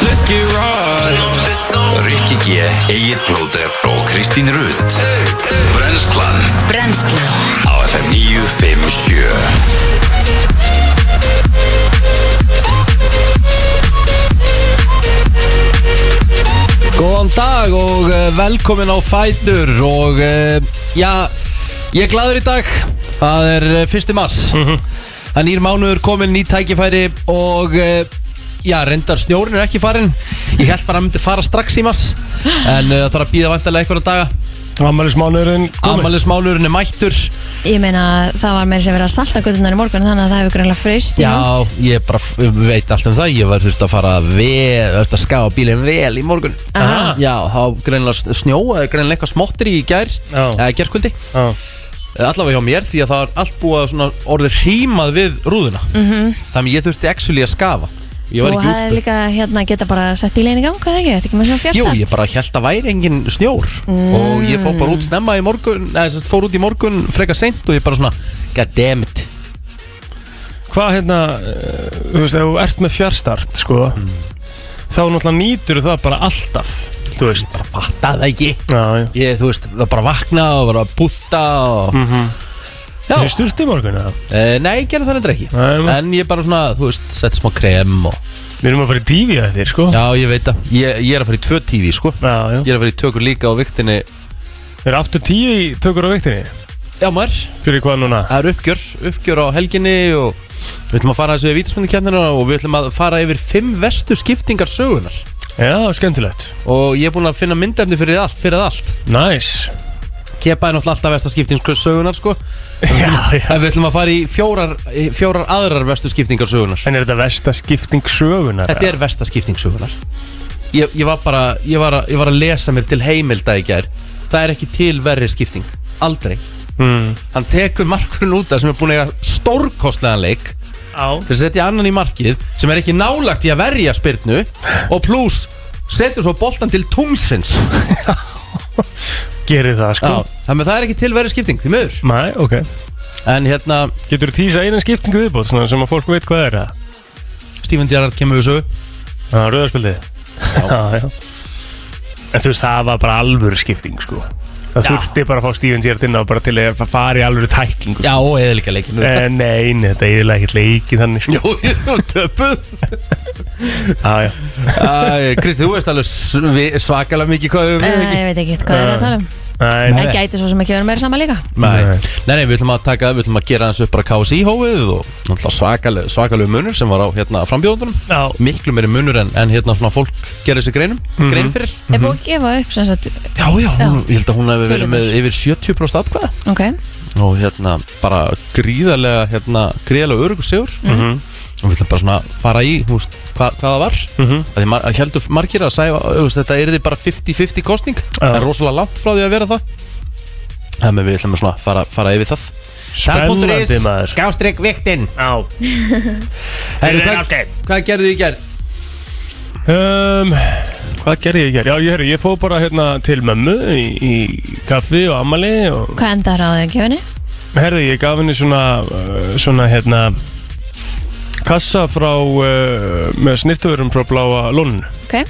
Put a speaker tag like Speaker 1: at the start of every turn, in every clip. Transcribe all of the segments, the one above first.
Speaker 1: Let's get right
Speaker 2: Rikki G, Egil Blóter og Kristín Rutt Brenslan
Speaker 3: Brennslan
Speaker 2: á FM 957
Speaker 4: Góðan dag og eh, velkomin á Fætur og eh, já, ég er gladur í dag, það er eh, fyrsti mass
Speaker 5: Mhm.
Speaker 4: Það er nýr mánuður komin, ný tækifæri og eh, já, reyndar snjórin er ekki farin Ég held bara að hann myndi fara strax í mass en eh, það þarf að býða vantarlega einhverja daga
Speaker 5: Amalismánurinn komið
Speaker 4: Amalis mánuðurinn er mættur
Speaker 3: Ég meina það var meira sem verið að salta göttunar í morgun þannig að það hefur greinlega freyst í
Speaker 4: Já,
Speaker 3: nótt.
Speaker 4: ég bara f- veit allt um það, ég var þurft að fara vel, þurft að ská bílinn vel í morgun
Speaker 3: Aha.
Speaker 4: Já, þá greinlega snjóaði greinlega eitthvað smottir í gær,
Speaker 5: Já.
Speaker 4: eða gerkvöldi
Speaker 5: Já.
Speaker 4: allavega hjá mér því að það er allt búið að svona orðið hrímað við rúðuna -hmm. þannig ég þurfti actually að skafa ég var
Speaker 3: og
Speaker 4: ekki
Speaker 3: það er
Speaker 4: útspil
Speaker 3: líka hérna geta bara sett bílinn í gang eða ekki, þetta er ekki með svona
Speaker 4: Jú,
Speaker 3: fjárstart
Speaker 4: ég bara held að væri engin snjór og ég fór bara út snemma í morgun eða sérst fór út í morgun freka seint og ég bara svona god damn it
Speaker 5: Hvað hérna, eh, þú veist, ef þú ert með fjárstart sko, þá náttúrulega nýtur það bara alltaf Þú veist
Speaker 4: fatta það ekki
Speaker 5: Já, já
Speaker 4: ég, þú veist, það bara vakna og bara pústa og já,
Speaker 5: Mhm. Þú veist styrst í morgun eða?
Speaker 4: uh, nei, ég gerði það endur ekki
Speaker 5: Nei, nei.
Speaker 4: en ég bara svona, þú veist, setti smá krem og
Speaker 5: Við erum að fara í tífi að þér sko
Speaker 4: já, ég veit það, ég, ég er að fara í tvö tífi, sko
Speaker 5: já
Speaker 4: ég er að fara í tökur líka á viktinni
Speaker 5: Við erum aftur tíu í tökur á viktinni
Speaker 4: já, maður
Speaker 5: Fyrir hvað núna?
Speaker 4: það eru uppgjör, uppgjör á helginni og við ætlum að fara þessu við vítaspundikjarnina og við ætlum að fara yfir fimm vestu skiptingar sögunar
Speaker 5: Já, skemmtilegt
Speaker 4: og ég er búin að finna myndefni fyrir allt, fyrir allt.
Speaker 5: Næs
Speaker 4: Kepa er náttúrulega alltaf versta skiptingar sögunar sko.
Speaker 5: Já, já
Speaker 4: en við ætlum að fara í fjórar, í fjórar aðrar vestu skiptingar sögunar
Speaker 5: En er þetta versta skipting sögunar?
Speaker 4: þetta er versta skipting sögunar ég, ég var bara ég var, að, ég var að lesa mér til heimilda í gær það er ekki til verri skipting aldrei
Speaker 5: mm.
Speaker 4: hann tekur markurinn út af sem er búin að eiga stórkostlegan leik
Speaker 5: Á
Speaker 4: til að setja annan í markið sem er ekki nálagt í að verja spyrnu og pluss setur svo boltan til tungsins
Speaker 5: Gerið það sko
Speaker 4: Já, þannig að það er ekki tilverið skipting því miður
Speaker 5: Mæ, ok
Speaker 4: en hérna
Speaker 5: Getur þú tísa einan skiptingu viðbót svona sem að fólk veit hvað er það?
Speaker 4: Steven Gerrard kemur við sögu
Speaker 5: Já, rauðarspildið Já, já En þú veist, það var bara alvöru skipting sko Það
Speaker 4: Já.
Speaker 5: þurfti bara að fá Steven Gerrard inn á bara til að fara í alvöru tæklingu
Speaker 4: já og eða líka leikin
Speaker 5: Eh, Nei, nei, þetta er eiginlega ekkert leikið þannig sko.
Speaker 4: jú, jú, töpuð
Speaker 5: Já, já
Speaker 4: Æ, Kristi, þú veist alveg svi- svakalega mikið hvað við
Speaker 3: Eh, Ég veit ekki hvað það er að tala um
Speaker 4: Eh,
Speaker 5: Nei,
Speaker 4: Nei.
Speaker 3: Það gæti svo sem ekki verið meira sama líka
Speaker 4: Nei, nei, nei, við ætlum að taka, við ætlum að gera hans upp bara KSI hófið og náttúrulega svakaleg, svakaleg munur sem var á hérna frambjóðundunum
Speaker 5: Já,
Speaker 4: miklu meiri munur en, en hérna svona fólk gerir sér greinum, grein fyrir
Speaker 3: Er búið að gefa upp sem sagt
Speaker 4: Já, já, hún, ég held að hún hefði verið
Speaker 3: Tölurnar.
Speaker 4: með yfir 70% atkvæða
Speaker 3: Ok,
Speaker 4: og hérna bara gríðarlega hérna, gríðarlega örugur sigur
Speaker 5: Mhm.
Speaker 4: og við ætlum bara svona að fara í þú veist, hva, hvað það var mm
Speaker 5: Mhm.
Speaker 4: -hmm. því mar heldur margir að sæfa þú veist, þetta er því bara 50-50 kostning
Speaker 5: Já.
Speaker 4: það er rosalega langt frá því að vera það þannig að við ætlum að svona fara, fara yfir það
Speaker 5: Spennandi maður
Speaker 4: Gástrygg viktinn
Speaker 5: Já
Speaker 4: Herru,
Speaker 5: Heyrðu,
Speaker 4: hvað,
Speaker 5: Ásgeir.
Speaker 4: hvað gerðu þið í gerð?
Speaker 5: um, Hvað gerði ég hér? Já, ég, heyrðu, ég fóð bara hérna til mömmu í, í kaffi og ammali og
Speaker 3: hvað endar á því að gefa henni?
Speaker 5: Herði, ég gaf henni svona, uh, svona hérna, kassa frá, uh, með snittuverum frá bláa lónun.
Speaker 3: Ok,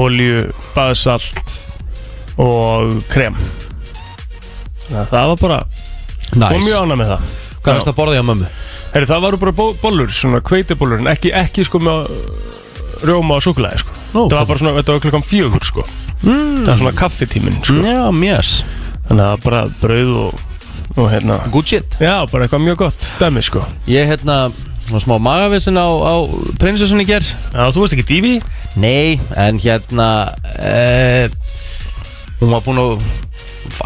Speaker 5: Olju, baðsalt og krem. Þannig að Það var bara, nice. og
Speaker 4: Nice.
Speaker 5: mjög ánað með það.
Speaker 4: Hvað varst að borða hjá mömmu?
Speaker 5: Herði, það varu bara bó bollur, svona kveitibólur, en ekki, ekki sko með uh, rjóma og súkulæði, sko.
Speaker 4: Nú,
Speaker 5: það var bara svona, þetta var klukkan fjögur, sko. Mm. Það var svona kaffitíminn, sko.
Speaker 4: Já, mjöss
Speaker 5: Þannig að það var bara brauð og, og hérna,
Speaker 4: Good shit
Speaker 5: já, bara eitthvað mjög gott, dæmi, sko.
Speaker 4: Ég hérna, svona smá magavissin á, á prinsessunni gerð
Speaker 5: Já, þú veist ekki dífi?
Speaker 4: Nei, en hérna e, Hún var búin að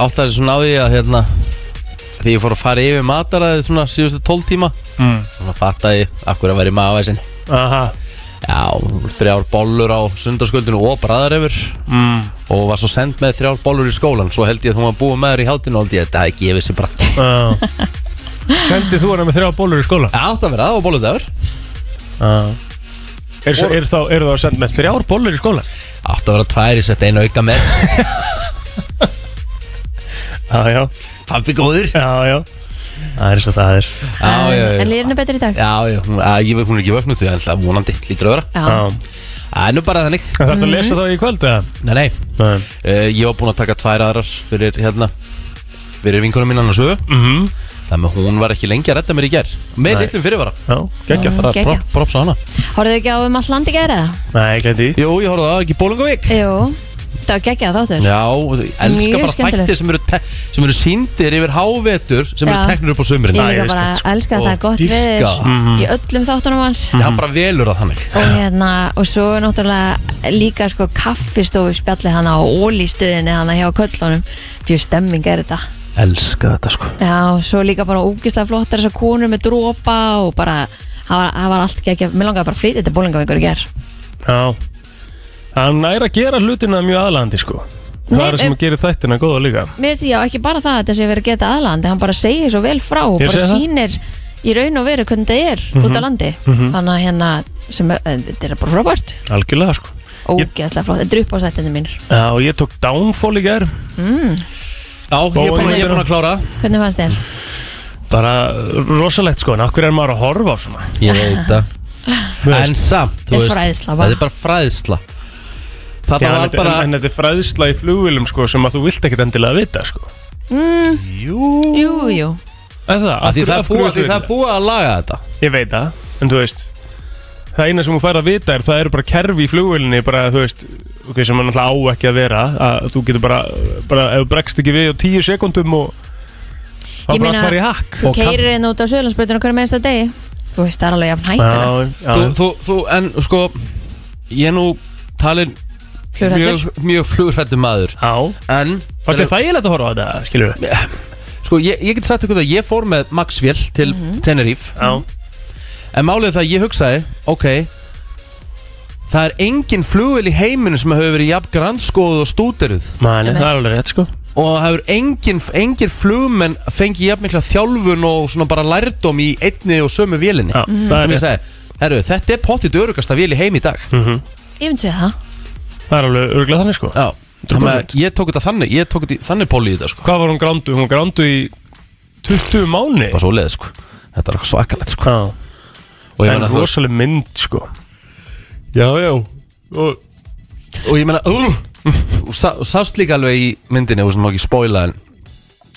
Speaker 4: átta þessi svona á því að hérna Þegar ég fór að fara yfir mataræðið svona síðustu 12 tíma
Speaker 5: Mm.
Speaker 4: Svona fatta ég af hverju að vera í magavissin
Speaker 5: Aha,
Speaker 4: Já, þrjár bollur á sundarsköldinu og bræðarefur
Speaker 5: mm.
Speaker 4: Og var svo send með þrjár bollur í skólan Svo held ég að hún var búin með þér í hátinu og held ég að þetta gefið sér bara
Speaker 5: uh. Sendið þú hana með þrjá bólur í skóla?
Speaker 4: Það átt að vera, það var bolludagur
Speaker 5: Uh. Er, svo, er, þá, er þá að senda með þrjár bólur í skóla?
Speaker 4: Átt að vera tvær í sett einu auka með
Speaker 5: Já, já,
Speaker 4: Pappi góður
Speaker 5: já, já Það er svo það er Já,
Speaker 4: Já, já,
Speaker 3: Um, en
Speaker 4: já
Speaker 3: lýrinu betri í dag?
Speaker 4: Já, já, hún, að, ég, hún er ekki vöknuð því að vonandi lítur að vera
Speaker 3: Já,
Speaker 5: já,
Speaker 4: Það er nú bara þannig
Speaker 5: En þarftu að
Speaker 3: Mm.
Speaker 5: lesa það í kvöld eða?
Speaker 4: Nei, nei
Speaker 5: Nei
Speaker 4: uh, Ég var búinn að taka tvær aðrar fyrir hérna Fyrir vinkunum mín annars höfu
Speaker 5: mm -hmm.
Speaker 4: Þannig að hún var ekki lengi að redda mér í gær Með
Speaker 5: Nei.
Speaker 4: litlum fyrirvara
Speaker 5: Já, geggja
Speaker 3: Mm.
Speaker 4: Það er
Speaker 3: Geggjað.
Speaker 4: prop- props á hana
Speaker 3: Horfðu ekki á um alland í gæri eða?
Speaker 5: Nei, gæti í
Speaker 4: Jú, ég horfði á það ekki bólungavík
Speaker 3: Jú, það var geggjað þáttur
Speaker 4: Já, ég elska
Speaker 3: Mjög
Speaker 4: bara
Speaker 3: skemmtilegt.
Speaker 4: þættir sem eru, te- sem eru síndir yfir hávetur sem
Speaker 3: Já.
Speaker 4: eru teknir upp á
Speaker 3: Ég
Speaker 4: sömurinn
Speaker 5: Nei,
Speaker 3: líka
Speaker 5: veist
Speaker 3: bara
Speaker 5: þetta, sko.
Speaker 3: elska að það er gott
Speaker 4: Dýrka. Mhm.
Speaker 3: veður í öllum þáttunum hans
Speaker 4: Ég hann bara velur það þannig
Speaker 3: og hérna, og svo er náttúrulega líka sko kaffistofu spjallið hana á ólístöðinni hana hjá köllunum djú stemming er þetta
Speaker 4: Elska þetta sko
Speaker 3: já, og svo líka bara ógislega flottar þessar konur með dropa og bara það var, það var allt ekki, mér langaði bara að flytja til bólingafingur í ger
Speaker 5: Já Hann er að gera hlutina mjög aðlandi sko Það
Speaker 3: Nei,
Speaker 5: er það sem
Speaker 3: um-
Speaker 5: gerir þættina góða líka
Speaker 3: mér finnst já, ekki bara það að þetta sé verið að geta aðlandi hann bara segir svo vel frá og
Speaker 5: Ég
Speaker 3: bara
Speaker 5: segi það. Mhm.
Speaker 3: sýnir í raun og veru hvernig þetta er út á landi þannig að hérna, sem, eh, þetta er bara frábært
Speaker 5: Algjörlega sko
Speaker 3: ógeðslega flott, þetta er upp á sættinu mínir
Speaker 5: Já, og ég tók Downfall í gær
Speaker 4: Já, ég er búinn- ég er búinn að klára
Speaker 3: hvernig fannst þér?
Speaker 5: Bara rosalegt sko En akkur er maður að horfa á svona
Speaker 4: Ég veit það
Speaker 5: Þú veist.
Speaker 4: En samt, þú
Speaker 3: Þetta er
Speaker 4: veist
Speaker 3: fræðsla, va?
Speaker 4: Það er bara fræðsla Það
Speaker 5: Já, en
Speaker 4: var
Speaker 5: þetta-
Speaker 4: bara
Speaker 5: En en þetta er fræðsla í flugvilum sko Sem að þú vilt ekkit endilega vita sko
Speaker 3: jú, jú
Speaker 5: Er það?
Speaker 4: að Því
Speaker 5: Af hverju- af
Speaker 4: það
Speaker 5: hverju
Speaker 4: er búið-
Speaker 5: viltu
Speaker 4: því
Speaker 5: vita
Speaker 4: það er búið að laga þetta
Speaker 5: Ég veit það, en þú veist Það eina sem þú fær að vita er það eru bara kerfi í flugvölinni bara þú veist ok, sem mann alltaf á ekki að vera að þú getur bara, bara ef þú bregst ekki við á tíu sekundum og þá
Speaker 3: Ég
Speaker 5: bara
Speaker 3: meina,
Speaker 5: allt farið í hakk
Speaker 3: Þú
Speaker 4: Og kann-
Speaker 3: keirir hérna út á Suðurlandsbreytinu hverju meðist að degi Þú veist, það er alveg jafn hættulegt
Speaker 5: Já,
Speaker 4: þú,
Speaker 5: já.
Speaker 4: þú, þú, en sko Ég er nú talin
Speaker 3: Flugræddur.
Speaker 4: mjög, mjög flugrættu maður
Speaker 5: já.
Speaker 4: En
Speaker 5: Fannst þér þægilegt að horfa á þetta, skilur við?
Speaker 4: Sko, ég, ég get sagt ykkur það Ég fór með Maxwell til Tenerife
Speaker 5: Já,
Speaker 4: En málið er það að ég hugsaði Ok Það er engin flugvel í heiminu sem hefur verið jafn grannskoð og stúteruð
Speaker 5: mani,
Speaker 3: Einmitt.
Speaker 5: það er alveg rétt sko
Speaker 4: og það hefur engin, engin flugmenn fengið jafn mikla þjálfun og svona bara lærdóm í einni og sömu vélinni
Speaker 5: Já,
Speaker 3: Mm.
Speaker 5: það er
Speaker 4: Þannig að
Speaker 5: rétt, Hm.
Speaker 4: segja, herru, þetta er pottið örugasta vél í heim í dag
Speaker 3: Ég myndi segja það
Speaker 5: það er alveg örgulega þannig sko
Speaker 4: Já, þannig að
Speaker 5: 100%.
Speaker 4: ég tók þetta þannig, ég tók þetta í- þannig pól í þetta sko
Speaker 5: Hvað var hún grándu? Hún var grándu í 20 mánu
Speaker 4: Bara svo leið sko, þetta er svakalegt sko
Speaker 5: Já,
Speaker 4: Og ég
Speaker 5: en
Speaker 4: meina, þú veist
Speaker 5: rosaleg mynd sko
Speaker 4: Já, já Og, og ég meina, uh, og sá, og sást líka alveg í myndinni, þú veist, má ekki spoila en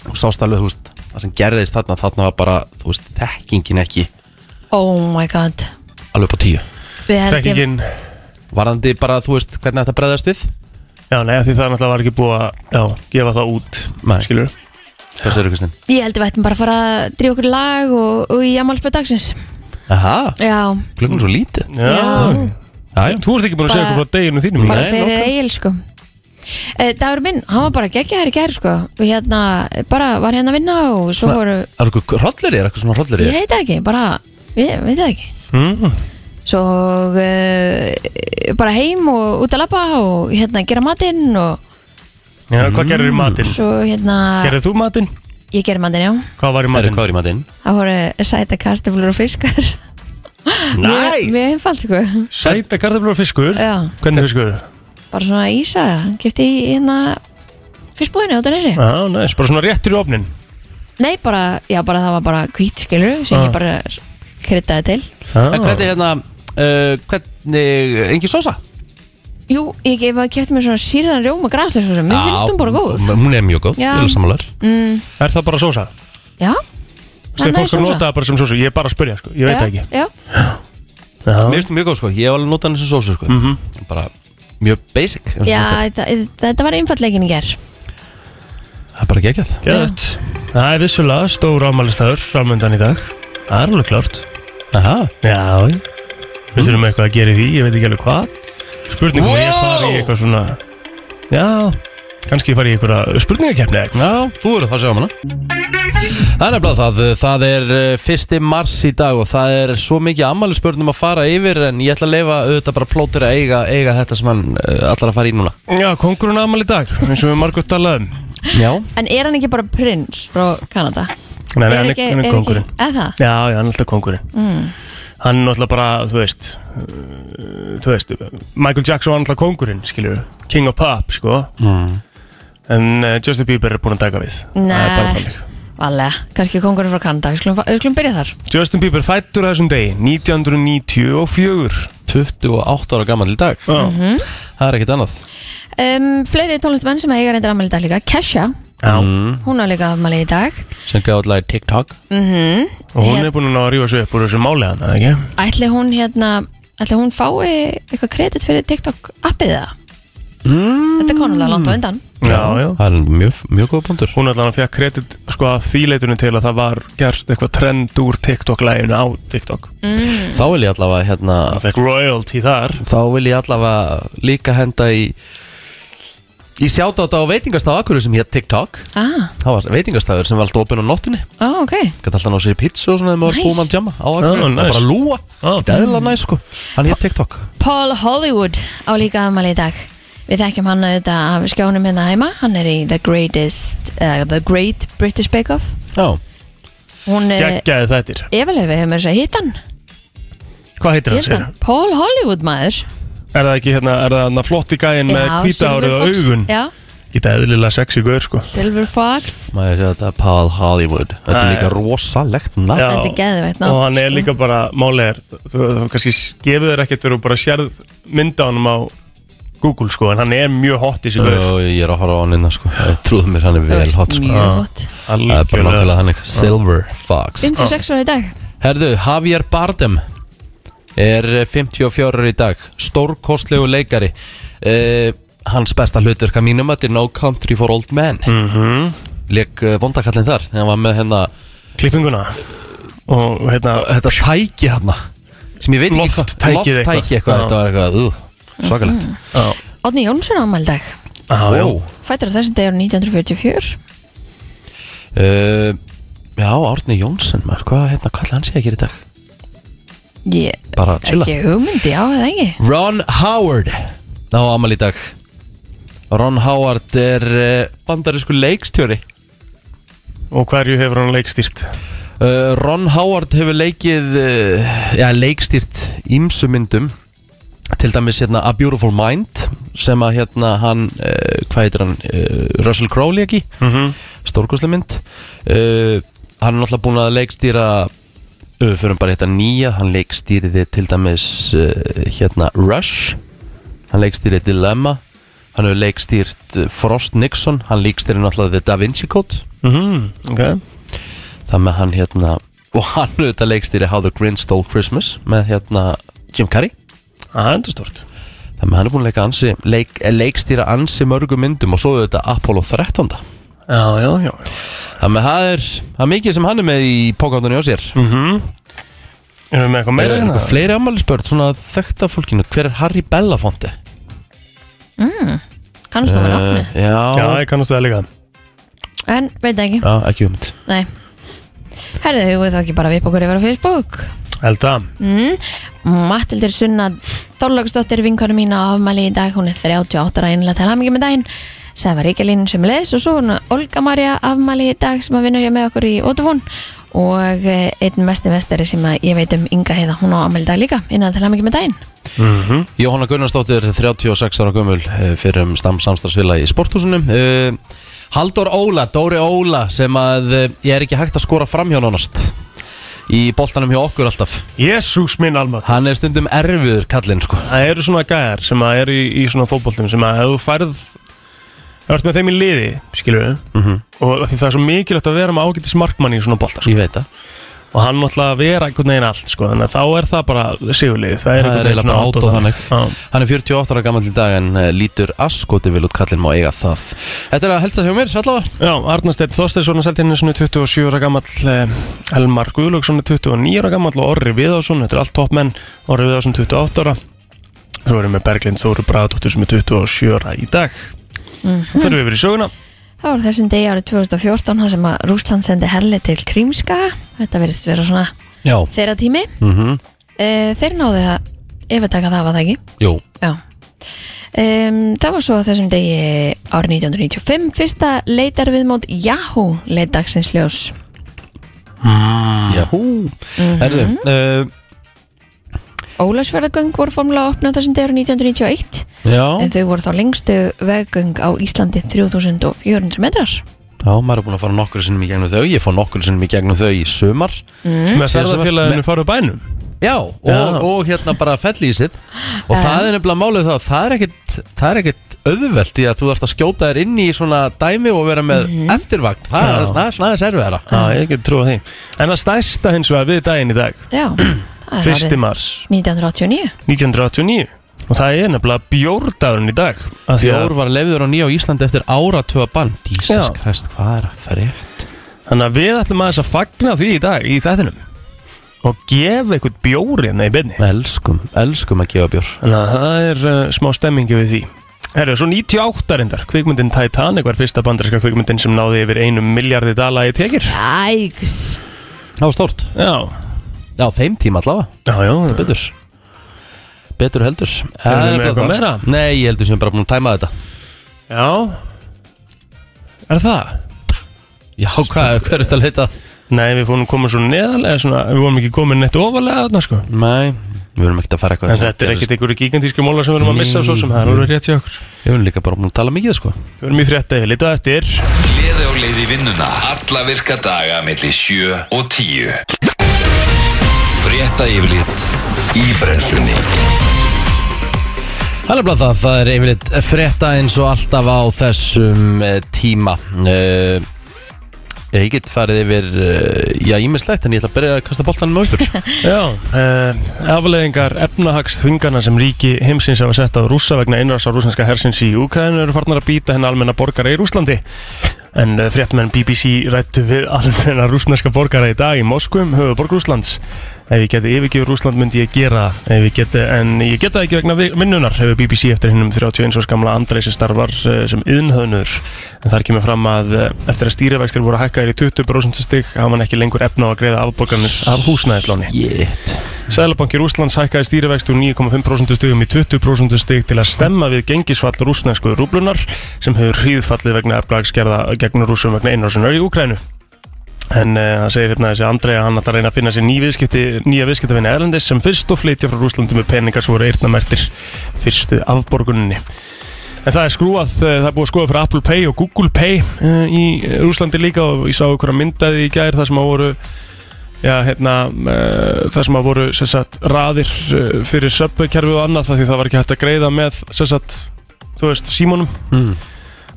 Speaker 4: Þú sást alveg, þú veist, það sem gerðist þarna, þarna var bara, þú veist, þekkingin ekki
Speaker 3: Oh my god
Speaker 4: alveg upp á tíu
Speaker 3: Við held ég,
Speaker 5: Trekkingin
Speaker 4: Varðandi bara, þú veist, hvernig þetta bregðast við
Speaker 5: Já, nei, af því það er náttúrulega var ekki búið að já, gefa það út,
Speaker 4: Nei.
Speaker 5: skilur
Speaker 4: Hvað segir þú, Kristinn?
Speaker 3: ég held ég vættum bara að fara að drífa okkur í lag og, og í ammálspöð dagsins
Speaker 4: Aha,
Speaker 3: Já,
Speaker 4: klukkan er svo lítið
Speaker 5: Já,
Speaker 3: Já.
Speaker 4: Jæja.
Speaker 5: Þú ert ekki búin að segja
Speaker 3: Bara-
Speaker 5: eitthvað frá deginu þínum
Speaker 3: bara
Speaker 5: Nei,
Speaker 3: fyrir
Speaker 5: nokkuð.
Speaker 3: Egil sko Eh, Dagur minn, hann var bara geggja hér í gær sko og hérna, eh, bara var hérna að vinna og svo voru,
Speaker 4: Er eitthvað hrollir í, er eitthvað svona hrollir í
Speaker 3: ég heit það ekki bara, ég veit það ekki
Speaker 5: mm,
Speaker 3: svo uh, bara heim og út að labba og hérna gera matinn og
Speaker 5: Já, hvað gerir í matinn?
Speaker 3: svo hérna
Speaker 5: Gerir þú matinn?
Speaker 3: ég gerir matinn já
Speaker 5: Hvað var í
Speaker 4: Herru,
Speaker 5: matinn?
Speaker 4: hvað er í matinn?
Speaker 3: Það voru sæta kartöflur og fiskar Mjög- Mjög
Speaker 4: Næs!
Speaker 3: einfalt sko
Speaker 5: Sæta kartaflur og fiskur
Speaker 3: Já,
Speaker 5: Hvernig fiskur?
Speaker 3: bara svona ísa Gifti í hérna Fiskbúðinu út af neysi
Speaker 5: Já, næst, bara svona réttur í ofnin
Speaker 3: Nei, bara, já bara það var bara hvít skilur Sem
Speaker 5: Ah.
Speaker 3: ég bara s- kryddaði til
Speaker 5: Já,
Speaker 4: En hvernig hérna, uh, hvernig, engin sósa?
Speaker 3: Jú, ég gef að kefti mér svona sírðan rjóma græslega Mér finnst hún bara góð
Speaker 4: m- Hún er mjög góð,
Speaker 3: Já.
Speaker 4: ég er sammálar
Speaker 3: mm,
Speaker 5: Er það bara sósa?
Speaker 3: Já,
Speaker 5: Þegar
Speaker 3: næs
Speaker 5: fólk er
Speaker 3: sósa.
Speaker 5: notað bara sem sósu Ég er bara að spyrja, sko, ég veit
Speaker 3: já,
Speaker 5: það ekki
Speaker 3: já.
Speaker 4: Mér
Speaker 5: Já,
Speaker 4: finnst hún mjög góð sko, ég hef alveg notað hann sem sósu sko Bara mjög basic eins og
Speaker 3: já
Speaker 4: sagt er.
Speaker 3: það, þetta var einfaldleikin í ger
Speaker 4: Það er bara geggjað
Speaker 5: gett Það er vissulega stór ámælistæður framöndan í dag Það er alveg klart
Speaker 4: Aha
Speaker 5: Já, við þurfum eitthvað að gera í því, ég veit ekki alveg hvað Spurning wow! ég fari í eitthvað svona Já, kannski fari í eitthvað spurningakeppni eða eitthvað
Speaker 4: Já, þú eru það sem um hana Það er nefnilega það, það er eh, fyrsti mars í dag og það er svo mikið ammali spörnum að fara yfir en ég ætla að leifa auðvitað bara plótur að eiga, eiga þetta sem hann uh, allar að fara í núna
Speaker 5: Já, kongurinn amal í dag, eins og við um. margótt talaðum
Speaker 4: Já,
Speaker 3: En er hann ekki bara prins frá Kanada?
Speaker 5: Nei,
Speaker 3: Er
Speaker 5: nei, hann er,
Speaker 3: ekki-
Speaker 5: hann er
Speaker 3: er ekki-
Speaker 5: kongurinn
Speaker 3: Er það?
Speaker 5: Já, já, hann er alltaf kongurinn mm. Hann er náttúrulega bara, þú veist uh, Þú veist, Michael Jackson var náttúrulega kongurinn, skilur King of Pop, sko
Speaker 4: mm.
Speaker 5: En uh, Justin Bieber er búinn að taka við Það er bara
Speaker 3: Nei.
Speaker 5: þannig.
Speaker 3: Valega, kannski kongurinn frá Kanada Við skulum, fa- við skulum byrja þar
Speaker 5: Justin Bieber fættur á þessum degi 1994
Speaker 4: 28 ára gammal í dag
Speaker 5: Já.
Speaker 3: Mhm.
Speaker 4: Það er ekkert annað
Speaker 3: um, Fleiri tónlistamenn sem eiga reyndir afmæli í dag líka Kesha,
Speaker 5: mm.
Speaker 3: hún á líka afmæli í dag Mhm.
Speaker 4: sem gaf allar TikTok
Speaker 5: Og hún er búin að ná að rífa sig upp úr þessu máli hann, ekki?
Speaker 3: Ætli hún hérna Ætli hún fái eitthvað kredit fyrir TikTok appið það? Mm. Þetta er konulega langt á undan
Speaker 5: Já, já
Speaker 4: Það er mjög, mjög góða punktur
Speaker 5: Hún allan fekk kredit sko að þýleitunum til að það var gert eitthvað trend úr TikTok-læginu á TikTok
Speaker 3: Mm.
Speaker 4: Þá vil ég allavega hérna
Speaker 5: Það fekk royalty þar
Speaker 4: Þá vil ég allavega líka henda í Í sjátáta á veitingastaf Akkurðu sem hér TikTok
Speaker 3: Ah,
Speaker 4: Það var veitingastafur sem var alltaf opinn á nóttinni
Speaker 3: ó, ok
Speaker 4: Gæti alltaf náðu sér í pizza og svona Þegar maður var
Speaker 3: Nice.
Speaker 4: búið að jamma á Akureyri
Speaker 5: Ah,
Speaker 4: Það var
Speaker 5: nice.
Speaker 4: bara að lúa
Speaker 5: Ah.
Speaker 4: Þetta er eðla næs sko Hann hér TikTok
Speaker 3: Paul Hollywood á líka afmæli í dag Við þekkjum hann auðvitað af skjánum hérna heima Hann er í The Greatest uh, The Great British Bake Off
Speaker 4: Já
Speaker 3: Hún er
Speaker 5: Geggjaði þettir
Speaker 3: efalöfi hefur með þess að hitta hann
Speaker 5: Hvað heitir hann
Speaker 3: Hitta
Speaker 5: sér?
Speaker 3: hann Paul Hollywood maður
Speaker 5: Er það ekki hérna, er það hann flott í gæin með
Speaker 3: Já,
Speaker 5: hvíta
Speaker 3: Silver
Speaker 5: árið og
Speaker 3: Fox.
Speaker 5: augun?
Speaker 3: Já,
Speaker 5: Geta eðlilega sexy gaur sko
Speaker 3: Silver Fox
Speaker 4: Maður sé að þetta er Paul Hollywood Þetta er
Speaker 5: Æ.
Speaker 4: líka rosalegt nafn
Speaker 5: Já.
Speaker 3: Þetta er geðveitt nafn,
Speaker 5: Og hann er
Speaker 3: sko.
Speaker 5: líka bara málegar Þú, þú, þú kannski gefur þér ekkert Þú bara sérð mynda honum á Google sko En hann er mjög hot í sig gaur sko.
Speaker 4: Jó, Ég er að horfa á hann innan sko Trúðu mér hann er
Speaker 3: Þú
Speaker 4: vel
Speaker 3: veist,
Speaker 4: hot sko
Speaker 3: Mjög hot
Speaker 4: Það er bara
Speaker 5: Algjörlega.
Speaker 4: nákvæmlega þannig Silver Fox
Speaker 3: 56 ára í dag
Speaker 4: Herðu, Javier Bardem er 54 ára í dag stórkostlegu leikari uh, hans besta hlutur hvað mínum að þetta er No Country for Old Men mm -hmm.
Speaker 5: Mhm.
Speaker 4: leik uh, vondakallin þar þegar hann var með hérna,
Speaker 5: klippinguna og hérna
Speaker 4: þetta tæki hérna sem ég veit ekki hvað-
Speaker 5: Lofttækið eitthvað.
Speaker 4: lofttæki eitthvað,
Speaker 5: Já.
Speaker 4: þetta var eitthvað uh, svakalegt
Speaker 5: á,
Speaker 3: Odni Jónsson ámæli í dag
Speaker 5: á, já,
Speaker 4: Ó,
Speaker 3: Fættur á þessum dagur 1944
Speaker 4: uh, Já, Árni Jónsson maður, hvað hérna, kallar hann sé að gera í dag?
Speaker 3: Ég
Speaker 4: Bara chilla
Speaker 3: ekki hugmyndi á eða ekki
Speaker 4: Ron Howard á amal í dag Ron Howard er eh, bandarísku leikstjóri
Speaker 5: og hverju hefur hann leikstýrt
Speaker 4: Eh, Ron Howard hefur leikið eh, já, leikstýrt ímsu myndum til dæmis hérna A Beautiful Mind sem að hérna hann uh, hvað heitir hann, uh, Russell Crowe leiki mm
Speaker 5: Mhm.
Speaker 4: -hmm. mynd uh, hann er náttúrulega búin að leikstýra uh, fyrir bara hérna nýja hann leikstýriði til dæmis uh, hérna Rush hann leikstýriði Dilemma hann hefur leikstýrt eh, Frost Nixon hann leikstýriði náttúrulega The Da Vinci Code
Speaker 5: mm okay.
Speaker 4: Það með hann hérna Og hann auðvitað leikstýri How the Grinch Stole Christmas Með hérna Jim Carrey
Speaker 5: það er enda stort
Speaker 4: Það með hann er búin að leika ansi, leik, eh, leikstýra ansi mörgum myndum Og svo auðvitað Apollo 13
Speaker 5: já, já, já
Speaker 4: Það með það er Það er mikið sem hann er með í pókáttunni á sér
Speaker 5: Mhm. erum við með eitthvað
Speaker 4: Er
Speaker 5: meira hérna?
Speaker 4: eitthvað fleiri ammælisbörn Svona þekkta fólkinu Hver er Harry Belafonte?
Speaker 3: Kannast um það var nafni
Speaker 4: Eh, já,
Speaker 5: já,
Speaker 4: já,
Speaker 5: ég kannast það líka
Speaker 3: En veit það ekki
Speaker 4: ekki umt
Speaker 3: Nei Herðu, hugum við þá ekki bara við upp okkur yfir á Facebook
Speaker 5: held að
Speaker 3: mm. Mattildur Sunna Dólagsdóttir, vinkonu mín á afmæli í dag Hún er 38 ára einlega til hamingi með daginn Sæfa Ríkjalín sem leis og svo hún Olga Marja afmæli í dag sem að vinna hér með okkur í Ótafón og eh, einn mesti mestari sem að ég veit um Inga heiða hún á afmæli í dag líka innan til hamingi með daginn
Speaker 4: Jóhanna Gunnarsdóttir, 36 ára gömul fyrir um samstagsfélagi í sporthúsunum Eh, Halldór Óla, Dóri Óla sem að eh, ég er ekki hægt að skora fram hjá nánast í boltanum hjá okkur alltaf
Speaker 5: jésús minn almat
Speaker 4: Hann er stundum erfiður kallinn sko
Speaker 5: það eru svona gæjar sem að eru í, í svona fótboltum sem að ef þú færð ef þú ert með þeim í liði skilur við og af því það er svo mikilvægt að vera með ágætis markmann í svona bolta sko.
Speaker 4: Ég veit það,
Speaker 5: og hann náttúrulega vera einhvern veginn allt sko. þannig að þá er það bara sigurlið það er,
Speaker 4: það
Speaker 5: einhvern
Speaker 4: er
Speaker 5: veginn
Speaker 4: eiginlega bara
Speaker 5: svona
Speaker 4: átt og þannig
Speaker 5: Já.
Speaker 4: Hann er 48 ára gammal í dag en eh, lítur askoti vil út kallinn má eiga það Þetta er að helsta hjá mér allavega
Speaker 5: Já, Arnarsteinn Þorsteinsson er seldið henni svona 27 ára gammal Elmar Guðlöksson er 29 ára gammal og Orri Viðásson, þetta er allt topp menn Orri Viðásson 28 ára Svo erum við Berglind Þóru Braðdóttir sem er 27 ára í dag Fyrir við yfir í söguna
Speaker 3: Það var á þessum degi árið 2014 þar sem að Rúsland sendi herli til Krímskaga Þetta verðist vera svona
Speaker 4: Já,
Speaker 3: þeirra tími
Speaker 4: mm
Speaker 3: e, Þeir náðu að yfirtaka það var það ekki
Speaker 4: jú,
Speaker 3: Já Um, það var svo á þessum degi árið 1995 fyrsta leitar við mót Yahoo leitdagsins ljós
Speaker 4: já hú Herðu, eh,
Speaker 3: Ólafsverðagöng voru formulega opnað á þessum degi árið 1991
Speaker 4: já
Speaker 3: en þau voru þá lengstu veggöng á Íslandi 3400 metrar
Speaker 4: Já, maður er búin að fara nokkur sinnum í gegnum þau Ég fór nokkur sinnum í gegnum þau í sumar
Speaker 5: Með
Speaker 4: Síðasta-
Speaker 5: særðafélaginu farið bænum
Speaker 4: Já, og,
Speaker 5: Já.
Speaker 4: og hérna bara fellísið Og
Speaker 3: Já.
Speaker 4: það er nefnilega málið það að Það er ekkit, það er ekkit auðvelt Í að þú þarfst að skjóta þér inn í svona dæmi Og vera með eftirvakt Það er,
Speaker 5: Mhm. Já.
Speaker 4: það er svona aðeins erfiðara
Speaker 5: Já, ég get trúið því En það stærsta hins vegar við daginn í dag
Speaker 3: Já, það er
Speaker 5: 1.
Speaker 3: árið
Speaker 5: mars
Speaker 3: 1989
Speaker 5: 1989 Og það er nefnilega bjórdagurinn í dag Af því að-
Speaker 4: Bjór var lefður á nýja á Íslandi eftir áratöga bann Jesus
Speaker 5: Já.
Speaker 4: Christ, hvað er að fyrir?
Speaker 5: Þannig að við ætlum aðeins að fagna því í dag í þættinum og gefa eitthvað bjóri hérna í byrni
Speaker 4: Elskum, elskum að gefa bjór
Speaker 5: Þannig að það er uh, smá stemmingi við því Herru, svo 98 reyndar, kvikmyndin Titanic var fyrsta bandarska kvikmyndin sem náði yfir einum miljardi dala í tekir
Speaker 3: Ægs
Speaker 4: Það var stórt
Speaker 5: Já,
Speaker 4: Já, þeim tíma allavega
Speaker 5: já, já, það betur
Speaker 4: Betur Betur heldur
Speaker 5: Erum við
Speaker 4: Það er
Speaker 5: með
Speaker 4: bara
Speaker 5: eitthvað
Speaker 4: það.
Speaker 5: meira?
Speaker 4: Nei, ég heldur sem ég er bara búin að tæma þetta
Speaker 5: Já Er það?
Speaker 4: Já, hvað, hver er þetta að leita að?
Speaker 5: Nei, við fórum komin svo neðarlega svona, við fórum ekki komin neitt ofalega þarna sko
Speaker 4: Nei, við verum ekkert að fara eitthvað
Speaker 5: En þetta er ekkert einhverju gigantísku móla sem við erum að missa
Speaker 4: Nei.
Speaker 5: svo sem það er alveg rétt hjá okkur
Speaker 4: Við verum líka bara búin að tala mikið sko
Speaker 5: Við erum í frétta yfir, lítið eftir
Speaker 2: Gleði og leiði vinnuna Alla virka daga millir 7 og 10 Frétta yfirlit í brennslunni
Speaker 4: Það er bara það, það er yfirleitt frétta eins og alltaf á þessum eh, tíma uh, Ég get farið yfir, uh, já, ímislegt en ég ætla að byrja að kasta boltanum á ykkur
Speaker 5: Já, uh, afleðingar efnahagsþungana sem ríki heimsins hafa sett á rússa vegna einrás á rússanska hersins í Ukraínu eru farnar að býta henn almenna borgara í Rúslandi. En uh, fréttmenn BBC rættu við almenna rúsnarska borgara í dag í Moskvum, höfuborg Rúslands. Ef ég geti yfirgefur Rúsland myndi ég gera það, Ef ég geti, en ég geta ekki vegna vi- vinnunar hefur BBC eftir hinnum 31 árs gamla Andrei sem starfar eh, sem yðnhöðnur en þar kemur fram að eh, eftir að stýrivextir voru hækkaðir í 20% stig hafa hann ekki lengur efna á að greiða afborganir af húsnæðisláni
Speaker 4: Jétt
Speaker 5: Sælabankir Úslands hækkaði stýrivext úr 9,5% stigum í 20% stig til að stemma við gengisfall rúsnæsku rúblunar sem hefur hríðfallið vegna eflagsgerða gegn rúsum vegna einarsunar í Ukrænu. En eh, það segir hérna þessi Andrei að hann ætlar að reyna að finna sér ný viðskipti, nýja viðskiptafinni erlendis sem fyrst og flytja frá Rúslandi með peningar sem voru eyrnamertir fyrstu afborguninni. En það er skrúað, eh, það er búið að skoða fyrir Apple Pay og Google Pay eh, í Rúslandi líka og ég sá einhverja myndaði í gær þar sem að voru Já, hérna, uh, það sem að voru sem sagt, raðir uh, fyrir söpveikkerfi og annað það því það var ekki hægt að greiða með sem sagt, þú veist, símónum
Speaker 4: mm.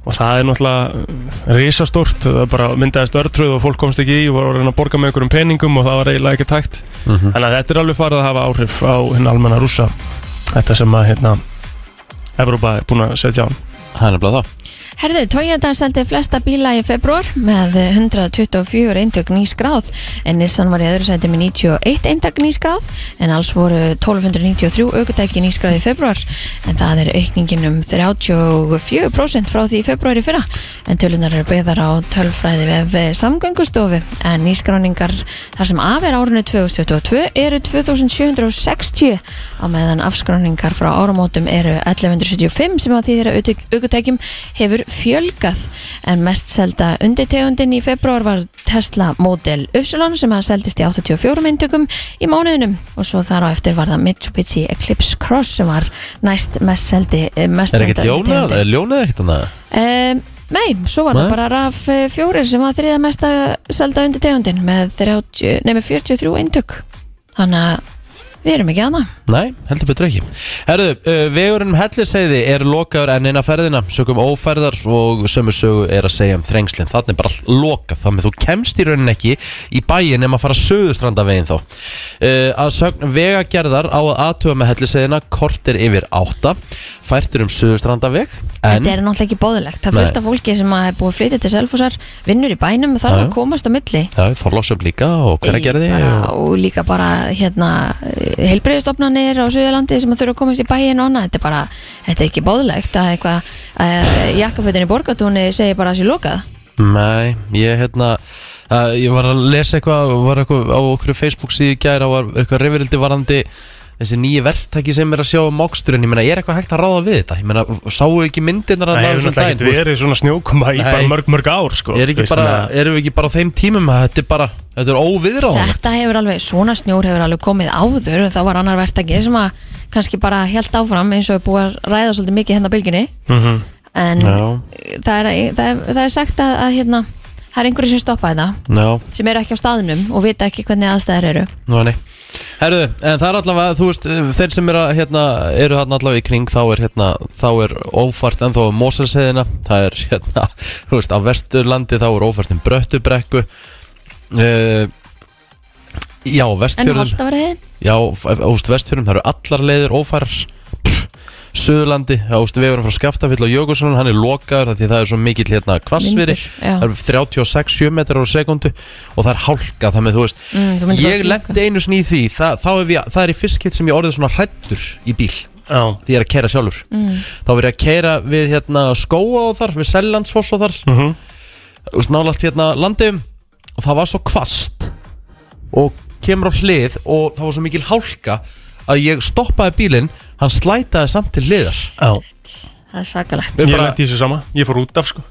Speaker 5: og það er náttúrulega risastórt, það bara myndaðist örtröð og fólk komst ekki í og var að reyna að borga með einhverjum peningum og það var eiginlega ekki tækt
Speaker 4: Mhm.
Speaker 5: þannig að þetta er alveg farið að hafa áhrif á hinn almenna rúsa þetta sem að hérna, Evrópa er búin að setja á
Speaker 4: Það er nefnilega það
Speaker 3: Herðu, Toyota seldi flesta bíla í februar með 124 eindök nýskráð en Nissan var í öðru sæti með 91 eindök nýskráð en alls voru 1293 aukutæki nýskráð í februar en það er aukningin um 34% frá því í februar í fyrra en tölunar eru byggðar á tölfræði vef samgöngustofu en nýskráningar þar sem af er árinu 2022 eru 2760 á meðan afskráningar frá áramótum eru 1175 sem að því þeirra aukutækjum hefur fjölgað en mest selda undirtegundin í februar var Tesla Model Upsilon sem að seldist í 84 myndugum í mánuðinum og svo þar á eftir var það Mitsubishi Eclipse Cross sem var næst mest seldi eh, mest
Speaker 4: Er ekkert
Speaker 3: selda
Speaker 4: ljónað,
Speaker 3: undirtegundin.
Speaker 4: er ljónað ekkert annað?
Speaker 3: Um, nei, svo var
Speaker 4: Nei.
Speaker 3: það bara RAV 4 sem var þriða mesta selda undir tegundin með, 30, nei, með 43 eintök þannig að við erum ekki aðna
Speaker 4: Nei, heldur betur ekki Herðu, uh, vegurinn um helliseiði er lokaður enn eina ferðina Sökum óferðar og sömu sögu er að segja um þrengslinn Þannig er bara allt lokað Þannig þú kemst í raunin ekki í bæin Nefn að fara söðustrandavegin þá uh, Að sögn vegagerðar á að aðtuga með helliseiðina Kortir yfir átta Færtir um söðustrandaveg En
Speaker 3: þetta er náttúrulega ekki bóðilegt, það er
Speaker 4: Nei.
Speaker 3: fullt af fólki sem að er búið að flytja til Selfossar, vinnur í bænum þarf
Speaker 4: Já, já.
Speaker 3: að komast á milli
Speaker 4: Já, Þorlásöf líka og hverja gerði
Speaker 3: Í bara,
Speaker 4: og...
Speaker 3: og líka bara hérna heilbreyðistofnanir á Suðurlandi sem að þurfa að komast í bæin og annað, þetta er bara þetta er ekki bóðilegt að eitthvað að jakkafötin í borgatúni segir bara að það sé lokað
Speaker 4: Nei, ég hérna uh, Ég var að lesa eitthvað var eitthvað á okkur Facebook síðu gæra og var eitthvað reyfirildi varandi þessi nýju verktæki sem er að sjá um áksturinn ég meina, er eitthvað hægt að ráða við þetta ég meina, sáu ekki myndirnar
Speaker 5: Það
Speaker 4: þarna af
Speaker 5: hefur
Speaker 4: þessum
Speaker 5: náttúrulega ekkert
Speaker 4: daginn, þú veist?
Speaker 5: verið svona snjókoma í
Speaker 4: Nei.
Speaker 5: bara mörg mörg ár sko,
Speaker 4: er ekki
Speaker 5: Þú veist,
Speaker 4: bara,
Speaker 5: þannig að-
Speaker 4: erum við ekki bara á þeim tímum að þetta er bara, þetta er óviðráðan
Speaker 3: Þetta hefur alveg, svona snjór hefur alveg komið áður þá var annar verktaki sem að kannski bara held áfram eins og er búið að ræða svolítið mikið hérna á bylginni
Speaker 5: Mhm.
Speaker 3: en
Speaker 4: Já.
Speaker 3: það er, það, er, það er sagt að, að hérna, það er einhverju sem stoppa þetta
Speaker 4: Já,
Speaker 3: sem eru ekki á staðnum og vita ekki hvernig aðstæðar eru
Speaker 4: nú hann Herru, en það er allavega, þú veist, þeir sem er að, hérna, eru hann allavega í kring þá er, hérna, þá er ófært ennþá um Mósalseðina, það er, hérna, þú veist, á Vesturlandi þá er ófært um Bröttubrekku uh, Já, á
Speaker 3: En
Speaker 4: Vestfjörðum
Speaker 3: holdt að vera heiðin
Speaker 4: Já, f- f- þú veist, Vestfjörðum, það eru allar leiðir ófærar Suðurlandi, þá veist, við erum frá Skaftafell og Jökulsson, hann er lokaður af því það er svo mikill, hérna, hvassviðri
Speaker 3: Vindur, já.
Speaker 4: Það eru 36-7 metrar á sekundu og það er hálka, það með, þú veist,
Speaker 3: Mm, þú myndir
Speaker 4: ég
Speaker 3: bara fjúka.
Speaker 4: lendi einu sinni í því það, þá er, við, það er í fyrstkitt sem ég orðið svona hrættur í bíl
Speaker 5: Já,
Speaker 4: því ég er að kæra sjálfur mm. þá verið ég að kæra við hérna, skóa og þar við Sellandsfoss og þar mm
Speaker 5: Mhm.
Speaker 4: nálægt hérna landiðum og það var svo kvast og kemur á hlið og það var svo mikil hálka að ég stoppaði bílinn hann slætaði samt til hliðar
Speaker 5: já
Speaker 3: Það er sakalegt
Speaker 4: Við
Speaker 5: Ég
Speaker 4: bara-
Speaker 5: lendi í þessu sama, ég fór út af sko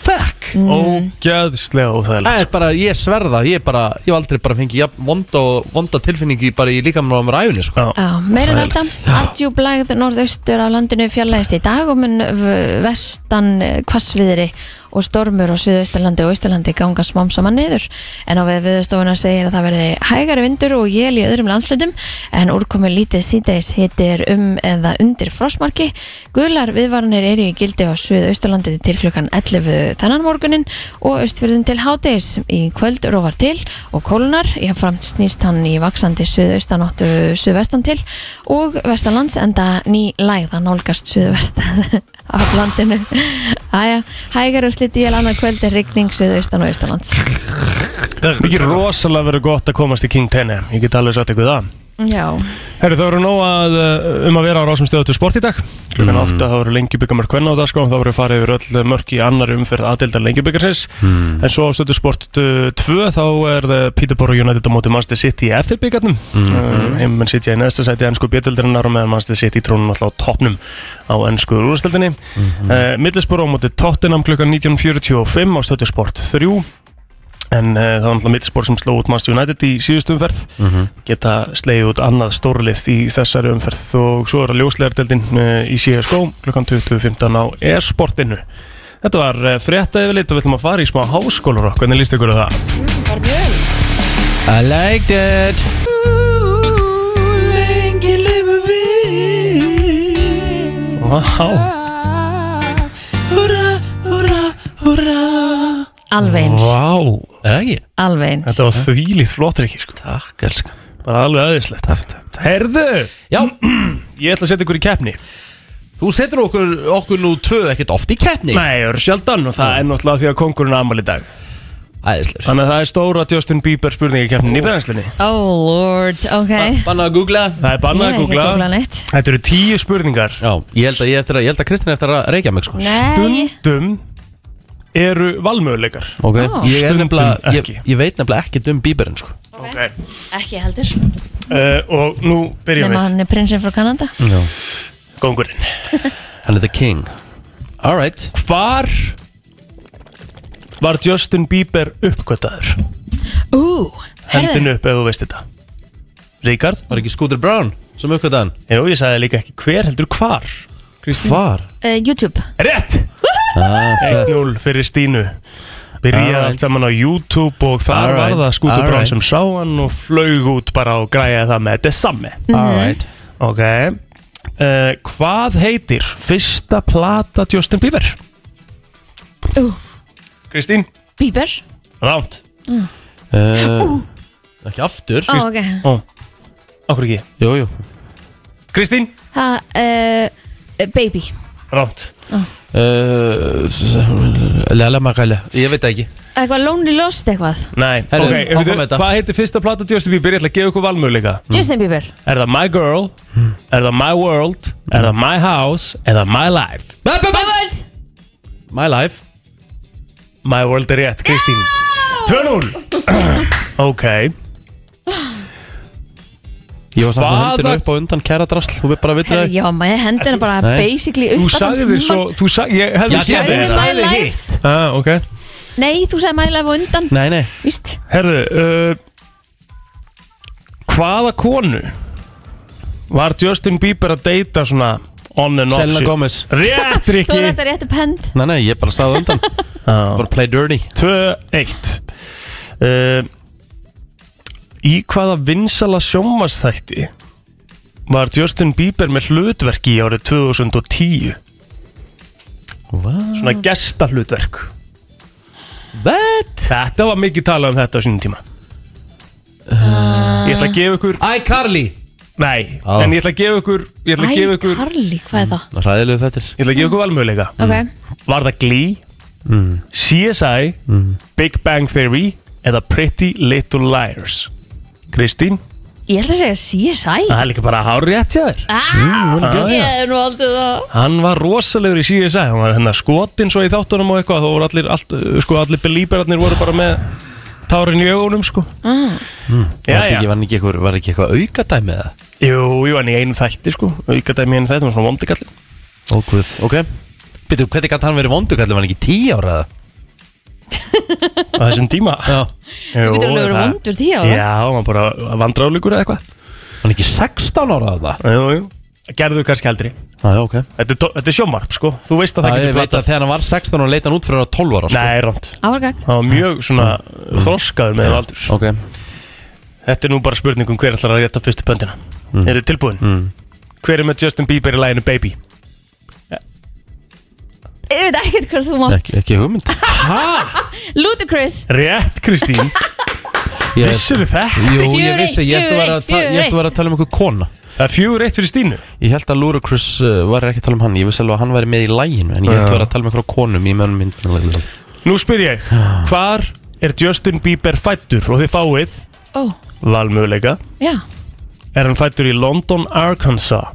Speaker 4: Fuck!
Speaker 3: Mm.
Speaker 5: Ógæðslega
Speaker 4: Það
Speaker 5: óþægilegt
Speaker 4: er bara, ég sverða, ég bara, ég hef aldrei bara fengið jafn vonda, og- vonda tilfinningi bara í líkamann á mér æfinni, sko.
Speaker 5: Já,
Speaker 3: Já, meira en
Speaker 5: Hræðilegt.
Speaker 3: þetta, alltjúblægð norðaustur af landinu fjarlægist í dag og mun v- vestan eh, hvassviðri og stormur á suðausturlandi og austurlandi ganga smám saman niður en á við viðstofuna segir að það verði hægari vindur og jél í öðrum landslutum en úrkomi lítið síðdeis hitir um eða undir frostmarki gular viðvarnir eru í gildi á suðausturlandi til klukkan 11 þennan morgunin og austfyrðum til hádegis í kvöld rofar til og kólunar ég framt snýst hann í vaksandi suðaustanóttu suðvestan til og vestanlands enda ný læða nálgast suðvestan af landinu Æja, hægar og sliti ég landa kvöld er rigning suðaustan og austanlands
Speaker 5: Mikið rosalega verið gott að komast í King 10 Ég get alveg sagt ykkur það
Speaker 3: Já,
Speaker 5: Herri, það voru nóg að, uh, um að vera á rásum stöðu til sport í dag. Klukkan mm. 8 það voru lengjubikamörk hvenna á dag sko, þá voru farið yfir öll mörk í annar umferð aðdeldar lengjubikarsins. En svo á stöðu sport 2 þá er það Peterborough United á móti Manchester City í FF byggarnum. Mm. Uh, Menn City er í neðsta sæti ennsku bjöldildarinnar og meðan Manchester City trónum alltaf á toppnum á ennsku úrstöldinni. Mm. Uh, Middlesborough á móti Tottenham klukkan 19.45 á stöðu sport 3 en uh, það var náttúrulega mittspor sem sló út Manchester United í síðustu umferð geta slegið út annað stórlið í þessari umferð og svo er að ljóslegardeldin uh, í CSGO klukkan 20.15 á e-sportinu Þetta var uh, frétta yfirleitt og við ætlum að fara í smá háskólarokk hvernig líst ykkur á það?
Speaker 4: I liked it Lengi lifu við
Speaker 5: Vá,
Speaker 4: Hurra, hurra, hurra
Speaker 3: alveg eins,
Speaker 4: Vá Er það ekki?
Speaker 3: alveg eins
Speaker 5: þetta var þvílíkt flottur ekki sko.
Speaker 4: Takk, elskan
Speaker 5: bara alveg aðeinslegt Herðu,
Speaker 4: Já,
Speaker 5: ég ætla að setja ykkur í keppni
Speaker 4: þú setur okkur, okkur nú tvö ekkert oft í keppni
Speaker 5: Nei, það eru sjaldan og það er náttúrulega því að kongurinn amal í dag
Speaker 4: Æðislega
Speaker 5: Þannig að það er stóra Justin Bieber spurningakeppnin í brennslunni
Speaker 3: Oh lord, ok
Speaker 4: Banna að googla
Speaker 5: Það er
Speaker 3: Ég
Speaker 5: bannað að
Speaker 3: er ekki að googla
Speaker 5: googla
Speaker 3: neitt
Speaker 5: Þetta eru tíu spurningar
Speaker 4: Já, ég held að, ég eftir að, ég held að Kristinn eftir að reykja mig sko
Speaker 3: Nei,
Speaker 5: Stundum eru valmöðuleikar
Speaker 4: Ok,
Speaker 3: Já.
Speaker 4: ég, er
Speaker 5: Stundum
Speaker 4: nefnilega, ég,
Speaker 5: ekki.
Speaker 4: ég veit nefnilega ekkert um bíberinn sko
Speaker 5: okay.
Speaker 3: ekki heldur
Speaker 5: uh, Og nú byrjum
Speaker 3: Nefna
Speaker 5: við
Speaker 3: hann er prinsinn frá Kanada
Speaker 4: Já.
Speaker 5: Góngurinn
Speaker 4: Hann er the king Alright
Speaker 5: Hvar var Justin Bieber uppgöttaður?
Speaker 3: Ú,
Speaker 5: Hendin upp ef þú veist þetta Ríkard?
Speaker 4: Var ekki Scooter Brown sem uppkvæðan?
Speaker 5: Jú, ég sagði líka ekki hver heldur hvar
Speaker 4: Hvar?
Speaker 3: uh, YouTube
Speaker 5: Rétt!
Speaker 4: Ah, það-
Speaker 5: 1-0 fyrir Stínu Byrjaði
Speaker 4: Alright.
Speaker 5: allt saman á YouTube og þar
Speaker 4: Alright.
Speaker 5: var það skútur
Speaker 4: Alright.
Speaker 5: Brown sem sá hann og flaug út bara og græjaði það með þetta sami
Speaker 4: Alright
Speaker 5: Ok uh, Hvað heitir fyrsta plata Justin Bieber?
Speaker 3: Ú.
Speaker 5: Kristín
Speaker 3: Bieber
Speaker 5: Ránt
Speaker 4: Uh, ekki aftur
Speaker 3: Ó, ok
Speaker 5: Okkur ekki
Speaker 4: Jú, jú
Speaker 5: Kristín
Speaker 3: Það, uh, Baby
Speaker 5: Ránt
Speaker 4: uh, Lela Magæle Ég veit það ekki
Speaker 3: Eitthvað Lonely Lost eitthvað
Speaker 5: Nei
Speaker 4: Herru,
Speaker 5: Ok,
Speaker 4: áfram
Speaker 5: veitu,
Speaker 4: með þetta.
Speaker 5: Hvað heitir fyrsta plata Justin Bieber? Ég ætla að gefa ykkur valmöðleika
Speaker 3: Justin Bieber
Speaker 5: Er það My Girl? Er það My World? Er það My House? Er það My Life?
Speaker 4: Ba, ba, ba.
Speaker 3: World
Speaker 4: My life
Speaker 5: My World er rétt, Kristín 2-0 Ok
Speaker 4: Ég var samt með
Speaker 5: Hvaða-
Speaker 4: höndinu upp á undan kæra drasl Þú veit bara að vitra
Speaker 3: Já, maður hendur bara
Speaker 4: Nei.
Speaker 3: basically upp
Speaker 5: Þú
Speaker 3: allan
Speaker 5: sagði þér
Speaker 3: tímann.
Speaker 5: svo Þú sagði Ég hefði
Speaker 4: Ég sagði
Speaker 5: þér
Speaker 4: þér
Speaker 5: það.
Speaker 3: My
Speaker 4: sagði
Speaker 3: Life
Speaker 5: Ah, ok
Speaker 3: Nei, þú sagði My Life á undan
Speaker 4: Nei, nei
Speaker 3: Víst
Speaker 5: Herðu, uh, hvaða konu var Justin Bieber að deyta svona on and off?
Speaker 4: Selena
Speaker 5: shit?
Speaker 4: Gomez
Speaker 5: Rétt,
Speaker 3: Þú
Speaker 5: Rikki.
Speaker 3: er þetta rétt upp hend
Speaker 4: Nei, nei, ég bara sagði á undan Ah. Bara play dirty
Speaker 5: 2-1. Uh, Í hvaða vinsala sjómasþætti var Justin Bieber með hlutverki árið 2010?
Speaker 4: What?
Speaker 5: Svona
Speaker 3: Mm.
Speaker 5: gesta hlutverk.
Speaker 4: What?
Speaker 5: Þetta var mikið talað um þetta á sínum tíma. Ég ætla að gefa ykkur,
Speaker 4: Æ, Karli
Speaker 5: nei,
Speaker 4: Á.
Speaker 5: en ég ætla að gefa ykkur, ég ætla að gefa
Speaker 3: Æ,
Speaker 5: ykkur, Mm.
Speaker 3: Karli, hvað er það?
Speaker 4: Ræðilegu þettir
Speaker 5: ég ætla að gefa ykkur Mm. valmöðleika.
Speaker 3: Ok,
Speaker 5: Var það Glee, CSI, Big Bang Theory eða Pretty Little Liars? Kristín,
Speaker 3: ég ætla að segja CSI
Speaker 5: það er líka bara hár rétt hjá þér.
Speaker 3: ah,
Speaker 5: gerði
Speaker 3: Ég hef nú aldrei það
Speaker 5: Hann var rosalegur í CSI, hann var hennar skotin svo í þáttunum og eitthvað, þá voru allir, all, sko, allir belíberarnir voru bara með tárin í augunum, sko. Já,
Speaker 4: Var
Speaker 5: já.
Speaker 4: ekki, var ekki eitthvað, var ekki eitthvað aukadæmi eða?
Speaker 5: Jú, jú, hann í einum þætti, sko, aukadæmi í einum þætti, hann var svona vondikallin.
Speaker 4: Ókvöð, ok Býtu, hvernig gæti hann verið vondu kallið, var hann ekki tí ára eða?
Speaker 5: Á þessum tíma.
Speaker 4: Já
Speaker 5: Jú,
Speaker 3: Þú getur alveg verið
Speaker 5: það-
Speaker 3: vondur tíu ára
Speaker 5: Já, hann var bara vandráðlíkur eða eitthvað.
Speaker 4: Var hann ekki 16 ára eða?
Speaker 5: Jú, jú. Gerðu kannski aldrei.
Speaker 4: Ah, Já, já, ok
Speaker 5: Þetta er, tó- þetta er sjómarp, sko. Þú veist að það
Speaker 4: Það
Speaker 5: getur
Speaker 4: ég veit að
Speaker 5: platað.
Speaker 4: þegar hann var 16 og leita hann út fyrir að vera 12 ára sko.
Speaker 5: Nei, rámt.
Speaker 3: Árgag
Speaker 5: Það var mjög svona mm. þroskaður með aldur.
Speaker 4: Ok
Speaker 5: Þetta er nú bara spurning um hver ætlar að rétta fyrstu pöndina. Mm. Er þið tilbúin? Hver er með Justin Bieber í læginu Baby?
Speaker 3: Ég veit ekkert hvað þú mátt
Speaker 4: Ekki, ekki hugmynd
Speaker 5: Hæ?
Speaker 3: Ludacris
Speaker 5: Rétt, Kristín.
Speaker 4: Ég-
Speaker 5: Vissur þið það?
Speaker 4: Jú, ég
Speaker 3: Fjögur eitt,
Speaker 4: vissi, ég held að
Speaker 3: fjögur
Speaker 4: vera að
Speaker 3: eitt,
Speaker 4: ta-
Speaker 3: fjögur
Speaker 4: ég held að vera að tala um einhver kona
Speaker 5: Það er fjögur eitt fyrir Stínu.
Speaker 4: Ég held að Ludacris uh, var ekki að tala um hann Ég vissi alveg að hann væri með í læginu En ég held
Speaker 5: Já.
Speaker 4: að vera að tala um einhverja konum í mönum minn
Speaker 5: Nú spyr ég, hvar er Justin Bieber fættur? Og þið fáið
Speaker 3: Ó,
Speaker 5: valmöguleika.
Speaker 3: já
Speaker 5: Er hann fættur í London, Arkansas?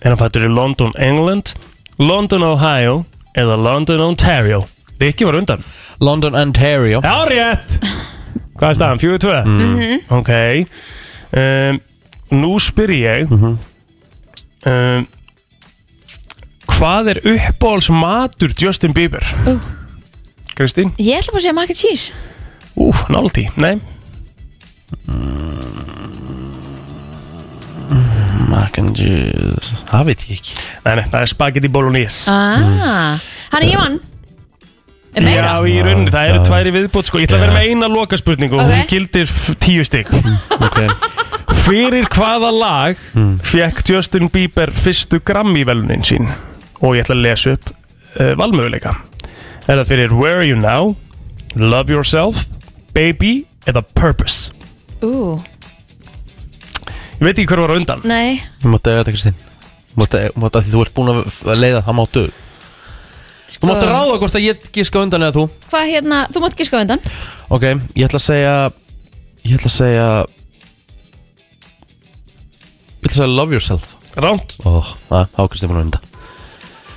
Speaker 5: Er hann fættur í London, England? London, Ohio? Eða London, Ontario? Rikki var undan.
Speaker 4: London, Ontario
Speaker 5: Já, rétt Hvað er staðan? 4-2?
Speaker 3: Mhm.
Speaker 5: Ok um, Nú spyr ég
Speaker 3: Mhm.
Speaker 5: um, Hvað er uppáhalds matur Justin Bieber?
Speaker 3: Ú.
Speaker 5: Kristín?
Speaker 3: Ég ætla bara að segja mac and cheese
Speaker 5: Ú, náldi, nei
Speaker 4: Mac and cheese Það veit ég ekki
Speaker 5: Nei, nei, það er spagetti bolognese
Speaker 3: Ah, hann er ég vann Er meira?
Speaker 5: Já, í rauninni, það eru
Speaker 4: Já.
Speaker 5: tværi viðbútt sko. Ég ætla að vera með eina lokaspurningu og
Speaker 3: Ok.
Speaker 5: hún gildir f- tíu stygg
Speaker 4: okay.
Speaker 5: Fyrir hvaða lag
Speaker 4: Hmm.
Speaker 5: fekk Justin Bieber fyrstu Grammy-velunin sín? Og ég ætla að lesa upp uh, valmöguleika. Er það fyrir Where Are You Now, Love Yourself, Baby eða Purpose?
Speaker 3: Ú,
Speaker 5: Ég veit ekki hver var á undan.
Speaker 3: nei
Speaker 4: Þú mátt eiga þetta Kristinn Þú mátt eiga þetta því þú ert búin að f- að leiða það máttu
Speaker 3: sko,
Speaker 4: Þú mátt ráða hvort að ég gíska á undan eða þú
Speaker 3: Hvað hérna, þú mátt gíska á undan
Speaker 4: Ok, ég ætla að segja Ég ætla að segja Ég ætla að segja love yourself
Speaker 5: Ránt.
Speaker 4: Ó, það þá er Kristinn búin að vinda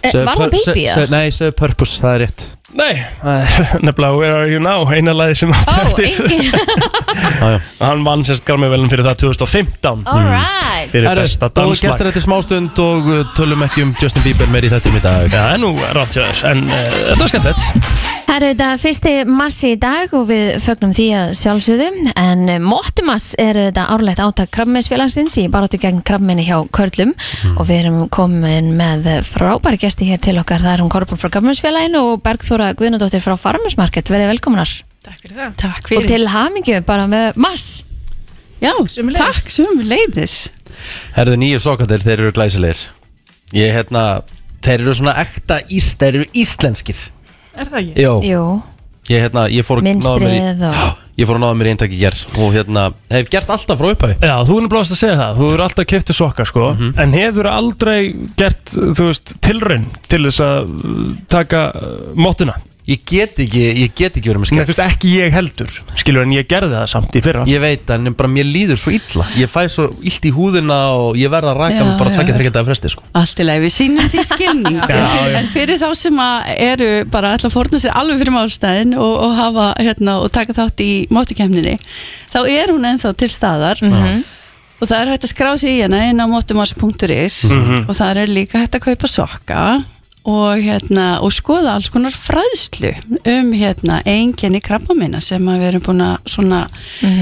Speaker 3: Eh, Var það baby eða?
Speaker 4: Nei, segðu purpose, það er rétt
Speaker 5: Nei, það er nefnilega Where Are You Now, eina lagi sem átti
Speaker 3: Ó,
Speaker 5: eftir.
Speaker 3: engi
Speaker 4: Já, já
Speaker 5: Hann vann sérst Grammy-velun fyrir það 2015.
Speaker 3: Alright
Speaker 5: Fyrir
Speaker 4: Herru,
Speaker 5: besta
Speaker 4: góðu gestur
Speaker 5: danslag.
Speaker 4: eftir smástund og uh, tölum ekki um Justin Bieber meir í þettum í dag
Speaker 5: Já, nú ránt ég þess, en uh, þetta var skemmtilegt.
Speaker 3: Það eru þetta fyrsti massi í dag og við fögnum því að sjálfsögðu en Móttumass er þetta árlegt átak krabbmeinsfélagsins í baráttu gegn krabbmeini hjá Körlum og við erum komin með frábæri gesti hér til okkar, það er hún Korbun frá krabbmeinsfélaginu og Bergþóra Guðnadóttir frá Farmersmarket, verið velkominar
Speaker 6: Takk fyrir það. Takk
Speaker 3: og til hamingju bara með mass
Speaker 6: Já, takk sömuleiðis.
Speaker 4: Herðu nýju sokatir, þeir eru glæsilegir Ég, hérna, þeir eru svona ekta ís, þeir eru íslenskir
Speaker 6: Er það ekki?
Speaker 4: Jó,
Speaker 3: Jú,
Speaker 4: ég, hérna, ég fór að náða mér í-
Speaker 3: Mynstrið og-
Speaker 4: Já, Ég fór að náða mér í eintak í ger og hérna, hef gert alltaf frá upphæði
Speaker 5: Já, þú erum blóðast að segja það, þú eru alltaf kæftið sokka sko, en hefur aldrei gert, þú veist, tilraun til þess að uh, taka uh, mótuna?
Speaker 4: Ég get ekki, ég get ekki verið
Speaker 5: Nei,
Speaker 4: með skemmt
Speaker 5: þú veist, ekki ég heldur, skilur, en ég gerði það samt í fyrra.
Speaker 4: Ég veit, en bara mér líður svo illa Ég fæ svo illt í húðina og ég verð að raka
Speaker 6: Já,
Speaker 4: mig bara
Speaker 6: já.
Speaker 4: tvekja þryggja dagar fresti sko.
Speaker 6: Allt í lagi, við sýnum því skilning.
Speaker 5: Já, já.
Speaker 6: En fyrir þá sem að eru bara ætla að forna sér alveg fyrir málstæðin og, og hafa hérna og taka þátt í mótukemninni, þá er hún ennþá til staðar og það er hægt að skrá sig í hana inn á mótumars.is
Speaker 5: Mhm.
Speaker 6: og það er líka hægt að kaupa sokka og, hérna, og skoða alls konar fræðslu um hérna, enginni krabbamina sem að við erum búin að svona,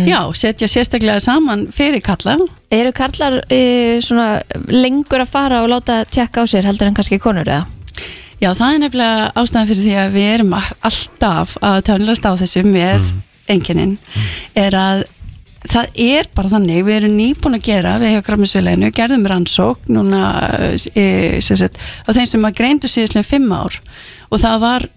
Speaker 6: já, setja sérstaklega saman fyrir kalla
Speaker 3: eru karlar e, svona lengur að fara og láta tjekka á sér heldur en kannski konur eða?
Speaker 6: Já, það er nefnilega ástæðan fyrir því að við erum a- alltaf að tönlast á þessu með mm. enginin er að það er bara þannig, við erum nýbúin að gera við hjá Krabbminsfélaginu, gerðum rannsók núna e, sem sagt, á þeim sem að greindu síðustlega fimm ár og það var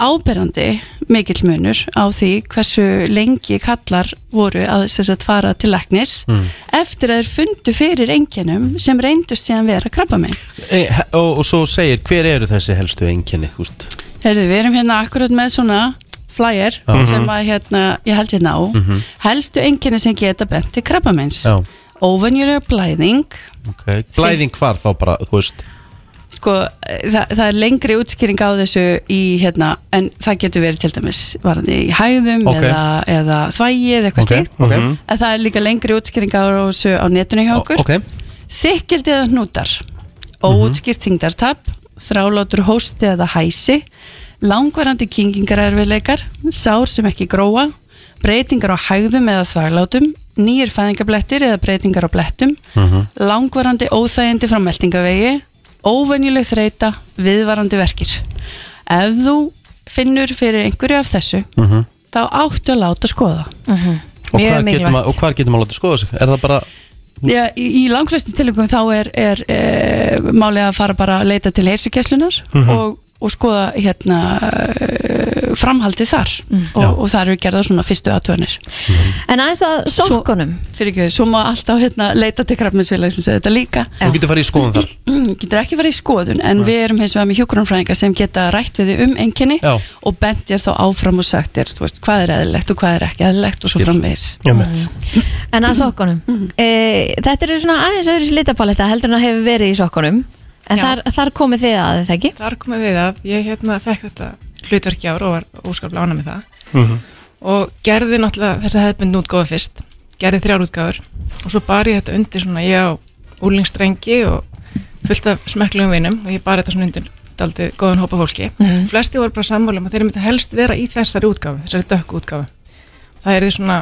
Speaker 6: áberandi mikill munur á því hversu lengi kallar voru að sem sagt, fara til læknis eftir að þeir fundu fyrir enginum sem reyndust síðan vera krabba minn
Speaker 4: e, he- og, og svo segir, hver eru þessi helstu einkenni, húst?
Speaker 6: Herðu, við erum hérna akkurat með svona flyer
Speaker 4: Mhm.
Speaker 6: sem að hérna, ég held hérna á helstu einkenni sem geta bent til krabbamins
Speaker 4: Já.
Speaker 6: óvenjulega blæðing
Speaker 4: Okay. Blæðing hvar þá bara, þú veist
Speaker 6: sko, það, það er lengri útskýring á þessu í hérna en það getur verið til dæmis varandi í hæðum
Speaker 4: Ok.
Speaker 6: eða, eða þvægi eða eitthvað
Speaker 4: Ok,
Speaker 6: slíkt
Speaker 4: ok.
Speaker 6: en það er líka lengri útskýring á þessu á netinu hjá okkur
Speaker 4: Ok,
Speaker 6: Þykkildi eða hnútar, óutskýrt þingdartap, þrálátur hósti eða hæsi, langvarandi kynkingarerfiðleikar, sár sem ekki gróa, breytingar á hægðum eða þvaglátum, nýjir fæðingablettir eða breytingar á blettum, langvarandi óþægindi frá meldingavegi, óvenjuleg þreita, viðvarandi verkir. Ef þú finnur fyrir einhverju af þessu, þá áttu að láta skoða.
Speaker 4: og hvar,
Speaker 3: Mjög
Speaker 4: getum að,
Speaker 3: mikilvægt.
Speaker 4: og hvar getum að láta skoða sig? Er það bara,
Speaker 6: Já, í, í langflestum tilökum þá er, er e, málið að fara bara að leita til heilsugæslunar og, og skoða hérna e, framhaldið þar og, og það eru gerða svona fyrstu aðtöðanir
Speaker 3: En aðeins að sokkunum
Speaker 6: fyrir ekki, svo má alltaf hérna leita til krafminsfélagsins þetta líka Mm,
Speaker 4: þú getur farið í skoðum þar
Speaker 6: getur ekki farið í skoðun en við erum hins vegar með hjókurumfræðinga sem geta rætt við þið um enginni
Speaker 4: Já.
Speaker 6: og bent ég þá áfram og sagt þér þú veist, hvað er eðlilegt og hvað er ekki eðlilegt og svo framvegis
Speaker 5: Já, mitt
Speaker 3: En að sokkunum e, Þetta eru svona aðeins öðru slitapaletta heldur en að hefur verið í sokkunum En
Speaker 7: Já.
Speaker 3: þar, þar komið þið að þetta ekki
Speaker 7: Þar komum við að ég hérna fekk þetta hlutverki ár og var óskaplega ána með það og gerði náttúrulega þessa hefðbund útgáfa fyrst gerði þrjár útgáfur og svo bar ég þetta undir svona ég á úlingsdrengi og fullt af smekklegum vinum og ég bar þetta svona undir daldið góðan hópa fólki flesti voru bara sammálum að þeir myndu helst vera í þessari útgáfu, þessari dökku útgáfu það er því svona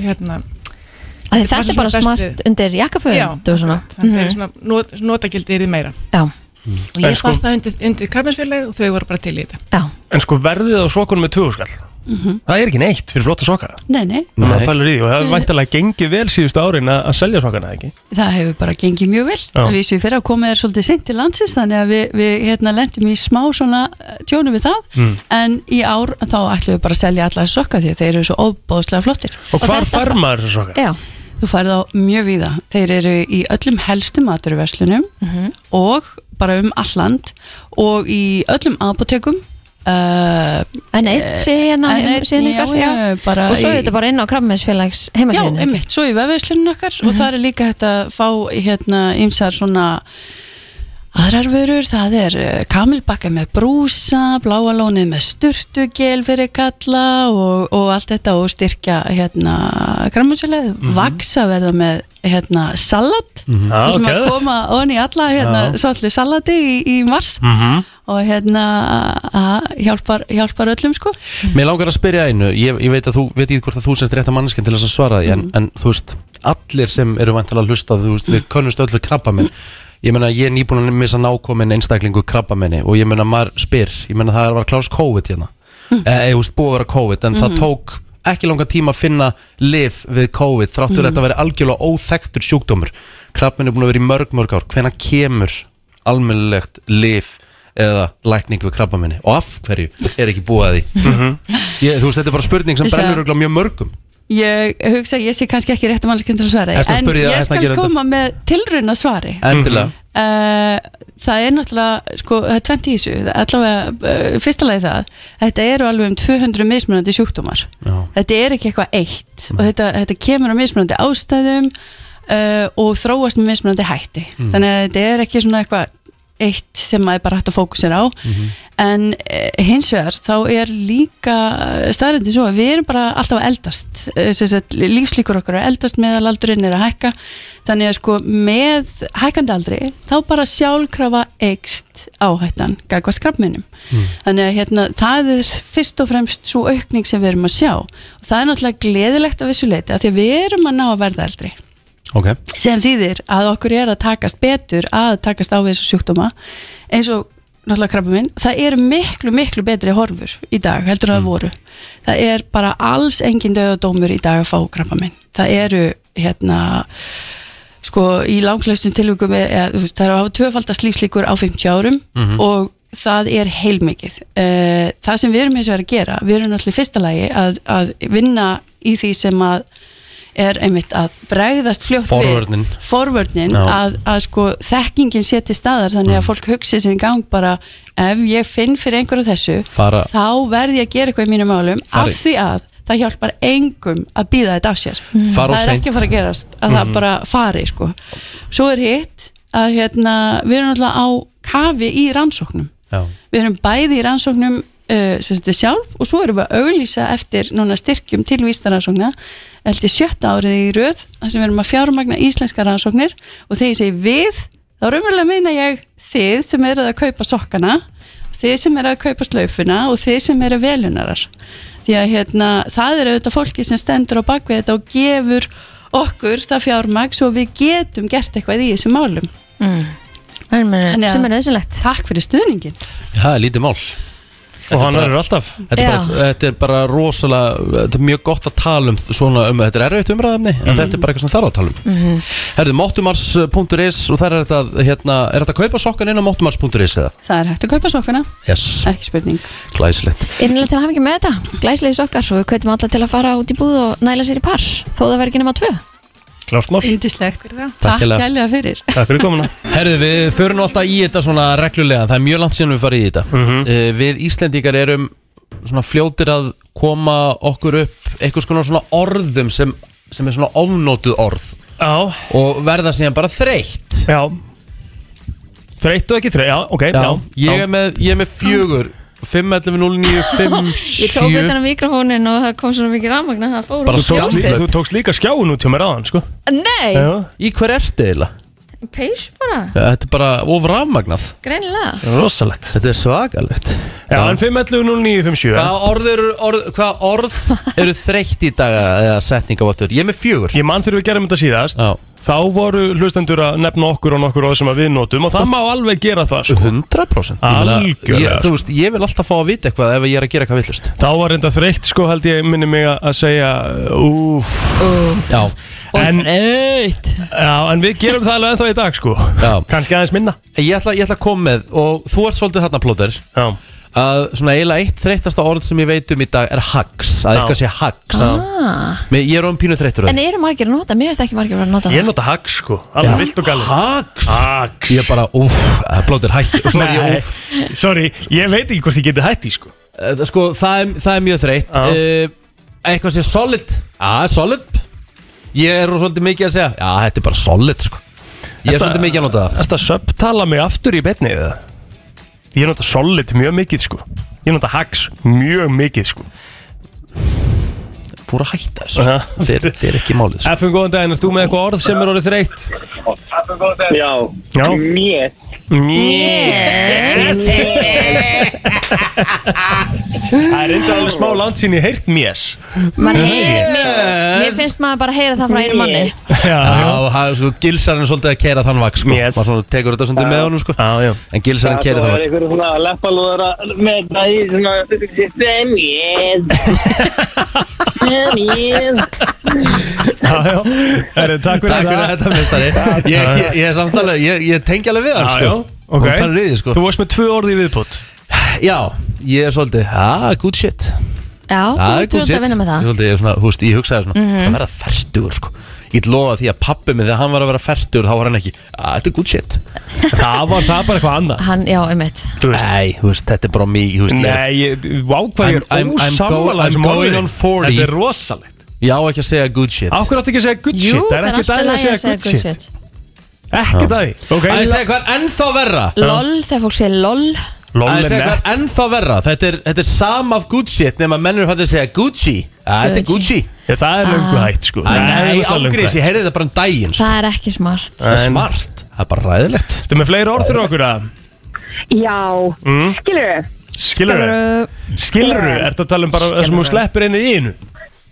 Speaker 7: hérna,
Speaker 3: Af
Speaker 7: Þetta
Speaker 3: því Þetta er
Speaker 7: passar
Speaker 3: bara
Speaker 7: svona best
Speaker 3: smart undir jakkafönd og svona Mhm.
Speaker 7: þannig mm -hmm. svona not, notagildi er því meira
Speaker 3: Já,
Speaker 7: og ég
Speaker 5: En sko-
Speaker 7: bar það undir, undir karminsfélagi og þau voru bara til í þetta
Speaker 3: já
Speaker 5: En sko verðið á sokkunum með tvöskall Það er ekki neitt fyrir flotta sokka
Speaker 6: Nei, nei,
Speaker 5: Nei. Það
Speaker 4: Nei.
Speaker 5: pælar í því og það er væntalega gengið vel síðustu árin að, að selja sokkana ekki
Speaker 6: Það hefur bara gengið mjög vel
Speaker 5: Já.
Speaker 6: Við séum fyrir að komið er svolítið sent til landsins þannig að við, við hérna, lendum í smá svona eh, tjónum við það en í ár þá ætlum við bara að selja alla þessa sokka því að þeir eru svo óbóðslega flottir
Speaker 5: Og hvar
Speaker 3: þetta
Speaker 5: fær
Speaker 3: fa-
Speaker 5: maður þessu sokka?
Speaker 3: Já,
Speaker 6: Þú færð á mjög víða Þeir eru í öllum helstu maturverslunum
Speaker 3: Mhm.
Speaker 6: og bara um alland og í öllum apotekum uh,
Speaker 3: en eitt sé hérna
Speaker 6: En
Speaker 3: um
Speaker 6: einn,
Speaker 3: síðan
Speaker 6: já,
Speaker 3: ykkar
Speaker 6: já, bara
Speaker 3: Og svo
Speaker 6: í-
Speaker 3: er þetta bara inn á krafmessfélags
Speaker 6: Já,
Speaker 3: heimasíðinu
Speaker 6: einmitt, svo í vefveislunum okkar og það er líka hægt að fá hérna ymsar svona aðrar vörur, það er eh, kamilbakka með brúsa, bláalónið með sturtugel fyrir kalla og, og allt þetta og styrkja hérna grammansjöleið,
Speaker 5: Mhm.
Speaker 6: vaksa verða með hérna salat mm
Speaker 5: Já,
Speaker 6: sem að
Speaker 5: geðveikt.
Speaker 6: koma onni alla hérna svolítið salati í, í mars
Speaker 5: Mhm.
Speaker 6: og hérna að hjálpar, hjálpar öllum sko
Speaker 4: Mér langar að spyrja einu, ég, ég veit að þú veit ekki hvort að þú sért rétt að manneskinn til þess að svara því en, en þú veist, allir sem eru vantilega að hlusta þú veist, við könnumst öllu krabbamenn ég meina, ég er nýbúin að missa nákominn einstaklingu krabbamenni og ég meina, maður spyr ég meina, það var klás COVID hérna mm. eða, þú veist, búið að vera COVID, en það tók ekki langan tíma að finna lif við COVID, þráttur mm. þetta að vera algjörlega óþektur sjúkdómur, krabbamenn er búin að vera í mörg, mörg ár, hvenær kemur almennilegt lif eða lækning við krabbamenni og af hverju er ekki búið að því Ég, þú veist, þetta er bara spurning sem
Speaker 6: Ég
Speaker 4: brennur
Speaker 6: sagði-
Speaker 4: örugglega mjög mörgum
Speaker 6: Ég hugsa að ég sé kannski ekki rétt að mannskjönd til að svara
Speaker 4: Ertu að
Speaker 6: En
Speaker 4: spyrja það,
Speaker 6: ég
Speaker 4: ertu að
Speaker 6: skal
Speaker 4: gera þetta?
Speaker 6: koma með tilrauna svari
Speaker 4: Endilega
Speaker 6: Eh, Það er náttúrulega, sko, það er 20 í þessu Það er Allavega, uh, fyrsta lagi það Þetta eru alveg um 200 mismunandi sjúkdómar
Speaker 4: Já.
Speaker 6: Þetta er ekki eitthvað eitt
Speaker 4: Mm.
Speaker 6: Og þetta, þetta kemur á mismunandi ástæðum uh, Og þróast með mismunandi hætti
Speaker 4: Mm.
Speaker 6: Þannig að þetta er ekki svona eitthvað eitt sem maður bara hægt að fókusera á
Speaker 4: Mhm.
Speaker 6: en uh, hins vegar þá er líka staðrindi svo að við erum bara alltaf að eldast uh, sagt, lífslíkur okkar er að eldast meðalaldurinn er að hækka þannig að sko með hækkandi aldri þá bara sjálfkrafa eikst áhættan gagvast krafminum þannig að hérna, það er fyrst og fremst svo aukning sem við erum að sjá og það er náttúrulega gleðilegt að vissu leiti að því að við erum að ná að verða eldri
Speaker 4: Ok
Speaker 6: sem þýðir að okkur er að takast betur að takast á við þessu sjúkdóma eins og náttúrulega krabba minn það eru miklu, miklu betri horfur í dag heldur en það voru það er bara alls engin döðadómur í dag að fá krabba minn það eru hérna sko í langlaustum tilvíkum er, er, veist, það eru að hafa tvöfaldast lífslíkur á 50 árum og það er heilmikið uh, það sem við erum eins og að gera við erum náttúrulega í fyrsta lagi að, að vinna í því sem að er einmitt að bregðast fljótt
Speaker 4: Forvörnin.
Speaker 6: við forvörnin
Speaker 4: Já. Mm.
Speaker 6: að, að sko þekkingin sé til staðar þannig að fólk hugsi sér í gang bara ef ég finn fyrir einhverju af þessu
Speaker 4: Fara-
Speaker 6: þá verð ég að gera eitthvað í mínum málum
Speaker 4: Fara í-
Speaker 6: af því að það hjálpar engum að býða þetta af sér
Speaker 4: Mm. Fara of
Speaker 6: það er
Speaker 4: seint. Mm.
Speaker 6: ekki að fara að gerast að það bara fari sko. svo er hitt að hérna, við erum alltaf á kafi í rannsóknum
Speaker 4: Já.
Speaker 6: við erum bæði í rannsóknum uh, sem þetta sjálf og svo erum við að auglýsa eftir núna styrkjum til vísnarannsókna eftir sjötta árið í röð þar sem við erum að fjármagna íslenska rannsóknir og þegar ég segi við þá raunverulega meina ég þið sem eru að kaupa sokkana þið sem eru að kaupa slaufuna og þið sem eru velunarar því að hérna, það eru auðvitað fólki sem stendur á bakvið þetta og gefur okkur það fjármagn svo við getum gert eitthvað í þessum málum Þannig að-
Speaker 3: Mhm. eh, sem er nöðsynlegt
Speaker 6: Takk fyrir stuðningin
Speaker 4: það er lítið mál
Speaker 8: og hann verður alltaf
Speaker 4: þetta er,
Speaker 3: Já.
Speaker 4: bara, þetta er bara rosalega þetta er mjög gott að tala um svona um þetta er erfitt umræðafni en þetta er bara eitthvað sem þarf að tala um mm
Speaker 6: Mhm.
Speaker 4: -hmm. herðu, móttumars.is og það er þetta hérna, er þetta að kaupa sokkan inn á móttumars.is eða?
Speaker 6: Það er hægt að kaupa sokkana,
Speaker 4: yes,
Speaker 6: ekki spurning
Speaker 4: glæsilegt
Speaker 3: Innlega til að hafa ekki með þetta, glæslegis okkar og við kveitum alla til að fara út í búð og næla sér í par þó það verður ekki nema tvö
Speaker 8: klárt mál,
Speaker 6: Indislegt
Speaker 4: Takk
Speaker 6: Takk
Speaker 4: hérlega.
Speaker 6: kærlega fyrir
Speaker 8: takk fyrir komuna
Speaker 4: Herðu, við förum nú alltaf í þetta svona reglulega Það er mjög langt síðan við farið í þetta mm
Speaker 5: Mhm.
Speaker 4: Við Íslendingar erum svona fljótir að koma okkur upp einhvers konar svona orðum sem, sem er svona ofnótuð orð
Speaker 5: Já,
Speaker 4: og verða síðan bara þreytt
Speaker 5: já Þreytt og ekki þreytt, já, ok Já,
Speaker 4: Ég, er með, ég er með fjögur 5.11.09.57
Speaker 3: Ég tók
Speaker 5: um-
Speaker 3: utan á mikrofónin og það kom svona mikið rafmagn að það fór
Speaker 4: Bara
Speaker 3: út í
Speaker 4: svo
Speaker 3: ljósið.
Speaker 4: snill.
Speaker 5: Þú tókst líka skjáin út hjá mér aðan, sko
Speaker 3: Nei,
Speaker 5: Já,
Speaker 4: Í hver ertu eiginlega?
Speaker 3: peys bara,
Speaker 4: Þetta er bara of rafmagnað
Speaker 3: greinilega
Speaker 5: rosalegt
Speaker 4: Þetta er svakalegt
Speaker 5: Já, en 5.11.09.57
Speaker 4: Hvaða orð eru, orð, hvaða orð eru þreytt í dag eða setningavottur? Ég er með fjögur
Speaker 5: Ég man þegar við gerum þetta síðast
Speaker 4: Já.
Speaker 5: Þá voru hlustendur að nefna okkur og nokkur orð sem að við notum og það má alveg gera það, sko
Speaker 4: 100% Ég meina,
Speaker 5: Algjörlega,
Speaker 4: ég- Þú
Speaker 5: sko.
Speaker 4: veist, ég vil alltaf fá að vita eitthvað ef ég er að gera eitthvað villust
Speaker 5: Þá var reynda þreytt, sko, held ég minni mig að að segja Úf
Speaker 4: Já,
Speaker 3: Og
Speaker 5: En-
Speaker 3: þreytt
Speaker 5: Já, en við gerum það alveg ennþá í dag, sko
Speaker 4: Já.
Speaker 5: Kannski aðeins minna
Speaker 4: ég ætla, ég ætla að koma með og þú ert svolítið þarna plóter
Speaker 5: Já,
Speaker 3: Ah.
Speaker 4: að svona eiginlega eitt þreyttasta orð sem ég veit um í dag er hags, að
Speaker 5: Já.
Speaker 4: eitthvað sé hags Mér, Ég er um pínu þreyttur á
Speaker 3: En
Speaker 4: því.
Speaker 3: eru margir að nota, mér finnst ekki margir að nota
Speaker 5: ég
Speaker 3: það
Speaker 5: nota hag, sko Alveg vilt og galið
Speaker 4: Hags?
Speaker 5: Hags.
Speaker 4: Ég er bara, úff, eh, plóter, hætt og svo er ég úff
Speaker 5: sorry, ég veit ekki hvort ég geti hætti, sko
Speaker 4: Eh, það- Sko, það er, það er mjög þreytt
Speaker 5: Já.
Speaker 4: Eh, Eitthvað sé solid Já, solid Ég er svolítið mikið að segja, já, þetta er bara solid sko. Ég er
Speaker 5: Þetta-
Speaker 4: svolítið mikið að nota það
Speaker 5: Þetta söptala mig aftur í betni eða? Ég nota solid mjög mikið sko Ég nota hags mjög mikið sko
Speaker 4: Búið að hætta þessu
Speaker 5: Já.
Speaker 4: sko. Þetta er- þetta er ekki málið sko.
Speaker 5: Efum góðan daginn, erst þú með eitthvað orð sem er orðið þreytt?
Speaker 9: Já,
Speaker 5: Já
Speaker 9: mér
Speaker 5: Mjög Það er enda alveg smá landsýn í heyrt mjög
Speaker 3: Man heyrir, mér, mér finnst maður bara að heyra það frá einu manni
Speaker 5: Já,
Speaker 4: Já, það er sko, gilsarinn er svolítið að keira þann vaks sko.
Speaker 5: Yes.
Speaker 4: maður svona tekur þetta svolítið með honum sko.
Speaker 5: já, já
Speaker 4: en gilsarinn
Speaker 9: Það
Speaker 4: keiri þann
Speaker 9: var
Speaker 4: vaks
Speaker 9: einhverjum svona leppalúðara með það í svona sem ég sem ég
Speaker 5: Já, já Herri, Takk
Speaker 4: Takk
Speaker 5: fyrir
Speaker 4: fyrir
Speaker 5: þetta
Speaker 4: þetta, mistari Ég, ég, ég er samtalið, ég, ég tengi alveg við hann
Speaker 5: Já,
Speaker 4: sko.
Speaker 5: já, ok
Speaker 4: Hún talar í því, sko.
Speaker 5: Þú varst með tvö orði í viðbútt
Speaker 4: Já, ég er svolítið, ah, good shit
Speaker 3: Já, þú
Speaker 4: Ah,
Speaker 3: ert að vinna með
Speaker 4: Ég, er
Speaker 3: það Mhm.
Speaker 4: svolítið, ég, er svona, húst, ég hugsaði svona, mm -hmm. það verða færtugur sko. Ég get lofa því að pappi minn, þegar hann var að vera færtugur þá var hann ekki, ah, þetta er good shit
Speaker 5: Það var það bara eitthvað annað
Speaker 3: Hann, já, einmitt
Speaker 5: Þú veist
Speaker 4: Nei, þú veist, þetta er bara mig þú veist, ég, er-
Speaker 5: Nei, ég- vá hvað ég er
Speaker 4: I'm- I'm- I'm go-
Speaker 5: ósamlega
Speaker 4: I'm going on 40.
Speaker 5: Þetta er rosalegt
Speaker 4: ég á ekki að segja good shit
Speaker 5: Akkur áttu ekki að segja good shit,
Speaker 3: Jú,
Speaker 5: það er ekkert
Speaker 3: alltaf
Speaker 5: að því að
Speaker 3: lagi
Speaker 5: segja good shit, Ekkert að því
Speaker 4: Að ég
Speaker 5: okay.
Speaker 4: segja hvað er ennþá verra
Speaker 3: LOL, þegar fólk segir LOL
Speaker 4: Það
Speaker 5: Lol er
Speaker 4: er segja
Speaker 5: nett
Speaker 4: hvað er ennþá verra Þetta er, þetta er sam af good shit Nefn að mennur hættu að segja Gucci Æ, Þetta er Gucci
Speaker 3: Gucci.
Speaker 5: Ég, Það er löngu hætt sko
Speaker 4: Æ, Nei,
Speaker 5: það er löngu
Speaker 4: ágriðis,
Speaker 5: hætt.
Speaker 4: ég heyrði þetta bara um daginn sko.
Speaker 3: Það er ekki smart
Speaker 4: Það er smart Það er bara ræðilegt
Speaker 5: Ertu með fleiri orð fyrir okkur að
Speaker 10: Já, mm. skilur
Speaker 5: Skilru Skilru, ertu að tala um bara það sem hún sleppir inn í einu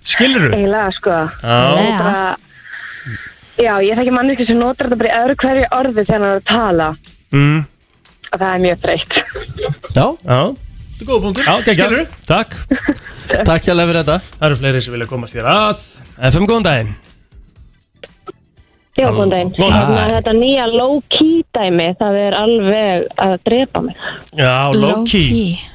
Speaker 5: Skilru
Speaker 10: eiginlega sko
Speaker 5: Já,
Speaker 3: Já,
Speaker 10: bara, Já, ég þekki manneski sem notar þetta bara í öðru hverju orði þegar hann er að tala
Speaker 5: Mm.
Speaker 10: og það er mjög þreytt
Speaker 4: Já,
Speaker 5: já,
Speaker 4: þetta er góð punktur
Speaker 5: já, geggjað.
Speaker 4: Skilurðu?
Speaker 5: Takk,
Speaker 4: Takk hjá fyrir þetta
Speaker 5: það eru fleiri sem vilja komast þér að FM, góðan daginn
Speaker 10: Já, góðan daginn.
Speaker 8: Góðan daginn.
Speaker 10: Hérna, Þetta nýja low-key dæmi, það er alveg að drepa mig.
Speaker 8: Já, low-key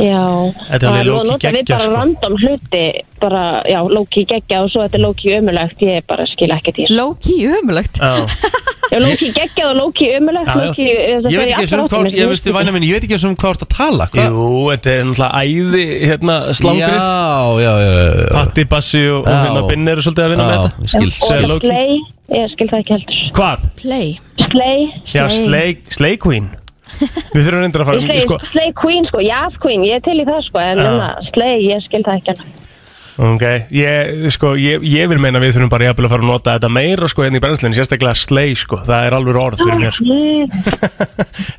Speaker 10: Já.
Speaker 8: Þetta er alveg
Speaker 10: Það
Speaker 8: low-key
Speaker 10: nú notar við
Speaker 8: geggjað,
Speaker 10: bara
Speaker 8: sko.
Speaker 10: random hluti, bara, já, low-key geggja og svo þetta er low-key ömulegt, ég bara skil ekki til.
Speaker 3: Low-key ömulegt?
Speaker 8: Já,
Speaker 10: Já, low-key geggja og low-key ömulegt,
Speaker 8: Já, já.
Speaker 10: low-key...
Speaker 4: Ég veit ekki eins og um hvað, ég veist þið væna minn, ég veit ekki eins og um hvað þú ert að tala hvað?
Speaker 5: Jú, þetta er náttúrulega æði hérna slangrið
Speaker 4: Já, já, já, já, já.
Speaker 5: Patti, Bassi og, og
Speaker 4: Já.
Speaker 5: hérna Binni eru svolítið að vinna með þetta
Speaker 4: Já, skil,
Speaker 5: Segðu
Speaker 10: Og
Speaker 4: skil
Speaker 5: low-key.
Speaker 10: slay, ég skil það ekki heldur.
Speaker 5: Hvað?
Speaker 3: Play
Speaker 10: Slay,
Speaker 5: Já, Slay, slay Queen Við þurfum reyndar að
Speaker 10: ég
Speaker 5: fara
Speaker 10: segi
Speaker 5: sko,
Speaker 10: slay queen sko, jazz queen, ég er til í það sko, en
Speaker 5: Já.
Speaker 10: ja. slay, ég skil það ekki heldur.
Speaker 5: Ok, ég, sko, ég, ég vil meina að við þurfum bara jafnvel að fara að nota þetta meira sko hérna í brennslinn, sérstaklega slay sko, það er alveg orð fyrir mér sko.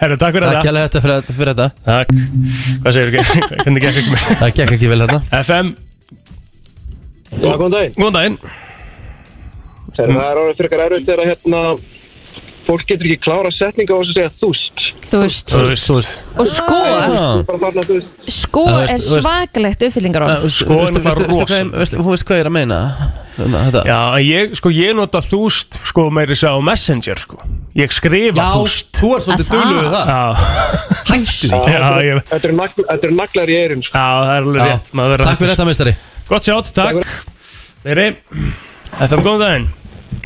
Speaker 5: Herru, takk fyrir
Speaker 4: Takk
Speaker 5: þetta
Speaker 4: hérlega þetta fyrir, fyrir þetta
Speaker 5: Takk, hvað segir ekki, hvernig gekk ekki mér
Speaker 4: Það gekk ekki vel hérna. þetta
Speaker 5: FM,
Speaker 11: Góðan daginn
Speaker 5: góðan daginn
Speaker 11: Herra, Það er orðið frekar erfitt þegar að hérna Fólk getur ekki klára setninga á þess að segja þúst
Speaker 3: Þú veist
Speaker 5: Þú veist, þú veist
Speaker 3: Og sko,
Speaker 5: Ah.
Speaker 4: Ah.
Speaker 11: Ég er bara farin að þú veist
Speaker 3: sko
Speaker 4: Já, þú
Speaker 3: er
Speaker 4: veist- þú veist-
Speaker 3: svakalegt uppfyllingaróð
Speaker 5: Sko, en það er rosa.
Speaker 4: Þú veist hvað ég er að meina Hérna, þetta.
Speaker 5: Já, en ég, sko, ég nota þúst sko meiri sá Messenger sko Ég skrifa þúst
Speaker 4: þú er svolítið
Speaker 3: Að það?
Speaker 4: dölur við það
Speaker 5: Já,
Speaker 4: Hættu því
Speaker 5: já, ég,
Speaker 11: Þetta eru nagl- þetta eru naglar í sko. eirin
Speaker 5: já, það er alveg
Speaker 4: Já.
Speaker 5: rétt maður verður að-
Speaker 4: Takk fyrir þetta, meistari
Speaker 5: Gott sjátt, takk Þeirri, FM, góðan daginn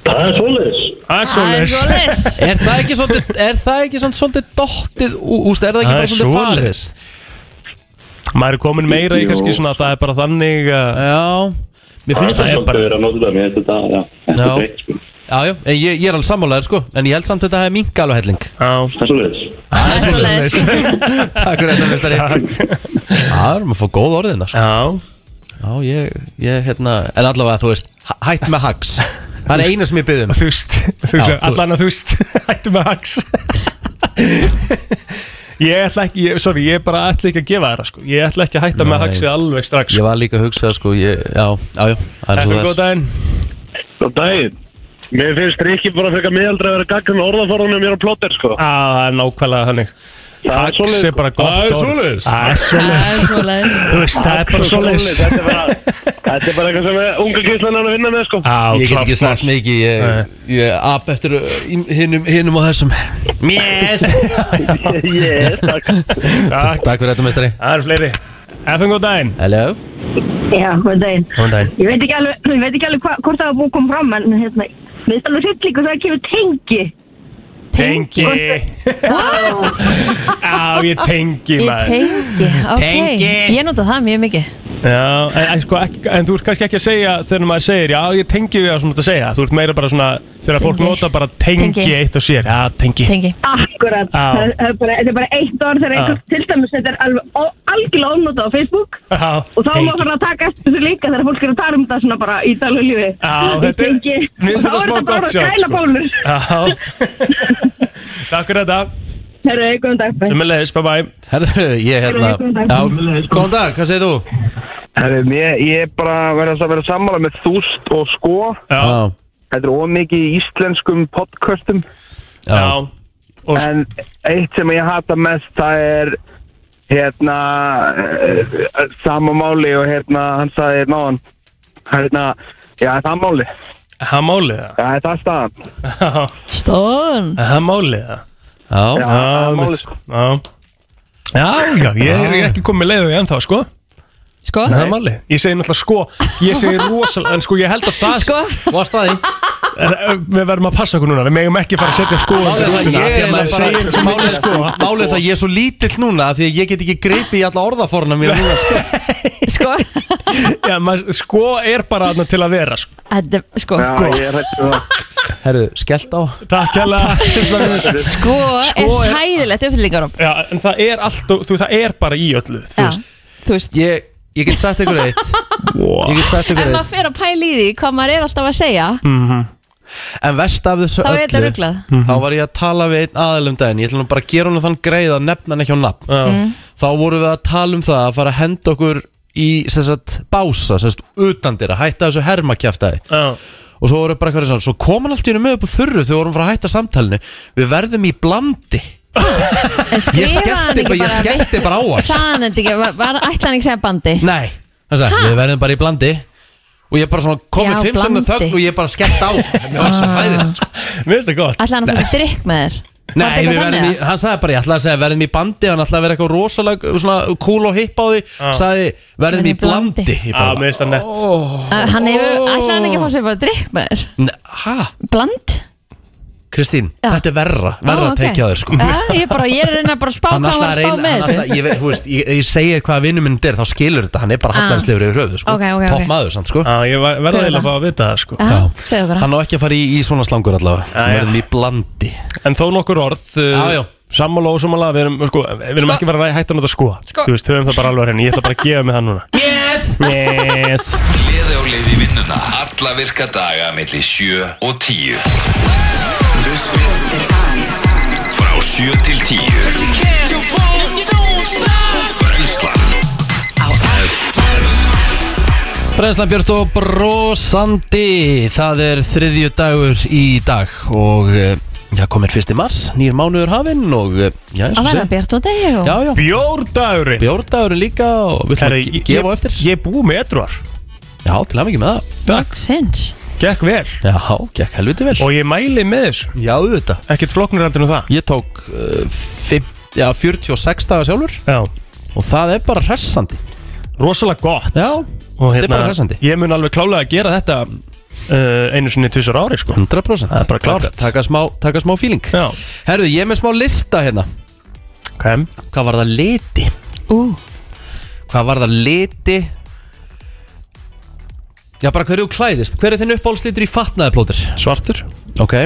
Speaker 9: Það er svoleiðis.
Speaker 5: Æsólis
Speaker 4: Er það ekki svolítið, er það ekki samt svolítið dottið ú- Úst, er það ekki
Speaker 5: Það
Speaker 4: bara
Speaker 5: er
Speaker 4: svolítið farið
Speaker 5: svoleiðis. Maður er komin meira í kannski svona að það er bara þannig að
Speaker 4: Já, mér finnst það
Speaker 5: er
Speaker 9: er
Speaker 5: bara-
Speaker 9: bara verið að nota þetta, mér finnst þetta, já, þetta
Speaker 4: Já.
Speaker 9: er breytt, sko.
Speaker 4: Já, já, en ég, ég er alveg sammálaður sko En ég held samt þetta að það er minka alveg helling
Speaker 5: Já,
Speaker 9: Það er svoleiðis.
Speaker 3: Æsóles
Speaker 4: Takk fyrir þetta, meistari Já, það erum að fá góð orðina sko.
Speaker 5: já,
Speaker 4: Já, ég, ég, hérna En allavega, þú veist, hæ- hætt með hags Það er eina sem ég byggði um
Speaker 5: þúst Þúst,
Speaker 4: Já, þú-
Speaker 5: allan að þúst Hættu með hags Ég ætla ekki, ég, sorry, ég bara ætla ekki að gefa þér það, sko Ég ætla ekki að hætta með
Speaker 4: Nei.
Speaker 5: hagsið alveg strax
Speaker 4: Ég
Speaker 5: sko.
Speaker 4: var líka að hugsa sko, ég, já, já, já Það er
Speaker 5: Þetta
Speaker 4: svo
Speaker 5: er
Speaker 4: það
Speaker 5: góð
Speaker 4: er.
Speaker 5: daginn
Speaker 11: Góðan daginn Mér finnst Rikki bara frekar miðaldra að vera gaggrinn orðaforðunum mér á plóter sko
Speaker 5: Á, það er nákvæmlega þannig
Speaker 11: Það er
Speaker 5: Hags
Speaker 11: svoleiðis, sko.
Speaker 5: er bara gott
Speaker 4: Það er
Speaker 5: orð.
Speaker 4: svoleiðis.
Speaker 5: Það er svoleiðis
Speaker 3: Æsóles
Speaker 5: Þú veist, það er bara svoleiðis
Speaker 11: Þetta er bara- þetta er bara eitthvað sem eh, unga kynslan er að vinna með sko
Speaker 5: Á,
Speaker 4: Ég get ekki
Speaker 5: klárt
Speaker 4: sagt
Speaker 5: mál.
Speaker 4: mikið, ég, ég ap eftir uh, í- hinum, hinum og þessum Mjöð
Speaker 11: Yes, takk
Speaker 5: Takk,
Speaker 4: Takk fyrir þetta meistari
Speaker 5: það eru fleiri FM, góð daginn
Speaker 4: Hello
Speaker 10: Já, góðan daginn.
Speaker 5: Góðan daginn
Speaker 10: Ég veit ekki alveg, ég veit ekki alveg hva, hvort það var búið að koma fram, en hérna, við veist alveg hryllingu þegar það kemur tengi.
Speaker 5: Tengi Á, ég tengi
Speaker 3: Ég
Speaker 5: maður
Speaker 3: tengi, ok
Speaker 4: Tengi.
Speaker 3: Ég nota það mjög mikið
Speaker 5: Já, en, en, sko, ekki, en þú ert kannski ekki að segja þegar maður segir, já ég tengi við það svona að segja Þú ert meira bara svona, þegar fólk
Speaker 3: Tengi.
Speaker 5: nota bara tengi,
Speaker 3: Tengi.
Speaker 5: eitt og sér Já, tengi,
Speaker 3: Tengi
Speaker 10: Akkurat.
Speaker 5: Á.
Speaker 10: Það það er bara, þetta er bara eitt orð þegar
Speaker 5: Á.
Speaker 10: einhver til dæmis, þetta er alveg ó- algjörlega ónóta á Facebook
Speaker 5: Já,
Speaker 10: og þá má
Speaker 5: tengi.
Speaker 10: það að taka eftir þessu líka þegar fólk er að tala um þetta svona bara í daglegu lífi.
Speaker 5: Á,
Speaker 10: Í
Speaker 5: þetta er-
Speaker 10: tengi.
Speaker 5: mér finnst
Speaker 10: Og þá
Speaker 5: þetta
Speaker 10: er
Speaker 5: smá gott
Speaker 10: þetta bara
Speaker 5: sjátt,
Speaker 10: græna
Speaker 5: sko.
Speaker 10: bólur.
Speaker 5: Já Takk fyrir þetta,
Speaker 10: Herru, góðan dag. bæ.
Speaker 5: sem er leiðis, bye bye
Speaker 4: Herðu, ég hérna Já, góðan dag, hvað segir þú?
Speaker 11: Herri, mér, ég er bara verðast að vera sammála með þúst og sko
Speaker 5: Já,
Speaker 4: Já,
Speaker 11: Þetta er ómikið í íslenskum podcastum
Speaker 5: já,
Speaker 4: já
Speaker 5: Og,
Speaker 11: En eitt sem ég hata mest það er hérna eh, sama máli og hérna hann sagði hérna á hann hérna, já það er máli já,
Speaker 5: það málið það
Speaker 11: það er staðan
Speaker 5: Já,
Speaker 3: Stón
Speaker 5: Það málið það
Speaker 4: Já,
Speaker 11: það er
Speaker 5: Já,
Speaker 11: málið,
Speaker 5: mitt.
Speaker 11: sko.
Speaker 5: Já, já, já, ég er ekki komið leiðu í ennþá, sko
Speaker 3: Sko,
Speaker 5: Nei, það er málið. Ég segi náttúrulega sko, ég segi rosalega, en sko ég held að það
Speaker 3: sko
Speaker 4: og að staði
Speaker 5: En, ö, Við verðum að passa okkur núna, við megum ekki fara að setja sko
Speaker 4: Ah, Málið það ég er
Speaker 5: að
Speaker 4: bara
Speaker 5: segja svo mikið
Speaker 4: Málið
Speaker 5: sko
Speaker 4: málið það ég er svo lítill núna af Því að ég get ekki greipið í alla orðaforna mína núna sko.
Speaker 3: Sko,
Speaker 5: Já, maður, sko er bara þarna til að vera sko.
Speaker 3: þetta er- sko
Speaker 11: já, ég er hættu það
Speaker 4: Herðu, skellt á
Speaker 5: Takk hella
Speaker 3: Sko
Speaker 5: Sko
Speaker 3: er
Speaker 5: er-
Speaker 3: hæðilegt uppfyllingaróð
Speaker 5: Já, en það er allt og, þú veist, það er bara í öllu Þú
Speaker 3: Já,
Speaker 5: veist
Speaker 3: þú veist
Speaker 4: Ég, ég get sagt ykkur eitt
Speaker 5: Wow.
Speaker 4: Ég get sagt
Speaker 3: Ef
Speaker 4: ykkur
Speaker 3: maður
Speaker 4: eitt
Speaker 3: fer að pæla í því hvað maður er alltaf að segja
Speaker 4: En vest af þessu
Speaker 3: Þá er þetta
Speaker 4: öllu
Speaker 3: ruglað.
Speaker 4: Þá var ég að tala við einn aðal um daginn Ég ætla nú bara að gera hún þann greið að nefna hann ekki á nafn
Speaker 5: Já,
Speaker 3: Mhm.
Speaker 4: Þá vorum við að tala um það að fara að henda okkur í sem sagt, bása, sem sagt, utandir að hætta þessu hermakjæftæði
Speaker 5: já,
Speaker 4: og svo voru bara eitthvað svona, svo kom hann allt í hennu með upp á þurru þegar við vorum frá að hætta samtalinu við verðum í blandi
Speaker 3: En
Speaker 4: ég
Speaker 3: skrifaði hann
Speaker 4: skellti
Speaker 3: ekki
Speaker 4: bara, ég
Speaker 3: bara
Speaker 4: skellti bara á
Speaker 3: Sagði
Speaker 4: hans
Speaker 3: hann þetta ekki, var- var- ætli hann ekki að segja bandi
Speaker 4: nei, hann sagði, við verðum bara í blandi Og ég bara svona
Speaker 3: Já,
Speaker 4: komið fimm sem það
Speaker 3: blandi.
Speaker 4: þögn og ég bara skellt á Mér var svo
Speaker 3: Ah.
Speaker 4: hæðilegt sko.
Speaker 5: Mér finnst það gott
Speaker 3: Ætlaði hann að fá sér drikk með þér Var
Speaker 4: Nei,
Speaker 3: þetta
Speaker 4: við
Speaker 3: eitthvað
Speaker 4: verðum í,
Speaker 3: þannig,
Speaker 4: hann sagði bara, ég ætlaði að segja verðum í bandi Hann ætlaði að vera eitthvað rosalega uh, svona cool og hipp á því
Speaker 5: Ah.
Speaker 4: Sagði verðum í blandi Ég
Speaker 5: Já,
Speaker 4: bara,
Speaker 5: mér finnst það nett
Speaker 3: Að Hann hefur, ætlaði hann ekki að fá sér bara drikk með þér
Speaker 4: ne- ha,
Speaker 3: Bland?
Speaker 4: Kristín,
Speaker 3: Já.
Speaker 4: þetta er verra Verra
Speaker 3: Ó,
Speaker 4: að
Speaker 3: ok. Eh?
Speaker 4: tekja þér sko
Speaker 3: Já, Ég bara, ég er að reyna bara að spá hvað hann var að spá með
Speaker 4: hann ætlaði, ég, veit- þú veist, ég, ég segir hvað vinnum minn er þá skilur þetta, hann er bara
Speaker 3: Ah.
Speaker 4: hallarsleifur yfir höfuð sko.
Speaker 3: Ok, ok, ok.
Speaker 4: topp maður samt sko
Speaker 5: Já, ég var-
Speaker 3: Hver
Speaker 5: verða
Speaker 3: er
Speaker 5: eiginlega
Speaker 3: það?
Speaker 5: að fá að vita það sko
Speaker 3: Aha, Segðu okkur
Speaker 4: hann á ekki að fara í, í svona slangur allavega hann
Speaker 5: já.
Speaker 4: verðum í blandi
Speaker 5: En þó nokkur orð uh,
Speaker 4: Já, já.
Speaker 5: Sammála og ósammála Við erum, sko, við erum ekki verið að hætta að nota sko
Speaker 3: Sko.
Speaker 5: Þú veist, höfum það bara alveg henni Ég ætla bara að gefa mig það núna
Speaker 4: yes!
Speaker 5: Yes
Speaker 2: Gleði á leið í vinnuna Alla virka daga melli 7 og 10 Frá 7 til 10 Brenslan
Speaker 4: Brennslan Björst og brosandi það er þriðju dagur í dag og eh, já, komir fyrst í mars nýr mánuður hafinn og eh, já, eins
Speaker 3: Að
Speaker 4: og
Speaker 3: verða
Speaker 4: segja
Speaker 3: bjart og degi og
Speaker 4: já, já,
Speaker 5: Bjórdagurinn
Speaker 4: bjórdagurinn líka og við ætlum
Speaker 5: Herri,
Speaker 4: að ge-
Speaker 5: ég-
Speaker 4: gefa á eftir
Speaker 5: Ég er búið með etruar
Speaker 4: já, til að mikið með það
Speaker 3: Loksins
Speaker 5: Gekk vel
Speaker 4: já, gekk helviti vel
Speaker 5: Og ég mæli með þessu
Speaker 4: já, auðvitað
Speaker 5: Ekkert flóknir heldur en það
Speaker 4: ég tók uh, fimm, já, 46 daga sjálfur
Speaker 5: Já
Speaker 4: og það er bara hressandi
Speaker 5: Rosalega gott
Speaker 4: já,
Speaker 5: Og hérna,
Speaker 4: þetta er bara hressandi
Speaker 5: Ég mun alveg klálega að gera þetta uh, Einu sinni tvisar ári sko
Speaker 4: 100%
Speaker 5: Það er bara klárt.
Speaker 4: Taka- taka smá, taka smá feeling
Speaker 5: Já
Speaker 4: herðu, ég er með smá lista hérna
Speaker 5: Hvem?
Speaker 4: hvað var það liti
Speaker 3: Ú,
Speaker 4: hvað var það liti já bara hverju klæðist hver er þinn uppáhaldslitur í fatnaði plótir
Speaker 5: Svartur
Speaker 4: ok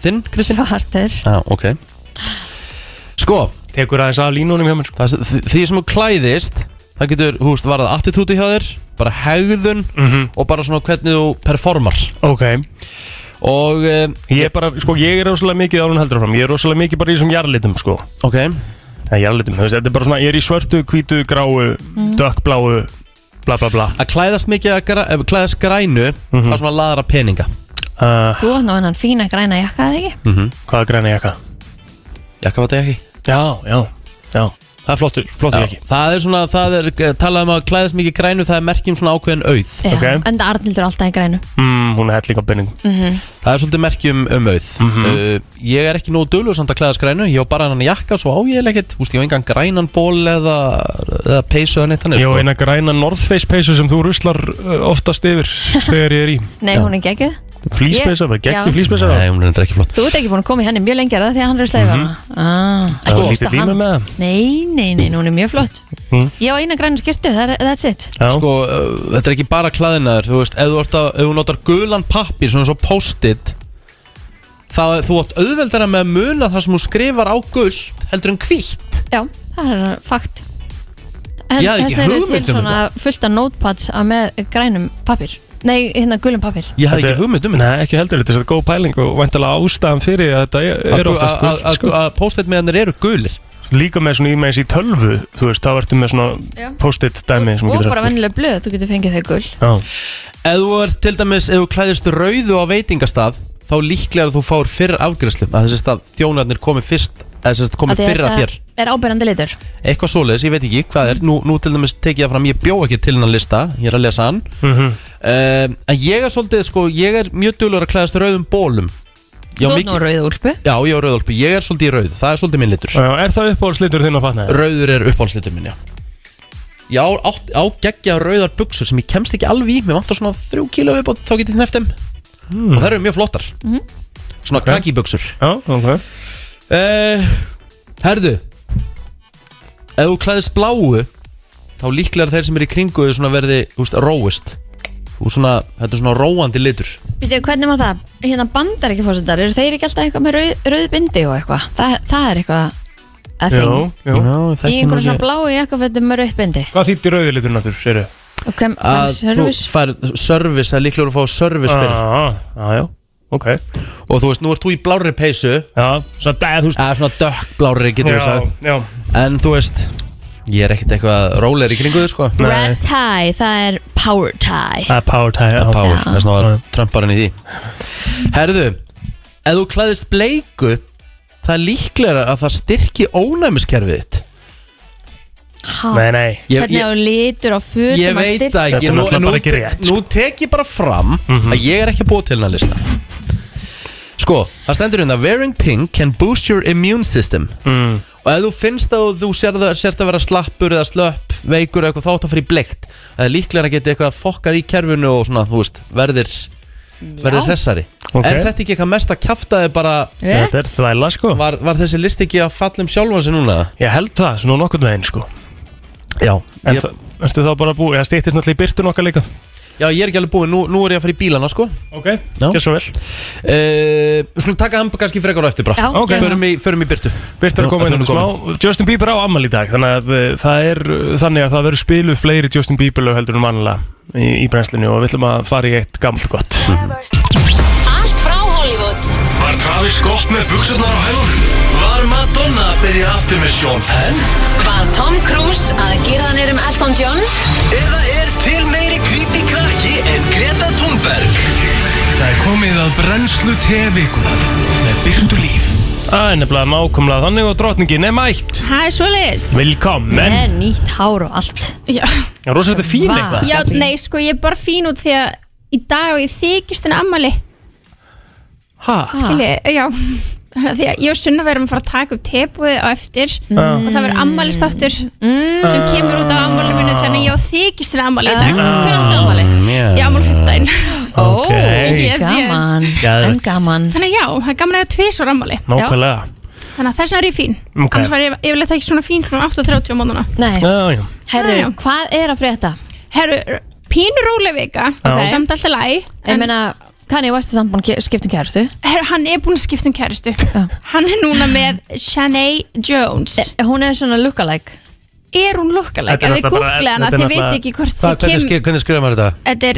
Speaker 4: þinn Kristján
Speaker 3: svartur
Speaker 4: já ok sko
Speaker 5: Tekur aðeins að línunum hjá mér sko
Speaker 4: það, því, því sem þú klæðist það getur þú veist varða attitúti hjá þér bara hegðun og bara svona hvernig þú performar
Speaker 5: Ok
Speaker 4: og eh,
Speaker 5: Ég er bara, sko, ég er rosalega mikið árun heldur fram Ég er rosalega mikið bara í þessum jarlitum sko
Speaker 4: ok
Speaker 5: Það er jarlitum, þú veist, þetta er bara svona Ég er í svörtu, hvítu, gráu,
Speaker 3: Mhm.
Speaker 5: dökkbláu Bla bla bla
Speaker 4: að klæðast mikið að græ, ef klæðast grænu það svona laðra peninga
Speaker 5: uh,
Speaker 3: Þú átt nú hennan fína græna jakka, eða ekki?
Speaker 5: Hvað er græna jakka?
Speaker 4: jakka var þetta ekki
Speaker 5: Já, já, já Það er flottur, flottur
Speaker 4: Já,
Speaker 5: jakki
Speaker 4: það er svona, það er eh, talað um að klæðast mikið grænu það er merkjum svona ákveðin auð
Speaker 3: Já,
Speaker 5: Ok.
Speaker 3: enda Arnildur alltaf í grænu
Speaker 5: mm, Hún er helling á benningum
Speaker 4: Það er svolítið merkjum um auð
Speaker 5: Mhm.
Speaker 4: uh, Ég er ekki nógu dölur samt að klæðast grænu Ég á bara hann jakka, svo á ég eiginlega ekkert Þú veist, ég á engan grænan ból eða, eða peysu eða neitt sko. hann
Speaker 5: Ég á eina græna North Face peysu sem þú ruslar uh, oftast yfir þegar ég er í
Speaker 3: Nei, hún er geggjuð
Speaker 5: Flýspeysa, bara geggjum
Speaker 3: Já.
Speaker 5: flýspeysa
Speaker 4: Nei, hún er þetta ekki flott
Speaker 3: Þú ert ekki búin að koma í henni mjög lengi er það því að hann er slæðið mm -hmm. ah,
Speaker 5: Mhm. Það
Speaker 3: ekki
Speaker 5: er
Speaker 3: fyrst
Speaker 5: lítið
Speaker 3: að hann
Speaker 5: líma með Mhm. það
Speaker 3: Nei, nei, nei, hún er mjög flott Ég á eina græna skirtu, það er- that's it
Speaker 5: Já,
Speaker 4: Sko, uh, þetta er ekki bara klæðinaður Þú veist, ef þú, ert að, ef þú notar gulan pappir Svona svo post-it Þá er- þú átt auðveldara með að muna Það sem þú skrifar á gult heldur en hvítt
Speaker 3: Já, það er uh, fakt En
Speaker 4: Ég hafði ekki
Speaker 3: þess vegna eru
Speaker 4: hugmynd
Speaker 3: til
Speaker 4: um
Speaker 3: svona fullt af notepads að með grænum pappir Nei, hérna gulum pappir
Speaker 4: Ég hafði
Speaker 5: Þetta-
Speaker 4: ekki hugmynd um þetta
Speaker 5: Nei, ekki heldur, þetta er þetta góð pæling og vantilega ástæðan fyrir að þetta er- er
Speaker 4: Að-
Speaker 5: oftast
Speaker 4: að-
Speaker 5: gult
Speaker 4: að-
Speaker 5: sko.
Speaker 4: Að post-it meðanir eru gulir
Speaker 5: Líka með svona ímeins í tölvu, þú veist, þá ertu með
Speaker 3: Já.
Speaker 5: svona post-it dæmi sem þú
Speaker 3: Og
Speaker 5: getur
Speaker 3: bara
Speaker 5: haft,
Speaker 3: vennilega blöð, þú getur fengið þau gul
Speaker 5: sko. Já.
Speaker 4: Ef þú ert til dæmis, ef þú klæðist rauðu á veitingastað þá líklega að þú fár fyrr afgjörslu að þessi stað þjónarnir komi fyrst eða þessi stað komi
Speaker 3: Af því að
Speaker 4: fyrr að þér
Speaker 3: þetta Er ábyrjandi litur
Speaker 4: eitthvað svoleiðis, ég veit ekki hvað er nú, nú til dæmis tekið það fram, ég bjó ekki til hennan lista ég er að lesa hann mm en ég er svolítið, sko, ég er mjög dölur að klæðast rauðum bólum ég
Speaker 3: Þú
Speaker 4: á
Speaker 3: ert nú
Speaker 4: mikið,
Speaker 3: rauðið úlpu
Speaker 4: já, ég á rauðálpu, ég er svolítið í rauð það er svolítið minn litur,
Speaker 5: Já, Er það uppáhaldslitur þinn að fatna þér?
Speaker 4: rauður er uppáhaldslitur minn, já ég á, á, á geggja rauðar buksur sem ég kemst ekki alveg í mér vantar svona þrjú kíló upp og þá getið neftum og það eru mjög flottar
Speaker 3: Mhm.
Speaker 4: svona okay. kakibuksur
Speaker 5: Já, ok
Speaker 4: uh, herðu ef þú klæðist bláu þá líklega þeir sem eru í kringu þau svona verði úst, róist og svona, þetta er svona róandi litur
Speaker 3: Býtu, hvernig má það? Hérna bandar ekki fórsetar, eru þeir ekki alltaf eitthvað með rauð, rauð bindi og eitthvað? Það, það er eitthvað að
Speaker 5: Jú,
Speaker 3: þing
Speaker 5: jú
Speaker 3: Í einhverjum svona bláu jakkafötum með rauð bindi
Speaker 5: Hvað þýttir rauðilitur náttúr, séru?
Speaker 3: Og hvem fann
Speaker 4: að þú
Speaker 3: servis?
Speaker 4: færð service, það er líklega að fá service fyrir
Speaker 5: Ah, Já, já, ok
Speaker 4: og þú veist, nú ert þú í blárri peysu
Speaker 5: Já, svona dæð, þú veist
Speaker 4: eða svona dökk blárri getur við sagt
Speaker 5: Já, já
Speaker 4: En þú veist Ég er ekkert eitthvað róleir í kringu þau sko
Speaker 3: Red tie, það er power tie
Speaker 5: Það er power tie, já
Speaker 4: Power,
Speaker 3: Já.
Speaker 4: þess að það var
Speaker 5: Já.
Speaker 4: trömparinn í því Herðu Ef þú klæðist bleiku Það er líklega að það styrki ónæmiskerfið þitt
Speaker 3: Ha?
Speaker 4: Nei, nei. Ég-
Speaker 3: Hvernig
Speaker 4: ég-
Speaker 3: á litur á fötum
Speaker 4: Ég veit það ekki, nú, nú, nú tek ég bara fram að ég er ekki búið til hennar lista Sko, það stendur hérna Wearing pink can boost your immune system
Speaker 5: Mm.
Speaker 4: Og ef þú finnst að þú sér það, sért að vera slappur eða slöpp, veikur eða eitthvað þá átt að fyrir bleikt Það er líklega að geta eitthvað fokkað í kerfinu og svona, þú veist, verðir, verðir hressari
Speaker 5: Ok.
Speaker 4: Er þetta ekki eitthvað mest að kjafta þið bara
Speaker 5: Rétt. Þetta er
Speaker 4: þvæla sko Var, var þessi list ekki að falla um sjálfan sig núna?
Speaker 5: Ég held það, svona nokkurn veginn sko Já En
Speaker 4: Ég-
Speaker 5: yep. ertu þá bara búið, það stýttist náttúrulega í byrtun okkar líka
Speaker 4: Já, ég er ekki alveg búinn, nú, nú er ég að fara í bílana sko
Speaker 5: Ok,
Speaker 4: gerð svo vel Við skulum taka hann kannski frekar á eftir bara
Speaker 5: Já, Ok. gerðu
Speaker 3: hérna.
Speaker 4: Förum í, förum í Byrtu
Speaker 5: Byrtu er að koma inn
Speaker 4: Förum
Speaker 5: um smá Justin Bieber á ammal í dag Þannig að eh, það er eh, þannig að það verður spiluð fleiri Justin Bieber lög heldur en vanlega í, í brennslinu og við ætlum að fara í eitt gamalt gott
Speaker 1: Allt frá Hollywood
Speaker 2: Var Travis gott með buksunar á hælunum? Var Madonna að byrja aftur með Sean Penn?
Speaker 1: Var Tom Cruise að gera hann um Elton John? Eða er til meiri creepy krakki en Greta Thunberg?
Speaker 2: Það er komið að brennslu tevikunar með Byrndu Líf
Speaker 5: Það er nefnilega mákomlega þannig og drottningin er mætt
Speaker 3: Það er svoleiðis
Speaker 5: Velkommen
Speaker 3: Með nýtt hár og allt
Speaker 12: Já,
Speaker 5: Já, rosa þetta er fín eitthvað
Speaker 12: Já, nei, sko, ég er bara fín út því að í dag og ég þykist henni ammali
Speaker 5: Hæ?
Speaker 12: Skilji, já Því að ég og Sunna verðum að fara að taka upp tebúið á eftir
Speaker 5: Mm.
Speaker 12: og það verður ammælistáttur
Speaker 3: Mm,
Speaker 4: Ah.
Speaker 12: sem kemur út á ammæli mínu þannig að ég á þykist henni ammali í dag Hvernig áttu ammali?
Speaker 4: yeah.
Speaker 12: Ég ammali 15
Speaker 5: Ó, Ok.
Speaker 12: yes, yes.
Speaker 5: gaman. Geðveikt. En
Speaker 3: gaman
Speaker 12: Þannig að já, það er gaman að hafa tvisvar ammali
Speaker 5: Nákvæmlega
Speaker 12: Þannig að þess vegna er ég fín
Speaker 5: Ok.
Speaker 12: Annars var ég yfirleitt ekki svona fín frá 8.30 á móðuna
Speaker 3: Nei
Speaker 5: Já, já
Speaker 3: Herðu, hvað er að frétta?
Speaker 12: Herru, pínu róleg vika
Speaker 3: Já.
Speaker 12: Samt alltaf læg
Speaker 3: Ég meina, Kanye West er samt búin að skipta um kærastu
Speaker 12: Herru, hann er búin að skipta um kæristu Hann er núna með Shanae Jones
Speaker 3: Eh, Hún er svona lookalike
Speaker 12: Er hún lookalike? Ef þið googla hana, þið veit ekki hvort
Speaker 4: Hvað-
Speaker 12: sem
Speaker 4: Hvernig,
Speaker 12: kem
Speaker 4: skri- hvernig skrifum maður þetta?
Speaker 12: Þetta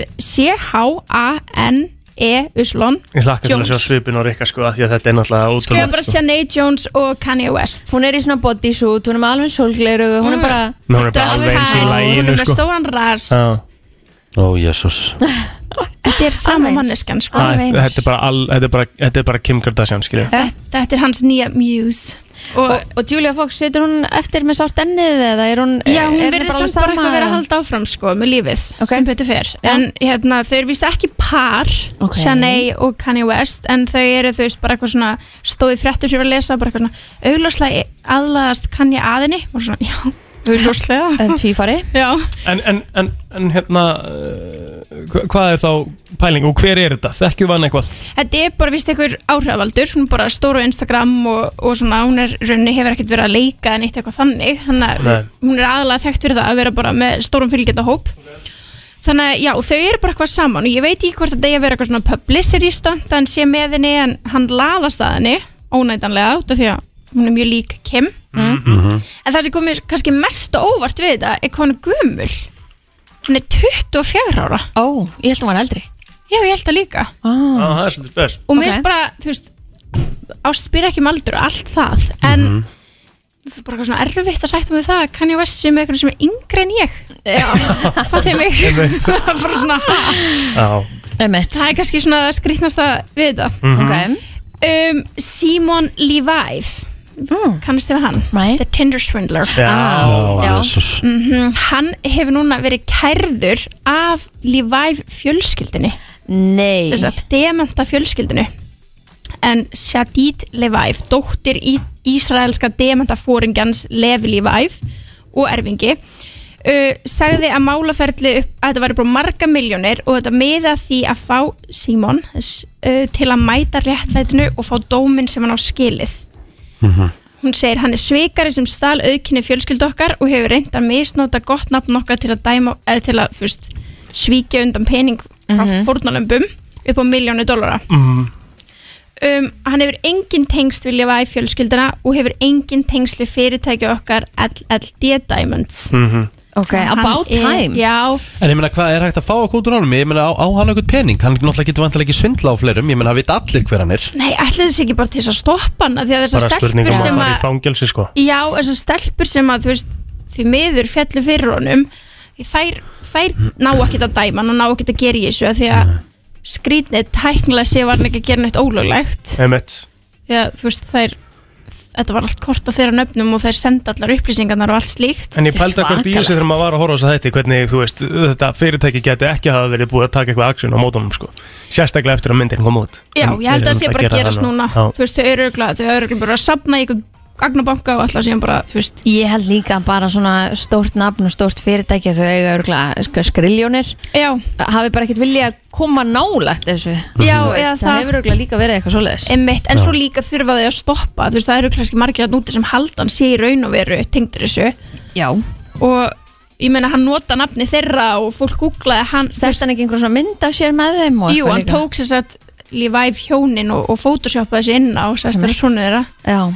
Speaker 12: er C-H-A-N-E Uslon
Speaker 5: Ég hlakka til að sjá
Speaker 12: Jones
Speaker 5: svipin og rikka sko af Því að þetta er náttúrulega
Speaker 12: Skrifa bara
Speaker 5: ótrúlega sko.
Speaker 12: Shanae Jones og Kanye West
Speaker 3: Hún er í svona bodysuit, hún er með alveg solgleru Hún er bara
Speaker 5: Nei, Hún er bara alveg eins í
Speaker 12: Dökkblá, Hún
Speaker 5: læginu
Speaker 12: er með
Speaker 5: sko
Speaker 12: stóran ras
Speaker 5: Já.
Speaker 4: Ó, jésús
Speaker 12: Þetta er sama manneskan sko
Speaker 5: Æ, Þetta er bara all- þetta er bara- þetta er bara Kim Kardashian skilju
Speaker 12: Þetta þetta er hans nýja muse
Speaker 3: og, og Julia Fox, situr hún eftir með sárt ennið eða er hún
Speaker 12: Já, hún
Speaker 3: er henni
Speaker 12: verður
Speaker 3: alveg
Speaker 12: samt bara
Speaker 3: sama
Speaker 12: eitthvað að vera að
Speaker 3: eða?
Speaker 12: halda áfram sko með lífið sem betur fer en hérna, þau eru víst ekki par
Speaker 3: Ok.
Speaker 12: okay. og Kanye West en þau eru þau veist bara eitthvað svona stóði fréttur sem ég var að lesa bara eitthvað svona augljóslega aðlaðast Kanye aðinni og svona, já, augljóslega
Speaker 3: En tvífari
Speaker 12: Já,
Speaker 5: En, en, en, en hérna uh, hva- Hvað er þá pæling og hver er þetta? Þekkjum við hann eitthvað?
Speaker 12: þetta er bara víst einhver áhrifaldur hún er bara stór á Instagram og, og svona hún er raunni hefur ekkert verið að leika en eitt eitthvað þannig þannig að
Speaker 5: Nei.
Speaker 12: hún er aðalega þekkt fyrir það að vera bara með stórum fylgjönda hóp þannig að já, þau eru bara eitthvað saman og ég veit ekki hvort að það er að vera eitthvað svona publicity stunt að hann sé með henni en hann laðast að henni ónætanlega út af því að hún er mjög lík Kim en það sem komið kannski mest á óvart við þetta er hvað hann er gömul hann er 24 ára
Speaker 3: Ó, ég held að hann var eldri
Speaker 12: Já, ég held að líka
Speaker 3: ah.
Speaker 5: Ah, það er svolítið spes
Speaker 12: og mér finnst bara, þú veist ást spyr ekki um aldur og allt það en mm
Speaker 5: Mhm.
Speaker 12: -hmm. bara eitthvað svona erfitt að sætta mig við það kann ég vest sem eitthvað sem er yngri en ég já, fattið mig
Speaker 5: Einmitt.
Speaker 12: Það er bara svona, ha.
Speaker 5: Já,
Speaker 12: það er kannski svona það skrýtnasta við þetta
Speaker 5: Mhm. Ok.
Speaker 12: um, Simon Levive kannast þið við hann The Tinder Swindler
Speaker 1: Já.
Speaker 3: Ah,
Speaker 12: Ah,
Speaker 1: Ó,
Speaker 12: Já.
Speaker 1: Jesus.
Speaker 12: Mhm, hann hefur núna verið kærður af Levive fjölskyldinni
Speaker 3: Nei
Speaker 12: dementa fjölskyldinu en Shadid Levive dóttir í ísraelska dementa fóringjans Levi Levive og erfingi uh, sagði að málaferðli upp að þetta væri bara marga miljónir og þetta miða því að fá Simon uh, til að mæta réttlætinu og fá dóminn sem hann á skilið Hún segir hann er svikari sem stal auðkynni fjölskyldu okkar og hefur reynd að misnóta gott nafn okkar til að, dæma, eða til að fyrst, svíkja undan pening frá mm
Speaker 1: Mhm.
Speaker 12: upp á miljónu dólara.
Speaker 1: Mm.
Speaker 12: Um, hann hefur engin tengsl við lifa í fjölskylduna og hefur engin tengsl við fyrirtæki okkar LLD Diamonds.
Speaker 3: Ok,
Speaker 12: Hann
Speaker 3: about
Speaker 12: er-
Speaker 3: time
Speaker 12: Já,
Speaker 4: En ég meina, hvað er hægt að fá á kútur ánum? Ég meina, á, á hann eitthvað pening? Hann náttúrulega getur vantilega ekki svindla á fleirum Ég meina, hann veit allir hver hann er
Speaker 12: nei, ætli þessi ekki bara til þess að stoppa hann af því að þessar
Speaker 5: bara
Speaker 12: stelpur
Speaker 5: spurning um að
Speaker 12: sem
Speaker 5: fara
Speaker 12: að
Speaker 5: í fangelsi sko
Speaker 12: Já, þessar stelpur sem að þú veist, því miður fjallu fyrir honum þær, þær ná ekkert að dæma hann og ná ekkert að gera í þessu af því að skrýtnið tæknilega sé var hann ekki að gera neitt ólöglegt
Speaker 5: Emmett
Speaker 12: því að þú veist þær þetta var allt kort á þeirra nöfnum og þeir senda allar upplýsingarnar og allt slíkt
Speaker 5: En ég pælda hvort í þessu þegar maður var að horfa á þess að þetta hvernig, þú veist, þetta fyrirtæki geti ekki hafa verið búið að taka eitthvað aksjun á mótunum sko. sérstaklega eftir að myndin kom út
Speaker 12: Já,
Speaker 5: En
Speaker 12: ég held að
Speaker 5: þeir eru
Speaker 12: það sé
Speaker 5: náttúrulega
Speaker 12: bara að gerast
Speaker 5: það
Speaker 12: núna
Speaker 5: Já.
Speaker 12: Þú veist, þau eru örugglega- þau eru örugglega bara að sapna í einhvern gagnabanka og alltaf síðan bara, þú veist
Speaker 3: Ég held líka bara svona stórt nafn og stórt fyrirtæki að þau eiga örgulega sk skriljónir
Speaker 12: Já
Speaker 3: Hafi bara ekkert vilja að koma nálægt þessu
Speaker 12: Já,
Speaker 3: Þú
Speaker 12: eða
Speaker 3: veist,
Speaker 12: það-
Speaker 3: Það hefur örgulega líka verið eitthvað svoleiðis
Speaker 12: Einmitt, en
Speaker 3: Já.
Speaker 12: svo líka þurfa þau að stoppa þú veist það eru kannski margir að núti sem haldan sé í raun og veru tengdur þessu
Speaker 3: já
Speaker 12: og ég meina hann nota nafni þeirra og fólk googlaði hann
Speaker 3: Sest hann ekki einhver svona mynd af sér með þeim og
Speaker 12: Jú,
Speaker 3: eitthvað
Speaker 12: hann
Speaker 3: líka?
Speaker 12: tók sér satt Livæf hjónin og, og photoshopaði sér inn á sest vera svona þeirra
Speaker 3: Já.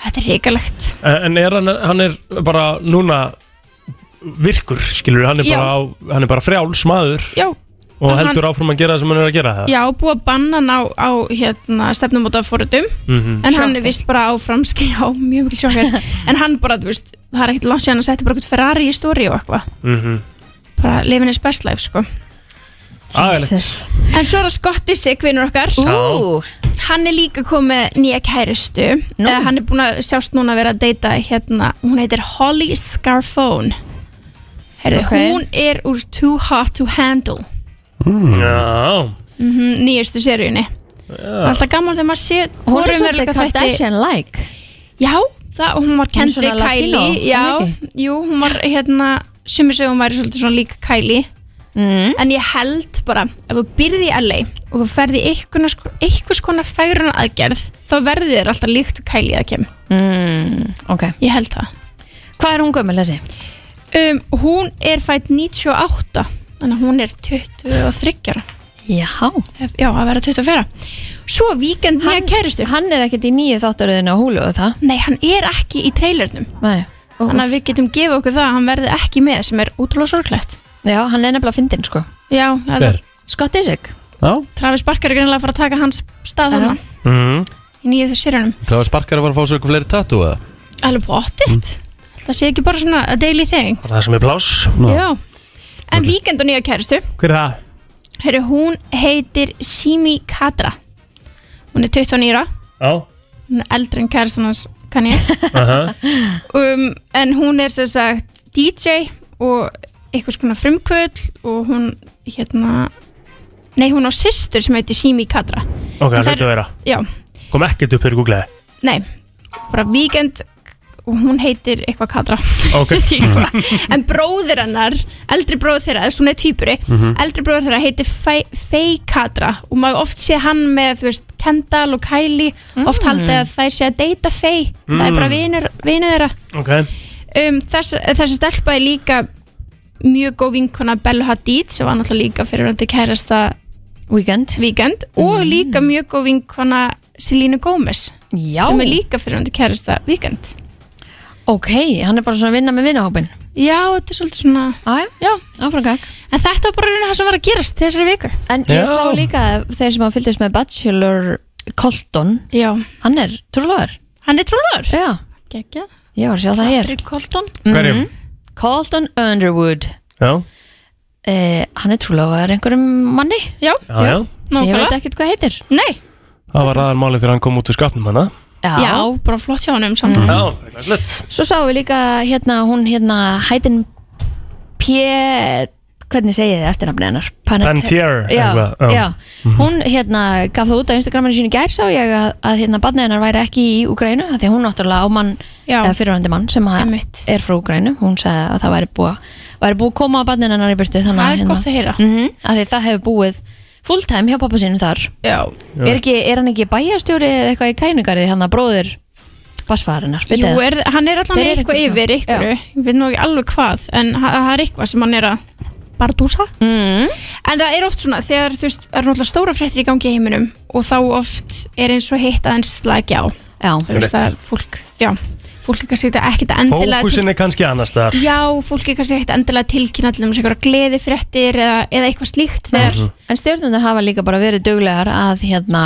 Speaker 12: Þetta er reikalegt
Speaker 5: Eh, En er hann, hann er bara núna virkur, skilur hann er,
Speaker 12: Já.
Speaker 5: bara, á, hann er bara frjáls maður
Speaker 12: Já,
Speaker 5: og
Speaker 12: En
Speaker 5: heldur
Speaker 12: hann-
Speaker 5: áfram að gera það sem hann er að gera það
Speaker 12: já búið að banna hann á, á hérna, stefnumóta fórutum
Speaker 5: Mhm.
Speaker 12: en hann er vist bara áfram sk- já, mjög mikil sjokkar en hann bara, þú veist, það er ekkert langt síðan að setja bara eitthvað Ferrari í stóri og eitthvað
Speaker 5: mm -hmm.
Speaker 12: bara living is best life, sko En svo er það Scotty Sig, vinnur okkar
Speaker 5: Ú.
Speaker 12: Hann er líka komið nýja kæristu no. Hann er búin að sjást núna að vera að deyta hérna, hún heitir Holly Scarfone Herðu,
Speaker 3: Ok.
Speaker 12: hún er úr Too Hot to Handle
Speaker 5: Já
Speaker 12: mm nýjastu seríunni Það er alltaf gaman þegar maður sé
Speaker 3: Hún er
Speaker 12: hvorum
Speaker 3: svolítið
Speaker 12: veruleika þætti-
Speaker 3: Kardashian-like
Speaker 12: Já, það, hún var
Speaker 3: Hún er
Speaker 12: kendi
Speaker 3: svona latínó,
Speaker 12: Kylie Já,
Speaker 3: er það
Speaker 12: jú, hún var hérna sumir segja hún væri svolítið svona líka Kylie mm. En ég held bara ef þú byrði í LA og þú ferði einhvers, einhvers konar færun aðgerð þá verði þér alltaf líkt Kylie að kem
Speaker 3: mm, Ok
Speaker 12: Ég held það
Speaker 3: Hvað er hún gömul þessi?
Speaker 12: um, Hún er fætt 98 þannig að hún er 23 ára.
Speaker 3: Já
Speaker 12: Já, að vera 24 Svo víkend nýja kæristu
Speaker 3: Hann er ekkert í nýju þátturöðinu á húlu og það
Speaker 12: Nei, hann er ekki í trailernum
Speaker 3: Nei
Speaker 12: Þannig að við getum gefið okkur það að hann verði ekki með sem er útrúlega sorglegt
Speaker 3: Já, hann er nefnilega fyndinn sko
Speaker 12: Já, það er-
Speaker 3: Scott Disick
Speaker 4: Já
Speaker 12: Travis Barker er greinlega að fara að taka hans stað hann
Speaker 5: Mhm.
Speaker 4: mm.
Speaker 12: í nýju þessu sérunum
Speaker 4: Það var sparkar að fara að fá sér eitthvað fleiri tattoo eða?
Speaker 12: Alveg bóttið Mm. Það sé ekki bara svona að daily thing
Speaker 5: Það sem er pláss
Speaker 12: Já En víkend og nýja kæristu
Speaker 5: Hver er það?
Speaker 12: Heru, Hún heitir Simi Kadra Hún er 29 ára,
Speaker 5: Já
Speaker 12: Hún er eldri en kæristun hans kann ég
Speaker 5: Aha.
Speaker 12: um, En hún er sem sagt DJ og eitthvað skona frumkvöld og hún hérna Nei, hún á systur sem heitir Simi Kadra
Speaker 5: Ok, það
Speaker 12: En þær-
Speaker 5: hlutu að vera
Speaker 12: Já,
Speaker 5: Kom ekkert upp fyrir googlaði
Speaker 12: Nei, bara Víkend og hún heitir eitthvað Katra
Speaker 5: Ok.
Speaker 12: Ég veit ekki hvað. En bróðir hennar, eldri bróður þeirra þess að hún er týpuri,
Speaker 5: Mhm.
Speaker 12: eldri bróður þeirra heitir Fei, Fei Katra og maður oft sé hann með, þú veist, Kendall og Kylie, oft haldið að þær sé að deyta Fei, það er
Speaker 5: Mm.
Speaker 12: bara vinur, vinur þeirra
Speaker 5: Ok
Speaker 12: um, þess, Þessi stelpa er líka mjög góð vinkona Bellu Hadid sem var náttúrulega líka fyrirvændi kærasta
Speaker 3: Weekend,
Speaker 12: Weekend og líka mjög góð vinkona Selínu Gómez
Speaker 3: Já.
Speaker 12: sem er líka fyrirvændi kærasta Weekend
Speaker 3: Ok, hann er bara svona að vinna með vinnahópin
Speaker 12: Já, þetta er svolítið svona
Speaker 3: Æ,
Speaker 12: Já,
Speaker 3: áfram gag
Speaker 12: En þetta var bara raunin það sem var að gerast þessari viku
Speaker 3: En ég sá líka að þeir sem að fylgdist með Bachelor Colton
Speaker 12: Já
Speaker 3: Hann er trúlóður
Speaker 12: Hann er trúlóður?
Speaker 3: Já
Speaker 12: Gekja
Speaker 3: Ég var að sjá það hér Mhm.
Speaker 12: Patrick Colton
Speaker 5: Hverjum?
Speaker 12: Mhm.
Speaker 3: Colton Underwood
Speaker 5: Já
Speaker 3: eh, Hann er trúlóður einhverjum manni
Speaker 12: Já
Speaker 5: Já, já.
Speaker 3: Sem ég
Speaker 12: Nákvæmlega.
Speaker 3: veit ekkert hvað heitir
Speaker 12: Nei
Speaker 5: Það var aðal málið þegar hann kom út úr skapnum hana
Speaker 3: Já,
Speaker 12: Já, Mm. bara flott hjá honum samt
Speaker 5: Já, glæsilegt
Speaker 3: Svo sáum við líka hérna hún hérna Hætin P hvernig segið þið eftirnafni hennar? Panet-
Speaker 5: Pantier,
Speaker 3: já,
Speaker 5: eitthvað, já. Mhm.
Speaker 3: já. Hún hérna gaf það út á Instagraminu sínu í gær sá ég að, að hérna badnið hennar væri ekki í Úgrænu því að hún náttúrulega á mann
Speaker 12: Já.
Speaker 3: eða fyrirhandi mann sem að er frá Úgrænu hún sagði að það væri búið væri búið að koma á badnið hennar í byrtu þannig
Speaker 12: Það er gott að heyra.
Speaker 3: mm að því það hefur búið full time hjá pappa sínum þar
Speaker 12: Já.
Speaker 3: er, ekki, er hann ekki bæjarstjóri eða eitthvað í kænugarið hann að bróðir basfarinnar
Speaker 12: Jú, er, hann er allan
Speaker 3: Þeir eru eitthvað
Speaker 12: eitthvað yfir
Speaker 3: svona.
Speaker 12: ykkur Ég veit nú ekki alveg hvað En ha- það er eitthvað sem hann er að bardúsa
Speaker 3: mm.
Speaker 12: En það er oft svona Þegar þú veist, það eru náttúrulega stóra fréttir í gangi í heiminum Og þá oft er eins og hitt aðeins slækja á
Speaker 3: Já
Speaker 12: Þú veist
Speaker 5: Einmitt.
Speaker 12: að fólk, já Fólk er kannski ekkert endilega til-
Speaker 5: Fókusin er kannski annars þar
Speaker 12: Já, fólk er kannski ekkert endilega að tilkynna til þess einhverja gleðifréttir eða, eða eitthvað slíkt þegar
Speaker 5: Mhm.
Speaker 3: En stjórnundar hafa líka bara verið duglegar að hérna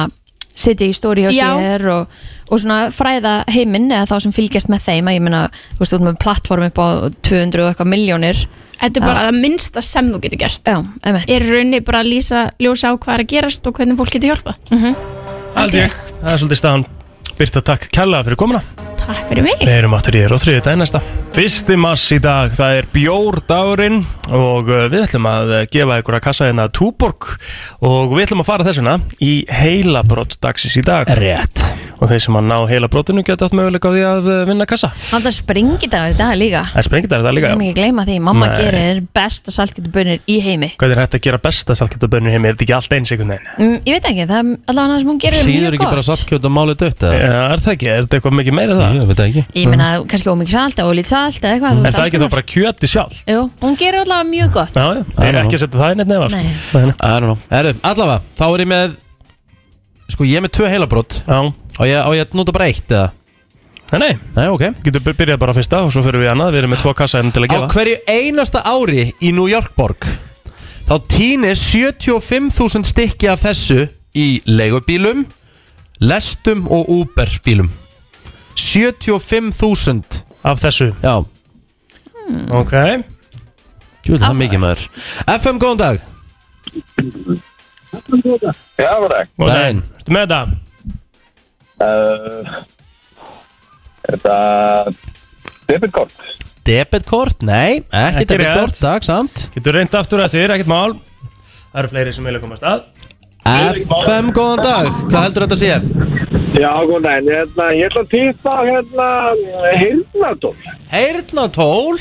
Speaker 3: sitja í stóri hjá
Speaker 12: Já.
Speaker 3: sér og, og svona fræða heiminn eða þá sem fylgjast með þeim að ég meina, þú veist, þú ert með plattform upp á 200 og eitthvað miljónir
Speaker 12: Þetta er bara það minnsta sem þú getur gert
Speaker 3: Já, emitt
Speaker 12: er í rauninni bara að lýsa, ljósa á hvað er að gerast og hvernig fólk getur hjálpað
Speaker 3: mm -hmm.
Speaker 5: Held ég Það er svolítið staðan Birta, takk kærlega fyrir komuna
Speaker 12: Takk fyrir mig
Speaker 5: Við erum aftur í þér og þriðið dag næsta Fyrsti mass í dag, það er bjórdagurinn og uh, við ætlum að uh, gefa ykkur að kassa hérna túborg og við ætlum að fara þessuna í heilabrótt dagsins í dag Rétt Og þeir sem að ná heilabróttinu geta allt möguleika á því að uh, vinna kassa
Speaker 3: Hann það springi dagur í dag líka
Speaker 5: Það er sprengið þetta
Speaker 3: Ég
Speaker 5: líka,
Speaker 3: má
Speaker 5: já
Speaker 3: ekki gleyma því, mamma
Speaker 5: Nei.
Speaker 3: gerir besta saltgjöldubönir í heimi
Speaker 5: Hvað er hægt að gera besta saltkjötabönnir heim, er þetta ekki allt eins einhvern veginn?
Speaker 3: mm, Ég veit ekki, það er allavega það sem hún gerir er mjög gott
Speaker 5: saltkjöt og málið dött? Eh, Er það ekki, er þetta eitthvað mikið meira en það? Ég veit ekki
Speaker 3: Ég meina, kannski ómikið salt og lítið salt eða eitthvað
Speaker 5: Er
Speaker 3: þú veist,
Speaker 5: Mm. það
Speaker 3: alls
Speaker 5: ekki þá
Speaker 3: konar.
Speaker 5: bara kjöti sjálf?
Speaker 3: Jú, hún gerir allavega mjög gott
Speaker 5: Já, já, ég er ekki að setja það í neitt nefa
Speaker 3: Nei.
Speaker 4: Erðu, allavega, þá er ég með Sko, ég er með tvö heilabrót
Speaker 5: Já
Speaker 4: Og ég, og ég að nota bara eitt eða
Speaker 5: Nei, nei
Speaker 4: Nei, ok
Speaker 5: Getur byrjað bara á fyrsta og svo fyrir við í annað Við erum með tvo kassa hérna til að
Speaker 4: Á
Speaker 5: gefa
Speaker 4: hverju einasta ári í New York borg Þá týnir 75.000 stykki af þessu Í leigubílum Lestum og Uber bílum 75.000
Speaker 5: Af þessu
Speaker 4: Já
Speaker 5: Ok
Speaker 4: Jú, það er mikið maður FM, góðan dag
Speaker 13: Já, það var það.
Speaker 4: Dæn
Speaker 5: Ertu með þetta?
Speaker 13: Uh, er þetta debitkort?
Speaker 4: Debitkort? Nei, ekki
Speaker 5: Ekki
Speaker 4: debitkort,
Speaker 5: rétt.
Speaker 4: dag samt
Speaker 5: Getur reynd aftur eftir, ekkert mál Það eru fleiri sem vilja komast að
Speaker 4: FM, góðan dag, hvað heldur þetta að sé?
Speaker 13: Já, góðan dag, hérna, ég ætla að týta hérna heyrnatól
Speaker 4: Heyrnatól?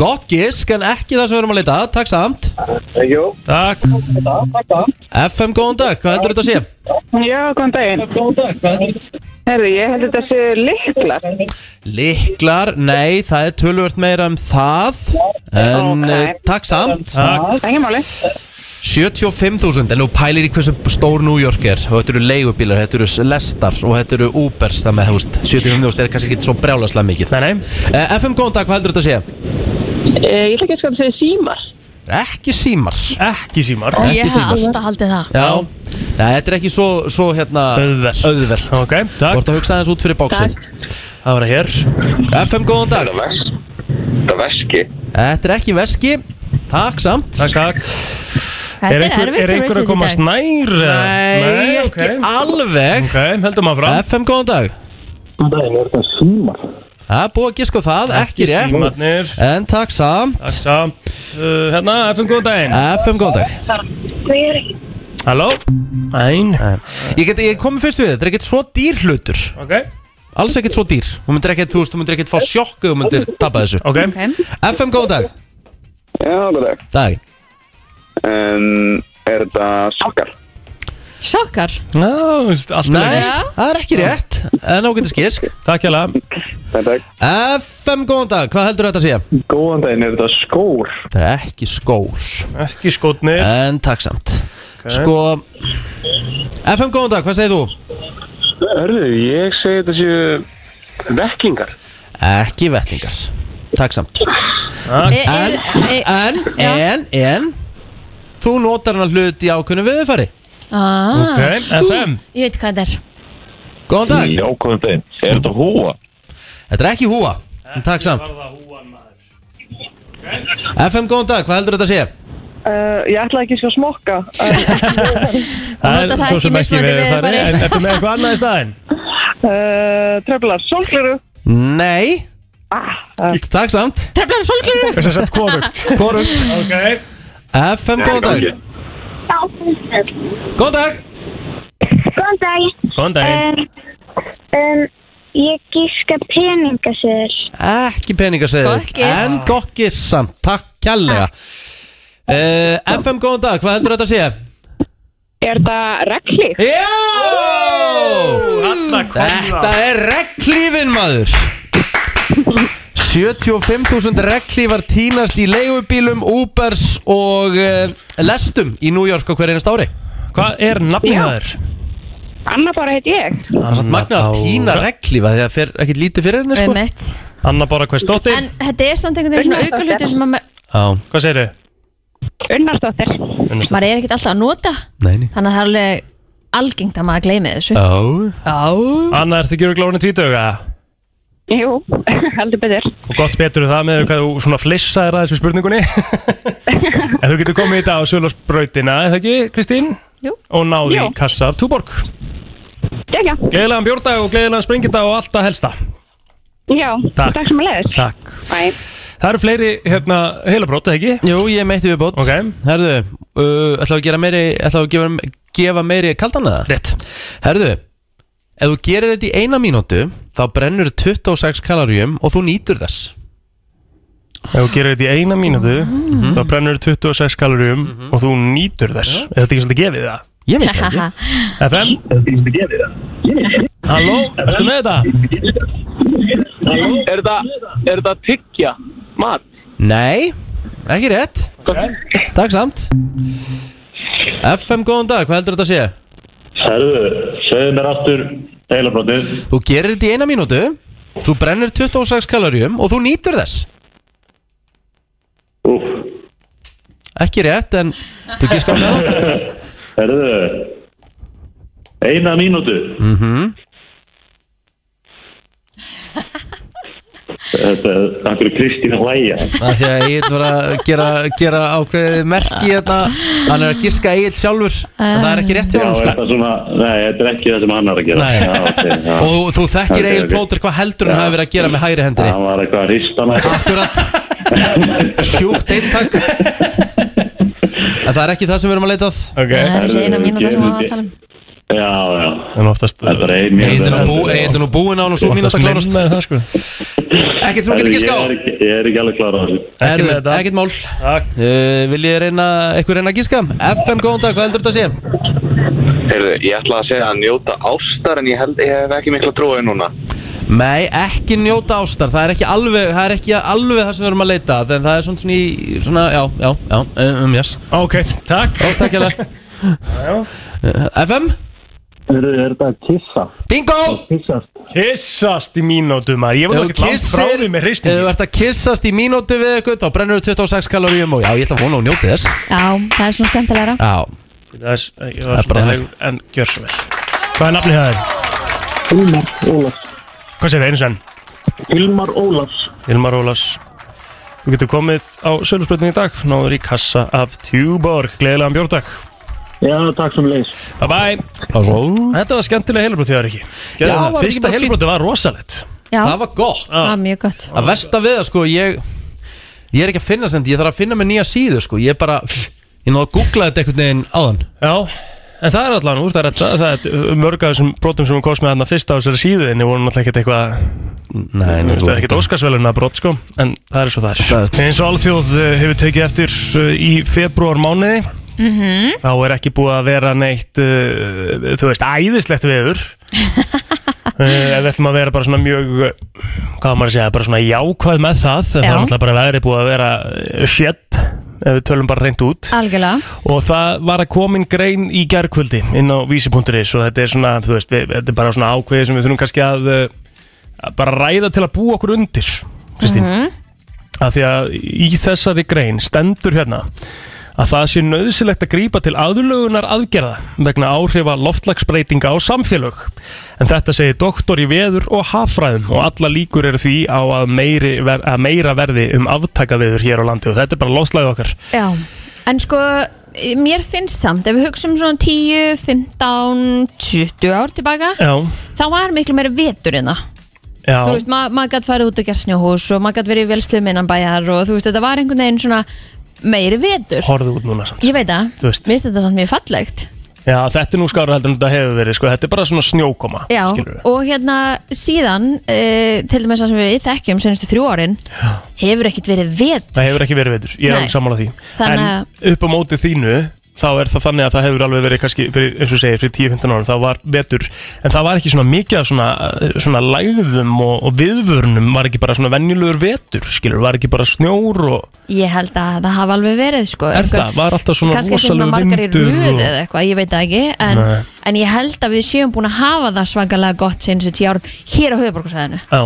Speaker 4: Gott gisk, en ekki það sem við erum að leita að, takk samt
Speaker 13: Jú
Speaker 5: Takk
Speaker 4: FM, góðan dag, hvað heldur þetta að sé?
Speaker 14: Já, góðan daginn. Góðan dag, hvað er þetta? Herru, ég held þetta séu liklar.
Speaker 4: Liklar, nei, það er tölvöld meira um það En okay. takk samt
Speaker 14: Engin máli.
Speaker 4: 75.000, en þú pælir í hversu stór New York er og þetta eru leigubílar, þetta eru lestar og þetta eru Ubers, þannig að þú veist, 75.000 er kannski ekki svo brjálaslega mikið
Speaker 5: nei, nei.
Speaker 4: FM, góðan dag, hvað heldur þetta að sé?
Speaker 14: Eh, Ég ætla ekki að sko að segja símar.
Speaker 4: Ekki símar
Speaker 5: Ekki símar
Speaker 3: Ég hef alltaf haldið það
Speaker 4: Já, Nei, þetta er ekki svo, svo hérna Öðvelt Öðvelt
Speaker 5: Ok, takk
Speaker 4: Þú ert að hugsa aðeins út fyrir bóksin
Speaker 5: Það var að hér
Speaker 4: FM, góðan dag
Speaker 13: Þetta veski
Speaker 4: Þetta er ekki veski Takk samt
Speaker 5: Takk, takk er
Speaker 4: Þetta er
Speaker 5: einhver, er
Speaker 4: erfitt hjá
Speaker 5: einhver
Speaker 4: Richard
Speaker 5: að
Speaker 4: í
Speaker 5: komast
Speaker 4: dag.
Speaker 5: nær?
Speaker 4: Nei,
Speaker 5: ok.
Speaker 4: ekki alveg
Speaker 5: Ok, heldum að frá
Speaker 4: FM, góðan dag
Speaker 13: Góðan dag, er þetta símar?
Speaker 4: Það er búið að giska á það, ekki rétt
Speaker 5: símarnir.
Speaker 4: En takk samt
Speaker 5: Takk samt uh, Hérna, FM góðan daginn
Speaker 4: FM góðan dag
Speaker 14: Hver?
Speaker 5: Halló Æn
Speaker 4: Ég, get- ég komi fyrst við þetta, þetta er ekkert svo dýr hlutur
Speaker 5: Ok
Speaker 4: Alls ekkert svo dýr Þú myndir ekkert, þú veist, þú myndir ekkert fá sjokk ef Þú myndir tappa þessu
Speaker 5: Ok
Speaker 4: FM góðan dag
Speaker 13: Já, góðan dag
Speaker 4: Dag
Speaker 13: um, Er þetta sokkar?
Speaker 3: Sjokkar
Speaker 5: Já, þú veist, alltaf
Speaker 4: Nei, það er ekki rétt En ágættis gisk
Speaker 5: Takk hjá
Speaker 4: FM, góðan dag, hvað heldur þetta að sé?
Speaker 13: Góðan daginn, er þetta skór?
Speaker 4: Það er ekki skór
Speaker 5: Ekki skótnir
Speaker 4: En takk samt Sko FM, góðan dag, hvað segir þú?
Speaker 13: Hörðu, ég segi þetta séu vekkingar
Speaker 4: Ekki vellingar Takk samt
Speaker 3: E-
Speaker 4: En,
Speaker 3: e-
Speaker 4: en,
Speaker 3: Já.
Speaker 4: en, en Þú notar hann hlut í ákunnu viðfæri
Speaker 3: Ah.
Speaker 4: Ok, FM.
Speaker 3: Ú, Ég veit hvað þetta er
Speaker 4: Góðan dag
Speaker 13: Já, góðan daginn, er þetta húa?
Speaker 4: Þetta er ekki húa, en takk samt FM, góðan dag, hvað heldur þetta að sé?
Speaker 14: Uh, ég ætla ekki að sko að smokka.
Speaker 5: Það
Speaker 14: Nota
Speaker 5: er
Speaker 14: það
Speaker 5: svo
Speaker 14: ekki
Speaker 5: sem ekki
Speaker 14: mismunandi
Speaker 5: við það
Speaker 14: veðurfari.
Speaker 5: En ertu með eitthvað annað í staðinn?
Speaker 14: Uh, Treflar, sólgleru.
Speaker 4: Nei Takk samt
Speaker 3: Treflar sólgleru
Speaker 5: Þess að sett korugt
Speaker 4: Korugt
Speaker 5: Ok
Speaker 4: FM, góðan dag Góðan dag
Speaker 15: Góðan dag.
Speaker 5: Góðan
Speaker 14: Eh.
Speaker 15: Um, um, ég gíska peningasöður.
Speaker 4: Ekki peningaseðil
Speaker 15: Gott giss.
Speaker 4: En gott giss samt, takk kærlega uh, FM, góðan dag, hvað heldur þetta að sé?
Speaker 14: Er það reglíf?
Speaker 4: Já! Þetta er reglífin maður 75.000 reglífar týnast í leigubílum, Ubers og uh, lestum í New York á hverju einast ári
Speaker 5: Hvað er nafnið það er?
Speaker 14: Anna bara heit ég.
Speaker 4: Það er satt magnað að týna reglífa því að fer ekkert lítið fyrir henni sko
Speaker 3: Einmitt.
Speaker 5: Anna Bára Kvæstóttir
Speaker 3: En þetta er samt einhvern veginn svona
Speaker 14: Unnarsdóttir.
Speaker 3: aukaluti sem að ma-
Speaker 5: Hvað segir þau?
Speaker 14: Unnarsdóttir
Speaker 3: maður er ekkert alltaf að nota
Speaker 4: Nei, nei
Speaker 3: Þannig að það er alveg algengt að maður gleymi þessu
Speaker 4: Ah. Já
Speaker 3: Já
Speaker 5: Anna, ertu ekki eru glóðinu tvítöga?
Speaker 14: Jú, heldur betur.
Speaker 5: Og gott betur en það með hvað þú svona flissaðir að þessu spurningunni En þú getur komið í dag á Sölosbrautina, er það ekki, Kristín?
Speaker 3: Jú
Speaker 5: Og náði
Speaker 14: Jú.
Speaker 5: í kassa af Túborg
Speaker 14: Gekja.
Speaker 5: Gleðilegan bjórdag og gleðilegan springindag og alltaf helsta
Speaker 14: Já,
Speaker 5: Takk.
Speaker 14: takk sem að leiðis.
Speaker 5: Takk
Speaker 14: Bye.
Speaker 5: Það eru fleiri hérna, heilabrót, ekki?
Speaker 4: Jú, ég meitti við bót
Speaker 5: okay.
Speaker 4: Herðu, uh, ætlaðu að gera meiri ætlaðu að gefa, gefa meiri kaldan eða?
Speaker 5: Rétt
Speaker 4: Herðu, ef þú gerir þetta í eina mínútu þá brennur 26 kaloríum og þú nýtur þess
Speaker 5: Ef þú gerir þetta í eina mínútu þá brennur þú 26 kaloríum og þú nýtur þess Er þetta ekki svolítið gefið það?
Speaker 4: Ég
Speaker 5: veit það ekki FM? Er þetta ekki svolítið gefið það? Halló, ertu með þetta?
Speaker 13: Er það, er það tyggja? Mat?
Speaker 4: Nei, ekki rétt Takk samt FM, góðan dag, hvað heldur þetta að sé?
Speaker 16: Herðu, segðu mér aftur heilabrótið
Speaker 4: Þú gerir þetta í eina mínútu þú brennur 26 kaloríum og þú nýtur þess Ekki rétt, en þú gíska á meðan
Speaker 16: Herðu Eina mínútu
Speaker 4: mm -hmm.
Speaker 16: Þetta er einhverju Kristín að hlæja
Speaker 4: Því að Egil var að gera, gera ákveðið merki hérna Hann er að giska Egil sjálfur En það er ekki rétt hjá
Speaker 16: Já,
Speaker 4: hann
Speaker 16: er
Speaker 4: sko
Speaker 16: það svona, nei, þetta er ekki það sem hann er að gera
Speaker 4: Nei.
Speaker 16: já, okay, já.
Speaker 4: Og þú þekkir
Speaker 16: Ok,
Speaker 4: Egil
Speaker 16: ok.
Speaker 4: Plóter hvað heldur hann
Speaker 16: Já.
Speaker 4: hafi verið að gera með hægri hendri
Speaker 16: Hann var eitthvað að hrista hana
Speaker 4: Sjúkt eintak En það er ekki það sem við erum að leita að
Speaker 5: okay.
Speaker 3: Það er þessi eina mínúta sem við varum að tala um
Speaker 16: Já, já
Speaker 5: En oftast
Speaker 16: Þetta er ein
Speaker 4: Egil er nú bú- Egill er nú búinn á hann og svo mínúta klárast
Speaker 5: með það sko
Speaker 4: Ekkert sem þú getur giska á
Speaker 16: Ég er ekki- ég er ekki alveg klára á þessu
Speaker 4: Erðu, ekkert mál uh, Vil ég reyna, eitthvað reyna að gíska? FM, góðan dag, hvað heldur þetta að sé?
Speaker 17: Heyrðu, ég ætla að segja að njóta ástar en ég held ég hef ekki mikla trúið núna.
Speaker 4: Nei, ekki njóta ástar Það er ekki alveg það, er ekki alveg það sem við erum að leita að, En það er svona svona, í, svona já, já, já, um, um, yes
Speaker 5: Ok, takk
Speaker 4: Ó, takk hérna FM?
Speaker 5: Er, er þetta kissa?
Speaker 4: Bingo!
Speaker 5: Kissast Kissast í mínútu maður Ég var nú ekkert langt frá því með hristingi
Speaker 4: Ef þú ert að kissast í mínútu við eitthvað Þá brennur þú 26 kaloríum og já, ég ætla að vona og njóti þess
Speaker 3: Já, það er svona skemmtilegra
Speaker 4: Já
Speaker 5: Það er, ég
Speaker 4: Það
Speaker 5: var
Speaker 4: er bara
Speaker 5: svona hægur En gjör svo vel Hvað er nafnið það þér? Ilmar Ólafs Hvað segir það einu senn? Ilmar Ólafs Ilmar Ólafs Þú getur komið á sölusbröndinu í dag Náður í kassa af Tjúborg Gleðilegan bjórdag
Speaker 13: Já, takk sem leys.
Speaker 5: Bye bye Þetta var skemmtilega heilabrótið þar ekki
Speaker 4: Já, var
Speaker 5: það
Speaker 4: ekki
Speaker 5: Fyrsta
Speaker 4: bara fínt?
Speaker 5: heilabrótið var rosalett
Speaker 3: Já.
Speaker 4: Það var gott
Speaker 3: Það var mjög gott
Speaker 4: Að versta við það sko ég, ég er ekki að finna sem Ég þarf að finna mig nýja síðu sko Ég bara Ég náðu að googla þetta einhvern veginn áðan
Speaker 5: Já En það er allan úr, það er, það, það er mörg af þessum brotum sem við komst með hann fyrst á þessari síðuðinni voru náttúrulega ekkert eitthvað
Speaker 4: Nei,
Speaker 5: nei Það er ekkert óskarsveluna brot sko, en það er svo það er Eins og alþjóð eh, hefur tekið eftir eh, í februar mánuði
Speaker 3: Mhm.
Speaker 5: þá er ekki búið að vera neitt uh, þú veist, æðislegt veður uh, ef við ætlum að vera bara svona mjög hvað á maður að segja, bara svona jákvæð með það
Speaker 3: Já.
Speaker 5: það er náttúrulega bara veðrið búið að vera eh, shit ef við tölum bara reynd út
Speaker 3: Algjörlega
Speaker 5: og það var að komin grein í gærkvöldi inn á vísi.is og þetta er svona, þú veist, við, þetta er bara svona ákveði sem við þurfum kannski að, uh, að bara ræða til að búa okkur undir Kristín af því að í þessari grein stendur hérna að það sé nöðsilegt að grípa til aðlögunar aðgerða vegna áhrifa loftlagsbreytinga á samfélög. En þetta segir doktor í veður og haffræðum og alla líkur eru því á að, meiri ver að meira verði um aftakaveður hér á landi og þetta er bara loslæðið okkar.
Speaker 3: Já, en sko mér finnst samt, ef við hugsaum svona 10, 15, 20 ár tilbaka,
Speaker 5: Já,
Speaker 3: þá var miklu meira vetur en það
Speaker 5: já.
Speaker 3: þú veist, ma maður gætt farið út og gert snjóhús og maður gætt verið í velstum innan bæjar og þú veist, þetta var einhvern veginn svona meiri vetur
Speaker 5: Horfðu út núna samt.
Speaker 3: ég veit það,
Speaker 5: Þú veist.
Speaker 3: mér finnst þetta samt mjög fallegt
Speaker 5: Já, þetta er nú skára heldur en þetta hefur verið, sko. Þetta er bara svona snjókoma,
Speaker 3: já,
Speaker 5: skilur við.
Speaker 3: og hérna síðan e, til dæmis það sem við þekkjum senstu þrjú árin hefur ekkert verið vetur
Speaker 5: Það hefur ekki verið veitur, ég er
Speaker 3: Nei.
Speaker 5: alveg sammála því.
Speaker 3: Þannig að-
Speaker 5: En upp á móti þínu, þá er það þannig að það hefur alveg verið, kannski, fyrir, eins og segir, fyrir 10-15 árum, þá var vetur. En það var ekki svona mikið af svona, eh, svona lægðum og, og viðvörnum, var ekki bara svona venjulegur vetur, skilur, var ekki bara snjór og...
Speaker 3: ég held að það hafa alveg verið sko,
Speaker 5: Er það? Var alltaf svona
Speaker 3: kannski ekki svona
Speaker 5: rosalegur
Speaker 3: margar í
Speaker 5: vindur
Speaker 3: röð
Speaker 5: og-
Speaker 3: eða eitthvað, ég veit það ekki en,
Speaker 5: Nei.
Speaker 3: en ég held að við séum búin að hafa það svakalega gott senstu tíu árum hér á höfuborgarsæðinu
Speaker 5: Já.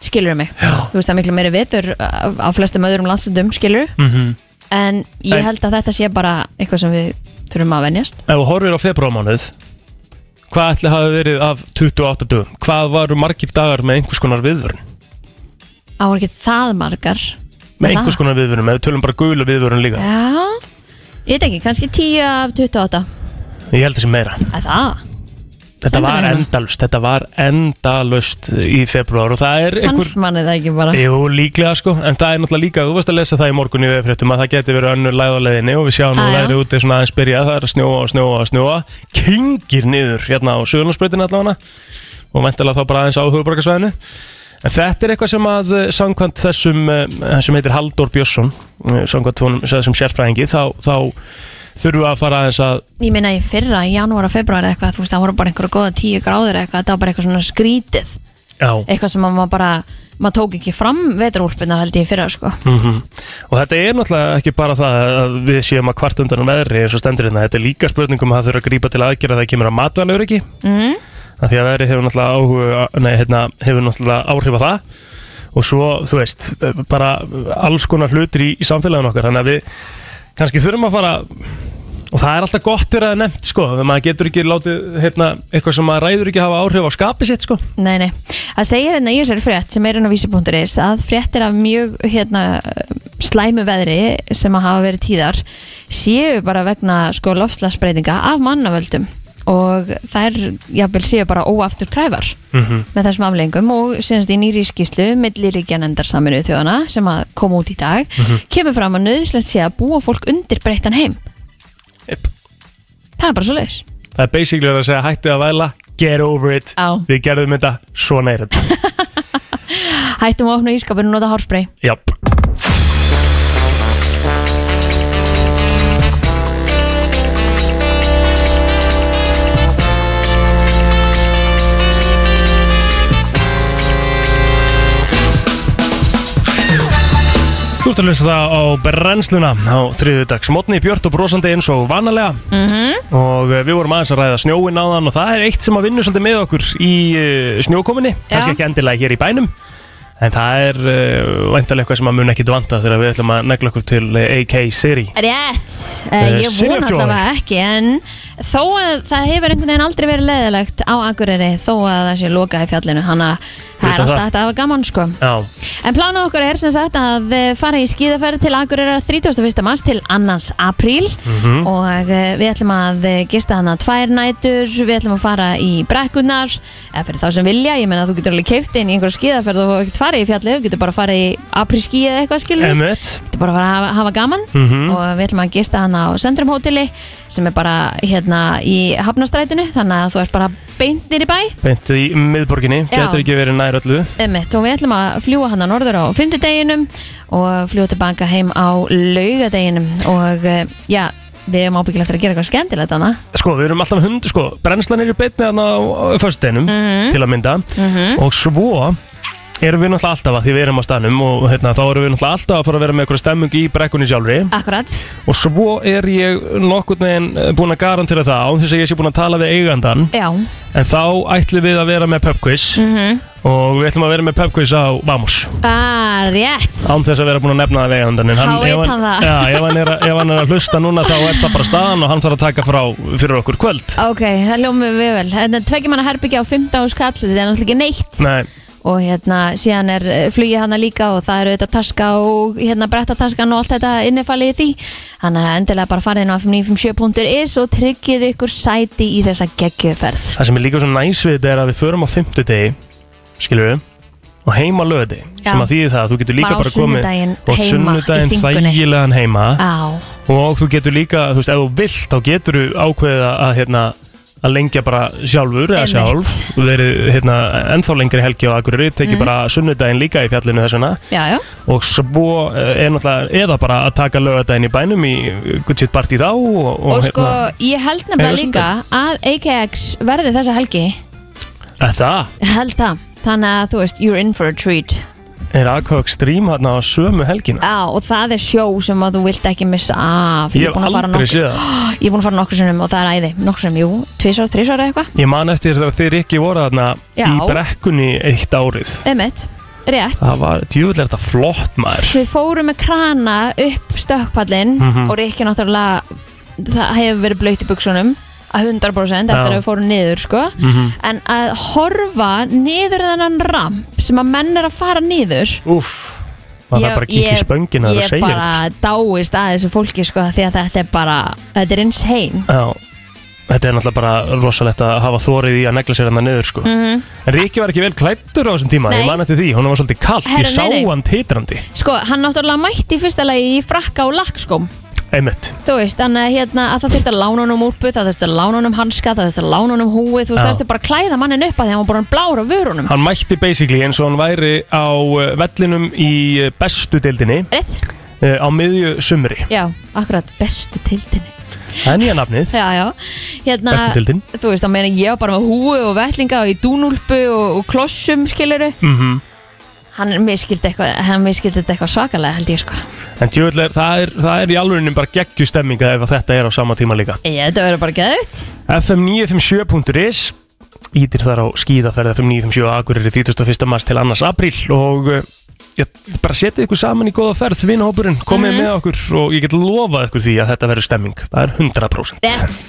Speaker 3: skilur mig þú veist það er miklu meiri vetur á á flestum öðrum landslundum skilur
Speaker 5: Mm -hmm.
Speaker 3: en ég
Speaker 5: En-
Speaker 3: held að þetta sé bara eitthvað sem við þurfum að venjast
Speaker 5: Ef þú horfir á februarmánuð, hvað ætli hafi verið af 28 dögum? Hvað varu margir dagar með einhvers konar viðvörn?
Speaker 3: á ekki það margar
Speaker 5: Með einhvers konar viðvörnum, ef við tölum bara gula viðvörnum líka.
Speaker 3: já, ég veit ekki, kannski 10 af 28
Speaker 5: Ég held þessi meira.
Speaker 3: að það,
Speaker 5: Þetta
Speaker 3: Sendu
Speaker 5: var
Speaker 3: mér hérna.
Speaker 5: endalust, þetta var endalust í februar og það er einhver
Speaker 3: Fannst manni það ekki bara
Speaker 5: Jú, líklega sko, en það er náttúrulega líka þú varst að lesa það í morgun í veðfréttum að það geti verið önnur læð á leiðinni og við sjáum nú
Speaker 3: Ah, já.
Speaker 5: læri úti svona aðeins byrja það er að snjóa og snjóa og snjóa kingir niður hérna á sögurlandsbreytinu allavega og vendilega þá bara aðeins á hugurborgarsvæðinu en þetta er eitthvað sem að eh, samkvæmt þessum eh, sem heitir Halldór Björnsson eh, samkvæmt honum, þessum sérfræðingi þá, þá þurfum við að fara aðeins að
Speaker 3: Ég minna í fyrra, í janúar og februar eitthvað, þú veist, það voru bara einhverja góða tíu gráður eitthvað, þetta var bara eitthvað svona skrítið
Speaker 5: Já.
Speaker 3: eitthvað sem að maður bara, maður tók ekki fram vetrúlpunar held ég í fyrra, sko
Speaker 5: -hmm. Og þetta er náttúrulega ekki bara það að við séum að hvart undan um veðri eins og stendur hérna, þetta er líka spurningum að það þurfa að grípa til aðgerða þegar kemur að matvælur ekki
Speaker 3: mm.
Speaker 5: af því að veðri hefur náttúrulega áhuga, nei, hérna, hefur náttúrulega áhrif á það og svo, þú veist, bara alls konar hlutir í, í samfélaginu okkar þannig að við kannski þurfum að fara og það er alltaf gott þegar það er nefnt sko, þegar maður getur ekki látið hérna, eitthvað sem maður ræður ekki að hafa áhrif á skapi sitt sko.
Speaker 3: Nei, nei, það segir hérna í þessari frétt sem er hérna á vísi.is að fréttir af mjög hérna slæmu veðri sem að hafa verið tíðar séu bara vegna sko loftslagsbreytinga af mannavöldum og þær jafnvel séu bara óaftur kræfar
Speaker 18: Mhm.
Speaker 3: með þessum aflengum og senast í nýri skýslu milliríkjanendar saminu þjóðana sem að koma út í dag
Speaker 18: Mhm.
Speaker 3: kemur fram að nöðislegt sé að búa fólk undir breyttan heim Það er bara svo leis
Speaker 5: það er basically verið að segja hættið að væla get over it,
Speaker 3: Á.
Speaker 5: við gerðum þetta svona er þetta
Speaker 3: Hættum að opna ískapinu og nota hárspray
Speaker 5: Japp Þú ert að hlusta það á brennsluna á þriðudags mótni björt og brosandi eins og vanalega
Speaker 3: Mhm.
Speaker 5: og eh, við vorum aðeins að ræða snjóin áðan og það er eitt sem að vinna svolítið með okkur í eh, snjókominni, kannski
Speaker 3: Já.
Speaker 5: ekki endilega hér í bænum en það er uh, væntalega eitthvað sem að mun ekki dvanta þegar við ætlum að negla okkur til eh, AK Siri
Speaker 3: Rétt,
Speaker 5: Eh,
Speaker 3: uh, ég
Speaker 5: Silja
Speaker 3: vona
Speaker 5: Joy.
Speaker 3: allavega ekki en þó að það hefur einhvern veginn aldrei verið leðilegt á Akureyri þó að það sé lokað í fjallinu þannig að það er
Speaker 5: Utan
Speaker 3: alltaf
Speaker 5: það.
Speaker 3: þetta að hafa gaman sko
Speaker 5: Já,
Speaker 3: En plánað okkar er sem sagt að eh, fara í skíðaferð til Akureyra 31. mars til 2. apríl
Speaker 18: Mhm.
Speaker 3: og eh, við ætlum að eh, gista hana tvær nætur, við ætlum að fara í brekkunar, eða fyrir þá sem vilja ég menna þú getur alveg keift inn í einhver skíðaferð og þú ekkert farið í fjallið, þú getur bara farið í aprílskíð eða eitthvað skilur
Speaker 5: Emmett
Speaker 3: Þetta er bara að fara að hafa, hafa gaman
Speaker 5: Mhm.
Speaker 3: og við ætlum að gista hann á Söndrum hóteli sem er bara hérna í Hafnastrætinu þannig að þú ert bara beint nýri bæ
Speaker 5: beint í miðborginni,
Speaker 3: Já.
Speaker 5: getur ekki verið nær öllu
Speaker 3: Emmett, og við ætlum að fljúa hann að norður á fymtudeginum og fljúa tilbaka heim á laugadeginum og eh, já, við erum ábyggilega eftir að gera eitthvað skemmtilegt hana
Speaker 5: Sko, við erum alltaf hund, sko, brennslan er í beinni þarna á föstudeginum
Speaker 3: Mhm.
Speaker 5: til að mynda
Speaker 3: Mhm.
Speaker 5: og svo erum við náttúrulega alltaf að því við erum á staðnum og hérna, þá erum við náttúrulega alltaf að fara að vera með eitthvað stemmung í brekkunni sjálfri
Speaker 3: Akkurat
Speaker 5: og svo er ég nokkurn veginn eh, búinn að garantera það án þess að ég sé búinn að tala við eigandan
Speaker 3: Já,
Speaker 5: en þá ætlum við að vera með pubquiz
Speaker 3: mhm,
Speaker 5: og við ætlum að vera með pubquiz á Vamos
Speaker 3: ah, rétt
Speaker 5: án þess að vera búin að nefna það vegandan en
Speaker 3: Þá veit
Speaker 5: ef
Speaker 3: hann það.
Speaker 5: já, ef, hann er, að- ef hann er að hlusta núna þá er það bara staðan og hann þarf að taka frá fyrir okkur kvöld
Speaker 3: Ok, það ljómum við vel Hérna, Þetta er tveggjum hana herbyggja á 15 skall þetta er náttúrulega ekki neitt
Speaker 5: Nei,
Speaker 3: og hérna síðan er flugið hana líka og það eru auðvitað taska og hérna brettataskan og allt þetta innifalið í því þannig að endilega bara farið inn á f957.is og tryggið ykkur sæti í þessa geggjöferð
Speaker 5: það sem er líka svo næs við þetta er að við förum á fimmtudegi skilur við og heima löði
Speaker 3: Já.
Speaker 5: sem að þýði það að þú getur líka
Speaker 3: Bara á
Speaker 5: bara komið
Speaker 3: sunnudaginn
Speaker 5: og
Speaker 3: heima í
Speaker 5: sunnudaginn
Speaker 3: þingunni.
Speaker 5: þægilegan heima
Speaker 3: Á,
Speaker 5: og þú getur líka, þú veist, ef þú vilt þá getur þú ákveðið að, hérna, að lengja bara sjálfur eða
Speaker 3: Einmitt.
Speaker 5: sjálf og verið hérna, ennþá lengri helgi á Akureyri tekið
Speaker 3: Mm.
Speaker 5: bara sunnudaginn líka í fjallinu þess vegna
Speaker 3: já, já,
Speaker 5: og svo eh, er náttúrulega eða bara að taka lögadaginn í bænum í guttsitt partí þá og, og, hérna.
Speaker 3: og sko ég held
Speaker 5: Eða
Speaker 3: nefnilega líka að AKX verði þessa helgi
Speaker 5: hérna, það
Speaker 3: Ég held það, þannig að þú veist you're in for a treat
Speaker 5: er aðkvökk strím hérna á sömu helgina
Speaker 3: á, og það er sjó sem að þú vilt ekki missa af
Speaker 5: Ég hef aldrei séð það.
Speaker 3: það Ég er búin að fara nokkru sinnum og það er æði nokkru sinnum, jú, tvisvar, þrisvar eða eitthvað
Speaker 5: ég man eftir þegar þeir ekki voru hérna
Speaker 3: Já.
Speaker 5: í brekkunni eitt árið
Speaker 3: Emmett, rétt
Speaker 5: það var djúvill er þetta flott maður
Speaker 3: Við fórum með krana upp stökkpallin
Speaker 5: Mhm.
Speaker 3: og Rikki náttúrulega það hefur verið blöyt í buksunum að 100% eftir
Speaker 5: Já.
Speaker 3: að við fórum niður sko.
Speaker 5: Mhm.
Speaker 3: en að horfa niður þennan ramp sem að menn er að fara niður
Speaker 5: Úff, maður þarf bara að kíkja í spöngina þegar það
Speaker 3: Ég, ég
Speaker 5: segir sko.
Speaker 3: sko, bara dáist að þessu fólki sko, því að þetta er bara, þetta er insane
Speaker 5: Já, Þetta er náttúrulega bara rosalegt að hafa þórið í að negla sér hann niður sko.
Speaker 3: Mhm.
Speaker 5: En Ríkki var ekki vel klættur á þessum tíma
Speaker 3: Nei.
Speaker 5: Ég man eftir því, hún var svolítið kallt Ég
Speaker 3: Herra,
Speaker 5: sá
Speaker 3: nei, nei.
Speaker 5: hann titrandi
Speaker 3: Sko, hann náttúrulega mætti í fyrsta lagi í frakka og lakkskóm
Speaker 5: Einmitt
Speaker 3: Þú veist, þannig að, hérna, að það þurfti að lána honum úrbu, það þurfti að lána honum hanska, það þurfti að lána honum húi, þú veist,
Speaker 5: Já.
Speaker 3: það þurfti bara að klæða mannin upp að því að hann var bara blár á vörunum.
Speaker 5: Hann mætti basically eins og hann væri á eh, vellinum í eh, bestu deildinni
Speaker 3: Rétt.
Speaker 5: eh, Á miðju sumri
Speaker 3: Já, akkurat, bestu tildinni.
Speaker 5: Það er nýja nafnið
Speaker 3: Já, já. Hérna,
Speaker 5: Bestu deildin.
Speaker 3: Þú veist, þá meina ég var bara með húi og vellinga og í dúnúlpu og, og klossum, skiluru.
Speaker 5: Mhm.
Speaker 3: Hann miskildi eitthvað, hann miskildi þetta eitthvað svakalega, held ég, sko.
Speaker 5: En djöfull er, það, er, það er í alvegurinn bara geggju stemming ef að þetta er á sama tíma líka
Speaker 3: Ég, þetta verður bara geðut.
Speaker 5: FM957.is Ítir þar á skíðaferð FM957 Akureyri 31. mars til 2. apríl og eh, ég, bara setið ykkur saman í góða ferð vinahópurinn, komið
Speaker 2: Mhm.
Speaker 5: með okkur og ég get lofað ykkur því að þetta verður stemming það er 100%
Speaker 3: Rétt.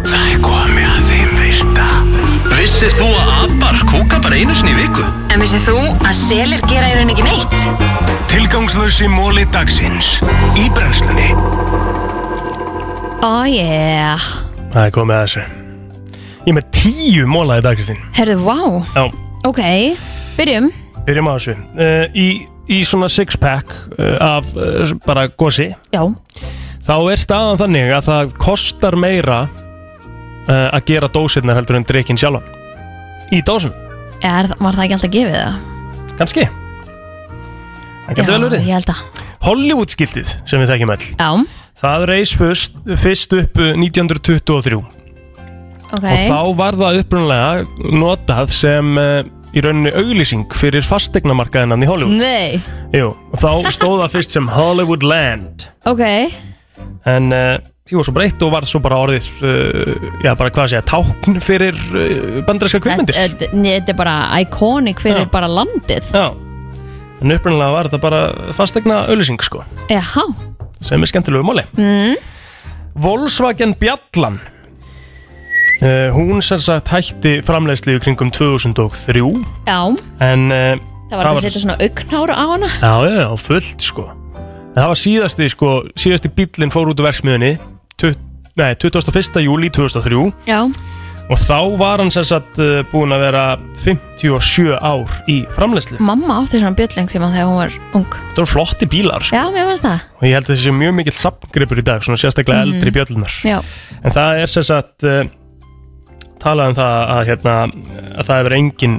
Speaker 2: Það er komið að þeim virta Vissir þú að abar kúka bara einu sinni í viku?
Speaker 1: En vissið þú að selir gera í rauninni ekki neitt?
Speaker 2: Tilgangslösi móli dagsins Í brennslunni
Speaker 3: Oh yeah.
Speaker 5: Það er komið að þessu Ég er með tíu móla í dag Kristín
Speaker 3: Herðu, wow.
Speaker 5: Já,
Speaker 3: Ok, byrjum.
Speaker 5: byrjum á þessu uh, í, í svona six pack uh, af uh, bara gosi
Speaker 3: Já.
Speaker 5: Þá er staðan þannig að það kostar meira uh, að gera dósirnar heldur en drikkin sjálfan Í dósum,
Speaker 3: Er, var það ekki alltaf gefið það?
Speaker 5: kannski Það getur vel verið
Speaker 3: Ég held að.
Speaker 5: Hollywoodskiltið sem við þekkjum öll
Speaker 3: Já.
Speaker 5: Það reis fyrst, fyrst upp uh, 1923
Speaker 3: Ok.
Speaker 5: og þá var það upprunalega notað sem uh, í rauninni auglýsing fyrir fastegnamarkaðinan í Hollywood
Speaker 3: Nei.
Speaker 5: Jú, og þá stóð það fyrst sem Hollywood Land
Speaker 3: Ok.
Speaker 5: en uh, því var svo breytt og var svo bara orðið uh, já, bara hvað að segja, tákn fyrir uh, bandarinska kvikmyndir
Speaker 3: Þetta- Þetta nei, þetta er bara iconic fyrir
Speaker 5: Já.
Speaker 3: bara landið.
Speaker 5: Já. en upprunalega var þetta bara fastegna auglýsing sko,
Speaker 3: Jaha.
Speaker 5: sem er skemmtilegu máli
Speaker 3: Mm.
Speaker 5: Volkswagen Bjallan uh, hún sem sagt hætti framleiðslu í kringum 2003
Speaker 3: Já.
Speaker 5: en uh,
Speaker 3: Það var þetta að setja svona augnáru á hana.
Speaker 5: Já, já, já, fullt sko En það var síðasti sko, síðasti bíllinn fór út úr verksmiðunni tu- Nei, 21. júli 2003
Speaker 3: Já.
Speaker 5: Og þá var hann sem sagt uh, búin að vera 57 ár í framleiðslu
Speaker 3: Mamma átti svona bjölleng tíma þegar hún var ung.
Speaker 5: Þetta voru flotti bílar sko
Speaker 3: Já, mér finnst það.
Speaker 5: Og ég held að þessi sé mjög mikill sapngripur í dag Svona sérstaklega
Speaker 3: Mhm.
Speaker 5: eldri bjöllunar
Speaker 3: Já.
Speaker 5: En það er sem sagt uh, talað um það að, hérna, að það hefur engin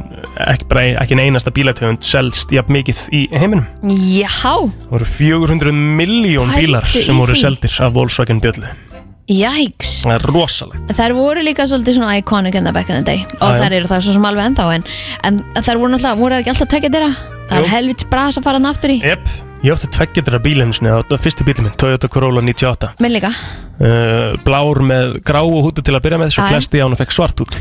Speaker 5: ekki, bara ein- ekki ein einasta bílategund selst jafn mikið í heiminum
Speaker 3: Jáhá.
Speaker 5: Það voru 400 miljón
Speaker 3: Pældu
Speaker 5: bílar
Speaker 3: í
Speaker 5: sem voru
Speaker 3: því.
Speaker 5: seldir af Volkswagen bjöllu.
Speaker 3: Jæks.
Speaker 5: Það er rosalegt.
Speaker 3: Þær voru líka svolítið svona iconic in the back in the day og
Speaker 5: Ah, Já, já.
Speaker 3: þær eru það svo sem alveg ennþá en, en þær voru náttúrulega, voru þær ekki alltaf tekið þeirra það
Speaker 5: Jú.
Speaker 3: er helvits bras að fara hann aftur í
Speaker 5: Jep, ég átti tveggjadrara bílinn sinni, það var fyrsti bílinn minn, Toyota Corolla 98.
Speaker 3: minn líka,
Speaker 5: Uh, blár með gráu hútu til að byrja með, svo
Speaker 3: Æ.
Speaker 5: klesti ég á hann og fekk svart út.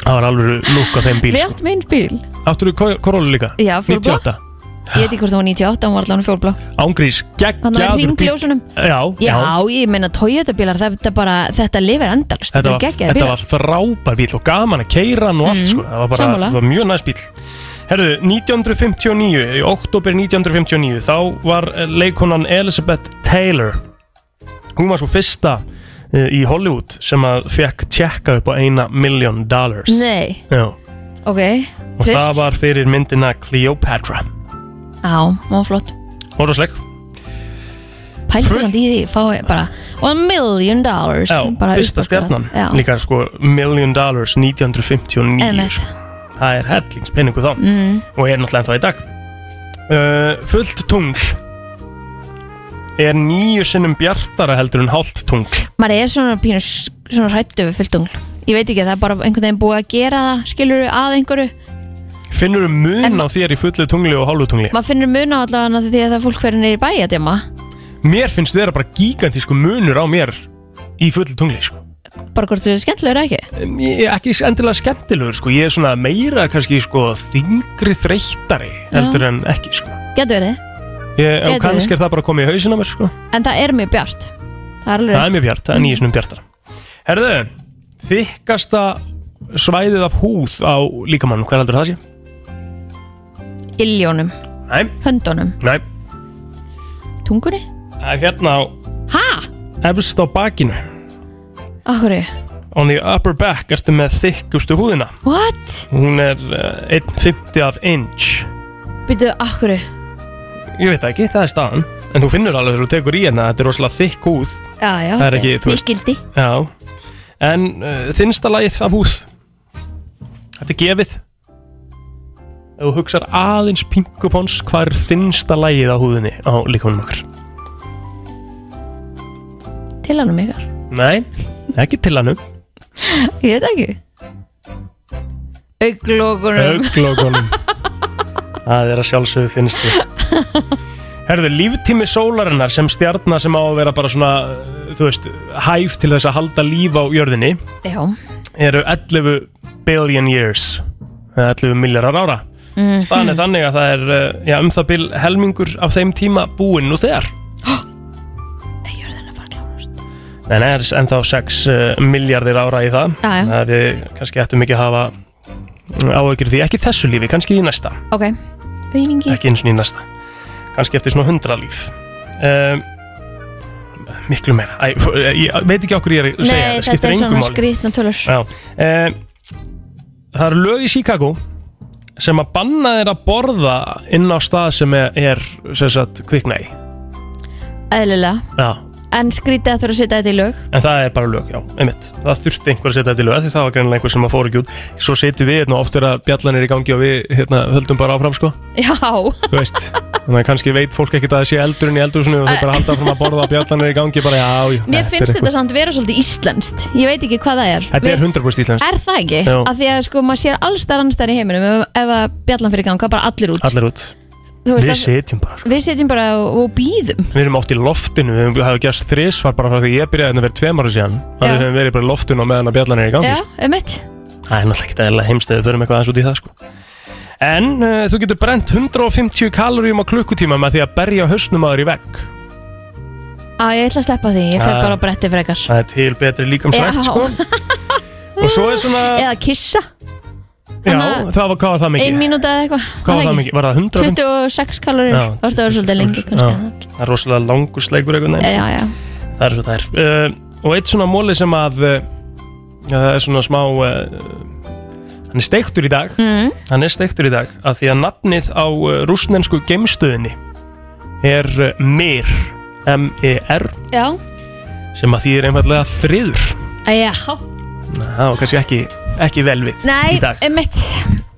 Speaker 5: það var alveg lúk á þeim bíl.
Speaker 3: við
Speaker 5: Sko.
Speaker 3: áttum einn bíl
Speaker 5: Áttur þú Corolla líka?
Speaker 3: Já, fjólblá.
Speaker 5: 98.
Speaker 3: ég veit ekki hvort það var 98, hún var allavega fjólblá
Speaker 5: Ángrís,
Speaker 3: Hann var
Speaker 5: geggjadur
Speaker 3: hringljósunum.
Speaker 5: Já, já.
Speaker 3: Já, ég meina Toyota bílar, þetta bara, þetta lifir endalst,
Speaker 5: Þetta
Speaker 3: þetta er
Speaker 5: var,
Speaker 3: geggjaði
Speaker 5: þetta var
Speaker 3: bílar
Speaker 5: frábær bíl og gaman að keira hann og allt
Speaker 3: Mm,
Speaker 5: sko. Það var bara
Speaker 3: sammála.
Speaker 5: var mjög næst bíl Herðu, 1959, í oktober 1959 þá var eh, leikkonan Elizabeth Taylor Hún var svo fyrsta eh, í Hollywood sem að fekk tjekka upp á eina million dollars
Speaker 3: Nei,
Speaker 5: Já,
Speaker 3: ok,
Speaker 5: og það
Speaker 3: trist
Speaker 5: var fyrir myndina Cleopatra
Speaker 3: Já, hún var flott
Speaker 5: Hóðarsleik
Speaker 3: Pældi samt í því, fái bara One million dollars
Speaker 5: Já,
Speaker 3: bara
Speaker 5: fyrsta
Speaker 3: uppáskorað.
Speaker 5: stjarnan
Speaker 3: Já.
Speaker 5: Líka sko million dollars 1959
Speaker 3: Einmitt.
Speaker 5: sko. Það er hellingspenningu þá
Speaker 3: Mm.
Speaker 5: Og er náttúrulega ennþá í dag uh, Fullt tungl Er nýju sinnum bjartara heldur en hálft tungl
Speaker 3: maður er svona pínu svona hrættu við fulltungl ég veit ekki, það er bara einhvern veginn búið að gera það skilur að einhverju,
Speaker 5: Finnur þú mun á þér í fullu tungli og hálfu tungli
Speaker 3: maður finnur mun á allavega því að það er fólk fyrir neyri bæ að djama
Speaker 5: Mér finnst þeirra bara gigantísku munur á mér Í fullu tungli sko
Speaker 3: bara hvort þú er skemmtilegur eða ekki
Speaker 5: Um, Ég er ekki endilega skemmtilegur sko Ég er svona meira kannski sko Þingri þreyttari heldur en ekki sko
Speaker 3: getur verið,
Speaker 5: ég, Og
Speaker 3: Gæti
Speaker 5: kannski
Speaker 3: verið.
Speaker 5: er það bara komið í hausinn á mér sko
Speaker 3: en það er mjög bjart það er alveg
Speaker 5: Það er
Speaker 3: rétt.
Speaker 5: mjög bjart, það er nýju sinum bjartara Herðu, þykkasta svæðið af húð á líkamann, hvað heldur það sé?
Speaker 3: illjónum,
Speaker 5: Nei,
Speaker 3: höndunum,
Speaker 5: nei,
Speaker 3: tungunni
Speaker 5: það er hérna á
Speaker 3: ha,
Speaker 5: Efst á bakinu
Speaker 3: Akkur
Speaker 5: On the upper back ertu með þykkustu húðina
Speaker 3: What?
Speaker 5: Hún er uh, 1,50 af inch
Speaker 3: Býtu, akkur
Speaker 5: Ég veit það ekki, það er staðan En þú finnur alveg þegar þú tekur í hérna Þetta er rosalega þykk húð
Speaker 3: Já, já
Speaker 5: Það er ekki, þú veist
Speaker 3: Mikildi
Speaker 5: Já En uh, þinnsta lagið af húð Þetta er gefið Ef þú hugsar aðeins pinkupons Hvað er þinnsta lagið á húðinni Á líkamanum okkur
Speaker 3: Til hann um ykkar
Speaker 5: Nei, ekki til hannum
Speaker 3: Ég veit ekki Auglokunum
Speaker 5: Auglokunum Það er að sjálfsögðu þinnstu Herðu, líftími sólarinnar sem stjarnar sem á að vera bara svona, þú veist, hæf til þess að halda líf á jörðinni
Speaker 3: Já
Speaker 5: eru 11 billion years, eða 11 miljardar ára.
Speaker 3: Mhm.
Speaker 5: Staðan er þannig að það er uh, já, um það bil helmingur af þeim tíma búinn nú þegar. Nei, nei, það er ennþá 6 uh, miljardir ára í það.
Speaker 3: Já, já.
Speaker 5: Það er við kannski ættum ekki að hafa mm, áhyggjur af því, ekki í þessu lífi, kannski í næsta
Speaker 3: Ok Vinningi
Speaker 5: ekki eins og í næsta kannski eftir svona hundra líf um, miklu meira Æ, f- eh, ég veit ekki okkur ég er að segja
Speaker 3: Nei, þetta er svona skrýtna tölur
Speaker 5: um, það eru lög í Chicago sem að banna þeir að borða inn á stað sem er, er sem sagt, kviknæði
Speaker 3: Eðlilega
Speaker 5: já,
Speaker 3: En skrítið að þurfa að setja þetta í lög
Speaker 5: en það er bara lög, já, einmitt það þurfti einhver að setja þetta í lög, af því það var greinlega einhver sem að fóra ekki út svo setjum við hérna oftir að bjallan er í gangi og við hérna, höldum bara áfram sko
Speaker 3: Já
Speaker 5: þú veist þannig að kannski veit fólk ekkert að það sé eldurinn í eldurinu og þau bara halda fram að borða og bjallan er í gangi bara já, já
Speaker 3: Mér
Speaker 5: þetta er
Speaker 3: finnst þetta
Speaker 5: eitthvað.
Speaker 3: samt vera svolítið íslenskt Ég veit ekki hvað það er
Speaker 5: þetta er
Speaker 3: Við-
Speaker 5: 100% íslenskt
Speaker 3: Er það ekki?
Speaker 5: Já.
Speaker 3: Af því að sko maður sér allstar annstar í heiminum ef, ef að bjallan fyrir ganga bara allir út
Speaker 5: allir út
Speaker 3: Þú veist
Speaker 5: við
Speaker 3: það-
Speaker 5: setjum bara sko.
Speaker 3: Við setjum bara og, og býðum
Speaker 5: við erum átt í loftinu við hefum gæst þrísvar bara frá því ég byrjaði hérna fyrir tveim ára síðan að
Speaker 3: Já.
Speaker 5: við höfum verið bara í loftinu og meðan að bjallan er í gangi
Speaker 3: Já,
Speaker 5: sko.
Speaker 3: um eitt
Speaker 5: það er náttúrulega ekkert eðla heimstöðu við förum eitthvað aðeins út í það sko. en uh, þú getur brent 150 kaloríum á klukkutíma með því að berja hausnum aður í vegg
Speaker 3: Á, ég ætla að sleppa því, ég fer
Speaker 5: Já.
Speaker 3: bara á bretti frekar
Speaker 5: það er til betri líkamsrækt
Speaker 3: Já.
Speaker 5: sko. og svo er svona
Speaker 3: Eða kissa
Speaker 5: já,
Speaker 3: Þannig að-
Speaker 5: það var, hvað var það
Speaker 3: Ein
Speaker 5: mikið?
Speaker 3: mínúta eða eitthvað
Speaker 5: Hvað var það
Speaker 3: ekki?
Speaker 5: mikið? Var það 100?
Speaker 3: 26 kalorir
Speaker 5: Já,
Speaker 3: Það var svolítið lengi kannski
Speaker 5: Já, það er rosalega langur sleikur einhvern veginn
Speaker 3: Já, já
Speaker 5: Það er svo það er uh, Og eitt svona móli sem að uh, Það er svona smá uh, Hann er steiktur í dag
Speaker 3: Mm.
Speaker 5: Hann er steiktur í dag að Því að nafnið á uh, rúsnensku geimstöðinni Er uh, MIR M-E-R
Speaker 3: Já,
Speaker 5: Sem að því er einfallega friður
Speaker 3: já
Speaker 5: Það var kannski ekki, ekki vel við í
Speaker 3: Nei,
Speaker 5: dag
Speaker 3: um eitt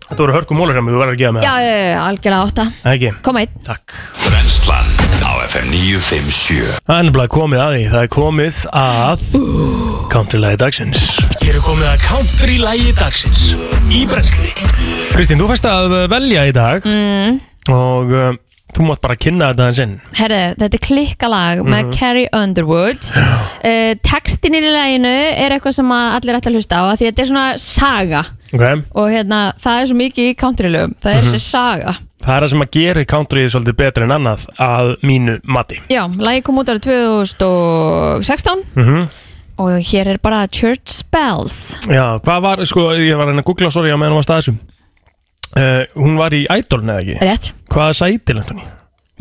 Speaker 5: Þetta voru hörku mólar hjá mig, þú verður að gefa með
Speaker 3: Já, já, já, já, algjörlega átta
Speaker 5: það Ekki
Speaker 3: Koma einn
Speaker 2: Brennslan á FM 957
Speaker 5: Það er nefnilega komið að því, það er komið að Countrylagi dagsins
Speaker 2: Hér er komið að country lægi dagsins Í brennsli
Speaker 5: Kristín, þú fæst að velja í dag
Speaker 3: mm.
Speaker 5: og uh, þú mátt bara kynna þetta hans inn
Speaker 3: Herðu, þetta er klikkalag
Speaker 5: Mhm.
Speaker 3: með Carrie Underwood uh, Textin í laginu er eitthvað sem að allir ætti að hlusta á af Því að þetta er svona saga
Speaker 5: okay.
Speaker 3: Og hérna, það er svo mikið í countrylögum Það er
Speaker 5: Mhm.
Speaker 3: þessi saga
Speaker 5: Það er það sem að gera countryið svolítið betur en annað að mínu mati
Speaker 3: Já, lagi kom út árið 2016
Speaker 5: mm
Speaker 3: Og hér er bara Church Bells
Speaker 5: Já, hvað var, sko, ég var að reyna að googla sorry á meðan hún var staðisum uh, Hún var í Idol neða ekki
Speaker 3: Rétt,
Speaker 5: Hvað sæti lent hún í?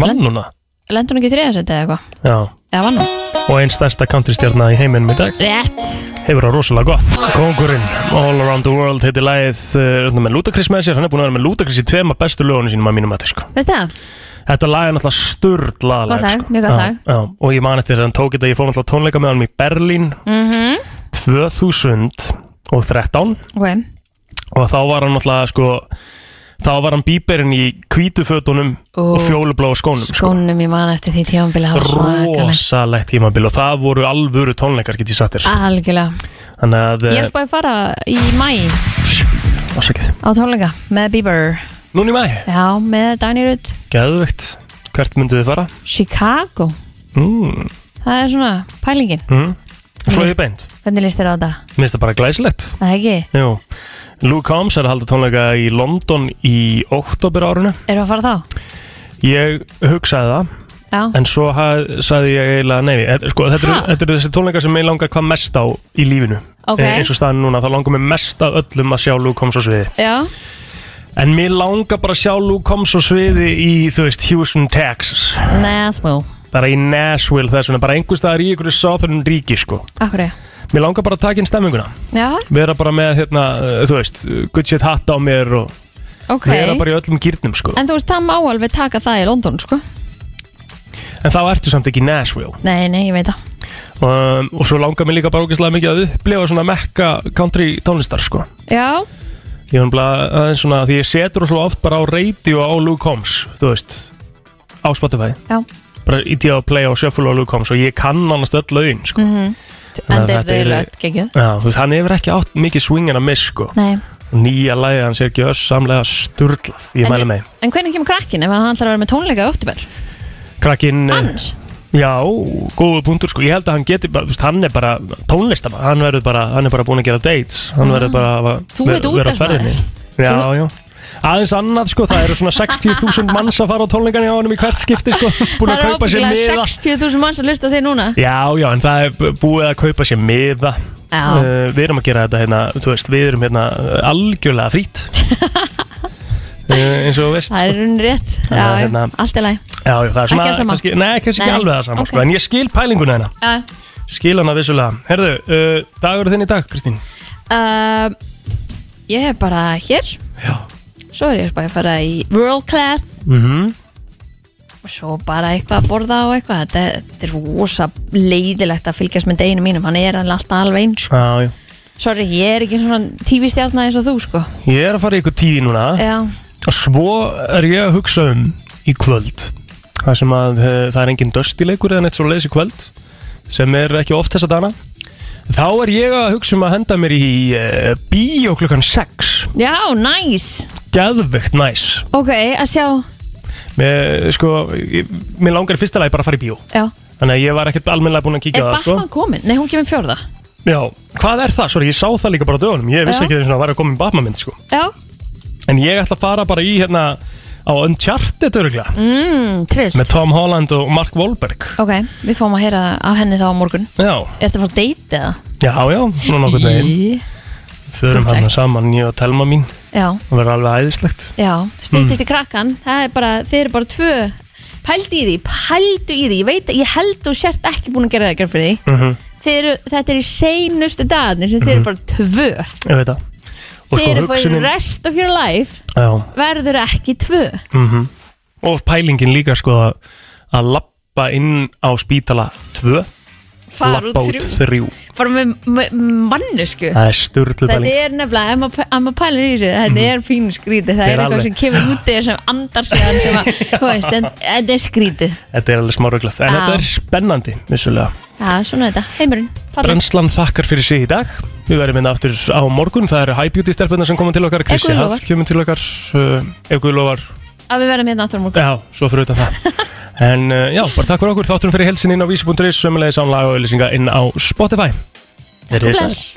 Speaker 5: Vann hún það?
Speaker 3: lendur hún ekki þriðasett eða eitthvað
Speaker 5: Já,
Speaker 3: Eða vann hún?
Speaker 5: og einn stærsta countrystjarna í heiminum í dag
Speaker 3: Rétt
Speaker 5: hefur það rosalega gott Kongurinn, All Around the World heitir lagið uh, með Ludacris með sér, hann er búin að vera með Ludacris í tvema bestu lögunum sínum að mínum mati sko.
Speaker 3: Veistu það?
Speaker 5: Þetta lag er náttúrulega sturdla
Speaker 3: Gott lag, mjög gott lag.
Speaker 5: já, Og ég man eftir þess að hann tók þetta Ég fór náttúrulega á tónleika með hann í Berlín
Speaker 3: Mm
Speaker 5: 2013
Speaker 3: Ok,
Speaker 5: Og þá var hann náttúrulega sko Þá var hann bíberinn í hvítufötunum
Speaker 3: Ó,
Speaker 5: Og fjólublá skónum sko.
Speaker 3: skónum ég man eftir því tímanbili Það var svakalegt
Speaker 5: Rosalegt tímabil Og það voru alvöru tónleikar get ég satt þér
Speaker 3: Algjörlega
Speaker 5: Þannig að
Speaker 3: Ah.
Speaker 5: eh,
Speaker 3: Ég er spáðið að fara í mæ
Speaker 5: Ásakið
Speaker 3: á tónleika með Bieber
Speaker 5: Núna í mæ
Speaker 3: Já, með Dani Rudd
Speaker 5: Geðvegt Hvert myndu þið fara?
Speaker 3: Chicago,
Speaker 5: Mm.
Speaker 3: það er svona pælingin
Speaker 5: Mm. Flóið
Speaker 3: List-
Speaker 5: beint
Speaker 3: Hvernig líst þér á þetta?
Speaker 5: Mér finnst það bara glæsilegt
Speaker 3: Það er ekki,
Speaker 5: Jú, Luke Combs er að halda tónleika í London í oktober árinu
Speaker 3: erum við að fara þá?
Speaker 5: Ég hugsaði það
Speaker 3: Já,
Speaker 5: En svo ha- sagði ég eiginlega nei Eh, sko, þetta, eru,
Speaker 3: Ha?
Speaker 5: þetta eru þessi tónleika sem ég langar hvað mest á í lífinu
Speaker 3: Ok.
Speaker 5: Eh, Eins og staðan núna, þá langar mér mest af öllum að sjá Luke Combs á sviði
Speaker 3: já,
Speaker 5: En mér langar bara að sjá Luke Combs á sviði í, þú veist, Houston, Texas
Speaker 3: Nashville
Speaker 5: Bara í Nashville, þess vegna, bara einhvers staðar í einhverju sáþörnum ríki, sko
Speaker 3: Akkur er,
Speaker 5: Mér langar bara að taka inn stemminguna
Speaker 3: Já,
Speaker 5: Vera bara með, hérna, uh, þú veist, uh, good shit hatt á mér og
Speaker 3: ok
Speaker 5: Vera bara í öllum gýrnum, sko
Speaker 3: En þú veist, það má alveg taka það í London, sko
Speaker 5: En þá ertu samt ekki í Nashville
Speaker 3: Nei, nei, ég veit það
Speaker 5: um, Og svo langar mér líka bara ógeðslega mikið að upplifa svona mekka country tónlistar, sko
Speaker 3: Já,
Speaker 5: Ég er bara aðeins svona, því ég setur svo oft bara á radio á Luke Combs, þú veist Á Spotify
Speaker 3: já
Speaker 5: Bara í tíða að playa á shuffle á Luke Combs og ég kann annars öll lögin, sko
Speaker 3: mm -hmm.
Speaker 5: Þannig að
Speaker 3: Endir
Speaker 5: þetta
Speaker 3: þau
Speaker 5: er-
Speaker 3: lögt, geggjöð
Speaker 5: Já, þú veist, hann hefur ekki átt mikið swingin að miss, sko
Speaker 3: Nei
Speaker 5: Nýja lagið hans er ekki öss samlega sturglað, ég
Speaker 3: En-
Speaker 5: mæli með
Speaker 3: En hvernig kemur krakkin ef hann ætlar að vera með tónleika í óttubur?
Speaker 5: Eh, Krakkin eh,
Speaker 3: Hans?
Speaker 5: Já, góðu punktur sko, ég held að hann geti bara, þú veist, hann er bara tónlistamann, hann verður bara, hann er bara búin að gera dates, hann verður bara að
Speaker 3: Ah, Þú
Speaker 5: vera- vera
Speaker 3: ert
Speaker 5: á
Speaker 3: útvarpsmaður.
Speaker 5: ferðinni. Já, já, aðeins annað sko, það eru svona 60.000 manns að fara á tónleikana hjá honum í hvert skipti sko, búin að kaupa sér
Speaker 3: Það eru
Speaker 5: miða.
Speaker 3: ábyggilega 60.000 manns að lusta á þig núna
Speaker 5: Já, já, en það er búið að kaupa sér miða.
Speaker 3: Já.
Speaker 5: Eh, við erum að gera þetta hérna, þú veist, við erum hérna eh, algjörlega frýtt, uh, eins og þú veist.
Speaker 3: Það er runni rétt, já,
Speaker 5: Það er
Speaker 3: já,
Speaker 5: hérna-
Speaker 3: allt er læg
Speaker 5: Já, já, það er
Speaker 3: Ekki
Speaker 5: svona,
Speaker 3: það sama.
Speaker 5: kannski, nei, kannski
Speaker 3: Nei.
Speaker 5: ekki alveg það sama,
Speaker 3: Ok.
Speaker 5: sko, en ég skil pælinguna hérna.
Speaker 3: Já.
Speaker 5: Skil hana vissulega. Herðu, uh, dagur þinn í dag, Kristín?
Speaker 3: Uh, Ég er bara hér Já Svo er ég bara að fara í world class
Speaker 5: Mm -hmm.
Speaker 3: og svo bara eitthvað að borða og eitthvað þetta, er- þetta er rosa leiðilegt að fylgjast með deginu mínum, hann er alltaf alveg eins
Speaker 5: Já, já.
Speaker 3: Sorry, ég er ekki svona tv-stjarnar eins og þú sko
Speaker 5: Ég er að fara í ykkur tíu núna
Speaker 3: Já,
Speaker 5: og svo er ég að hugsa um í kvöld. Það sem að uh, það er engin döstileikur eða neitt svo leiðis í kvöld sem er ekki oft þessa dana. Þá er ég að hugsa um að henda mér í uh, bíó klukkan 6.
Speaker 3: já, nice
Speaker 5: Gæðvögt næs.
Speaker 3: Ok, að sjá,
Speaker 5: Mér, sko, ég- mér langar í fyrsta lagi bara að fara í bíó.
Speaker 3: já
Speaker 5: Þannig að ég var ekkert almennilega búinn að kíkja
Speaker 3: Er
Speaker 5: á það, sko.
Speaker 3: Batman komin? Nei, hún kemur fjórða
Speaker 5: Já, hvað er það? Sorry, ég sá það líka bara á dögunum Ég vissi
Speaker 3: Já.
Speaker 5: ekki einu sinni að það var að koma í Batman-mynd sko.
Speaker 3: Já,
Speaker 5: En ég ætla að fara bara í hérna á Uncharted örgla
Speaker 3: mm, trillst
Speaker 5: Með Tom Holland og Mark Wahlberg
Speaker 3: Ok, við fáum að heyra af henni þá á morgun
Speaker 5: Já,
Speaker 3: Er þetta að fara að deyta eða?
Speaker 5: já, já, svona nokkuð
Speaker 3: veginn
Speaker 5: Förum hann saman, ég og Telma mín
Speaker 3: Já,
Speaker 5: Það verður alveg æðislegt
Speaker 3: já, stýttist
Speaker 5: Mm.
Speaker 3: í krakkan Það er bara, þeir eru bara tvö Pældu í því, pældu í því Ég veit, ég held þú sért ekki búin að gera það fyrir því
Speaker 5: mm -hmm.
Speaker 3: Þeir eru, þetta er í seinustu dagarnir sem þeir eru bara tvö
Speaker 5: Ég veit það Mhm. Og sko
Speaker 3: Þeir eru
Speaker 5: hugsunin-
Speaker 3: fyrir rest of your life
Speaker 5: Já,
Speaker 3: verður ekki tvö
Speaker 5: mm Og pælingin líka sko að- að lappa inn á spítala 2
Speaker 3: Fara út
Speaker 5: Labba út 3
Speaker 3: bara með, með mannesku
Speaker 5: Það er sturlu
Speaker 3: Þetta
Speaker 5: pæling
Speaker 3: er nefnilega, ef maður- ef maður pælir í þessu þetta er fínu skrítið, það
Speaker 5: Þetta
Speaker 3: er
Speaker 5: er
Speaker 3: eitthvað
Speaker 5: alveg-
Speaker 3: sem kemur út eða sem andar sig að sem að, þú veist, en þetta er skrítið
Speaker 5: Þetta er alveg smá röglað En
Speaker 3: Já.
Speaker 5: þetta er spennandi, vissulega
Speaker 3: Já, svona er þetta, heimurinn, fallið
Speaker 5: Brennslan þakkar fyrir sig í dag Við verðum inn aftur á morgun Það eru High Beauty stelpunar sem komum til okkar
Speaker 3: Ef
Speaker 5: Kristi
Speaker 3: Guð
Speaker 5: Hall
Speaker 3: lofar.
Speaker 5: kemur til okkar uh, Ef Guð lofar
Speaker 3: að við verðum hérna aftur á morgun
Speaker 5: Já, svo fyrir utan það En uh, já, bara takk fyrir okkur Þátturum fyrir helsin inn á vísi.is Sömmulegis án laga og auðlýsinga inn á Spotify Takk
Speaker 3: bless.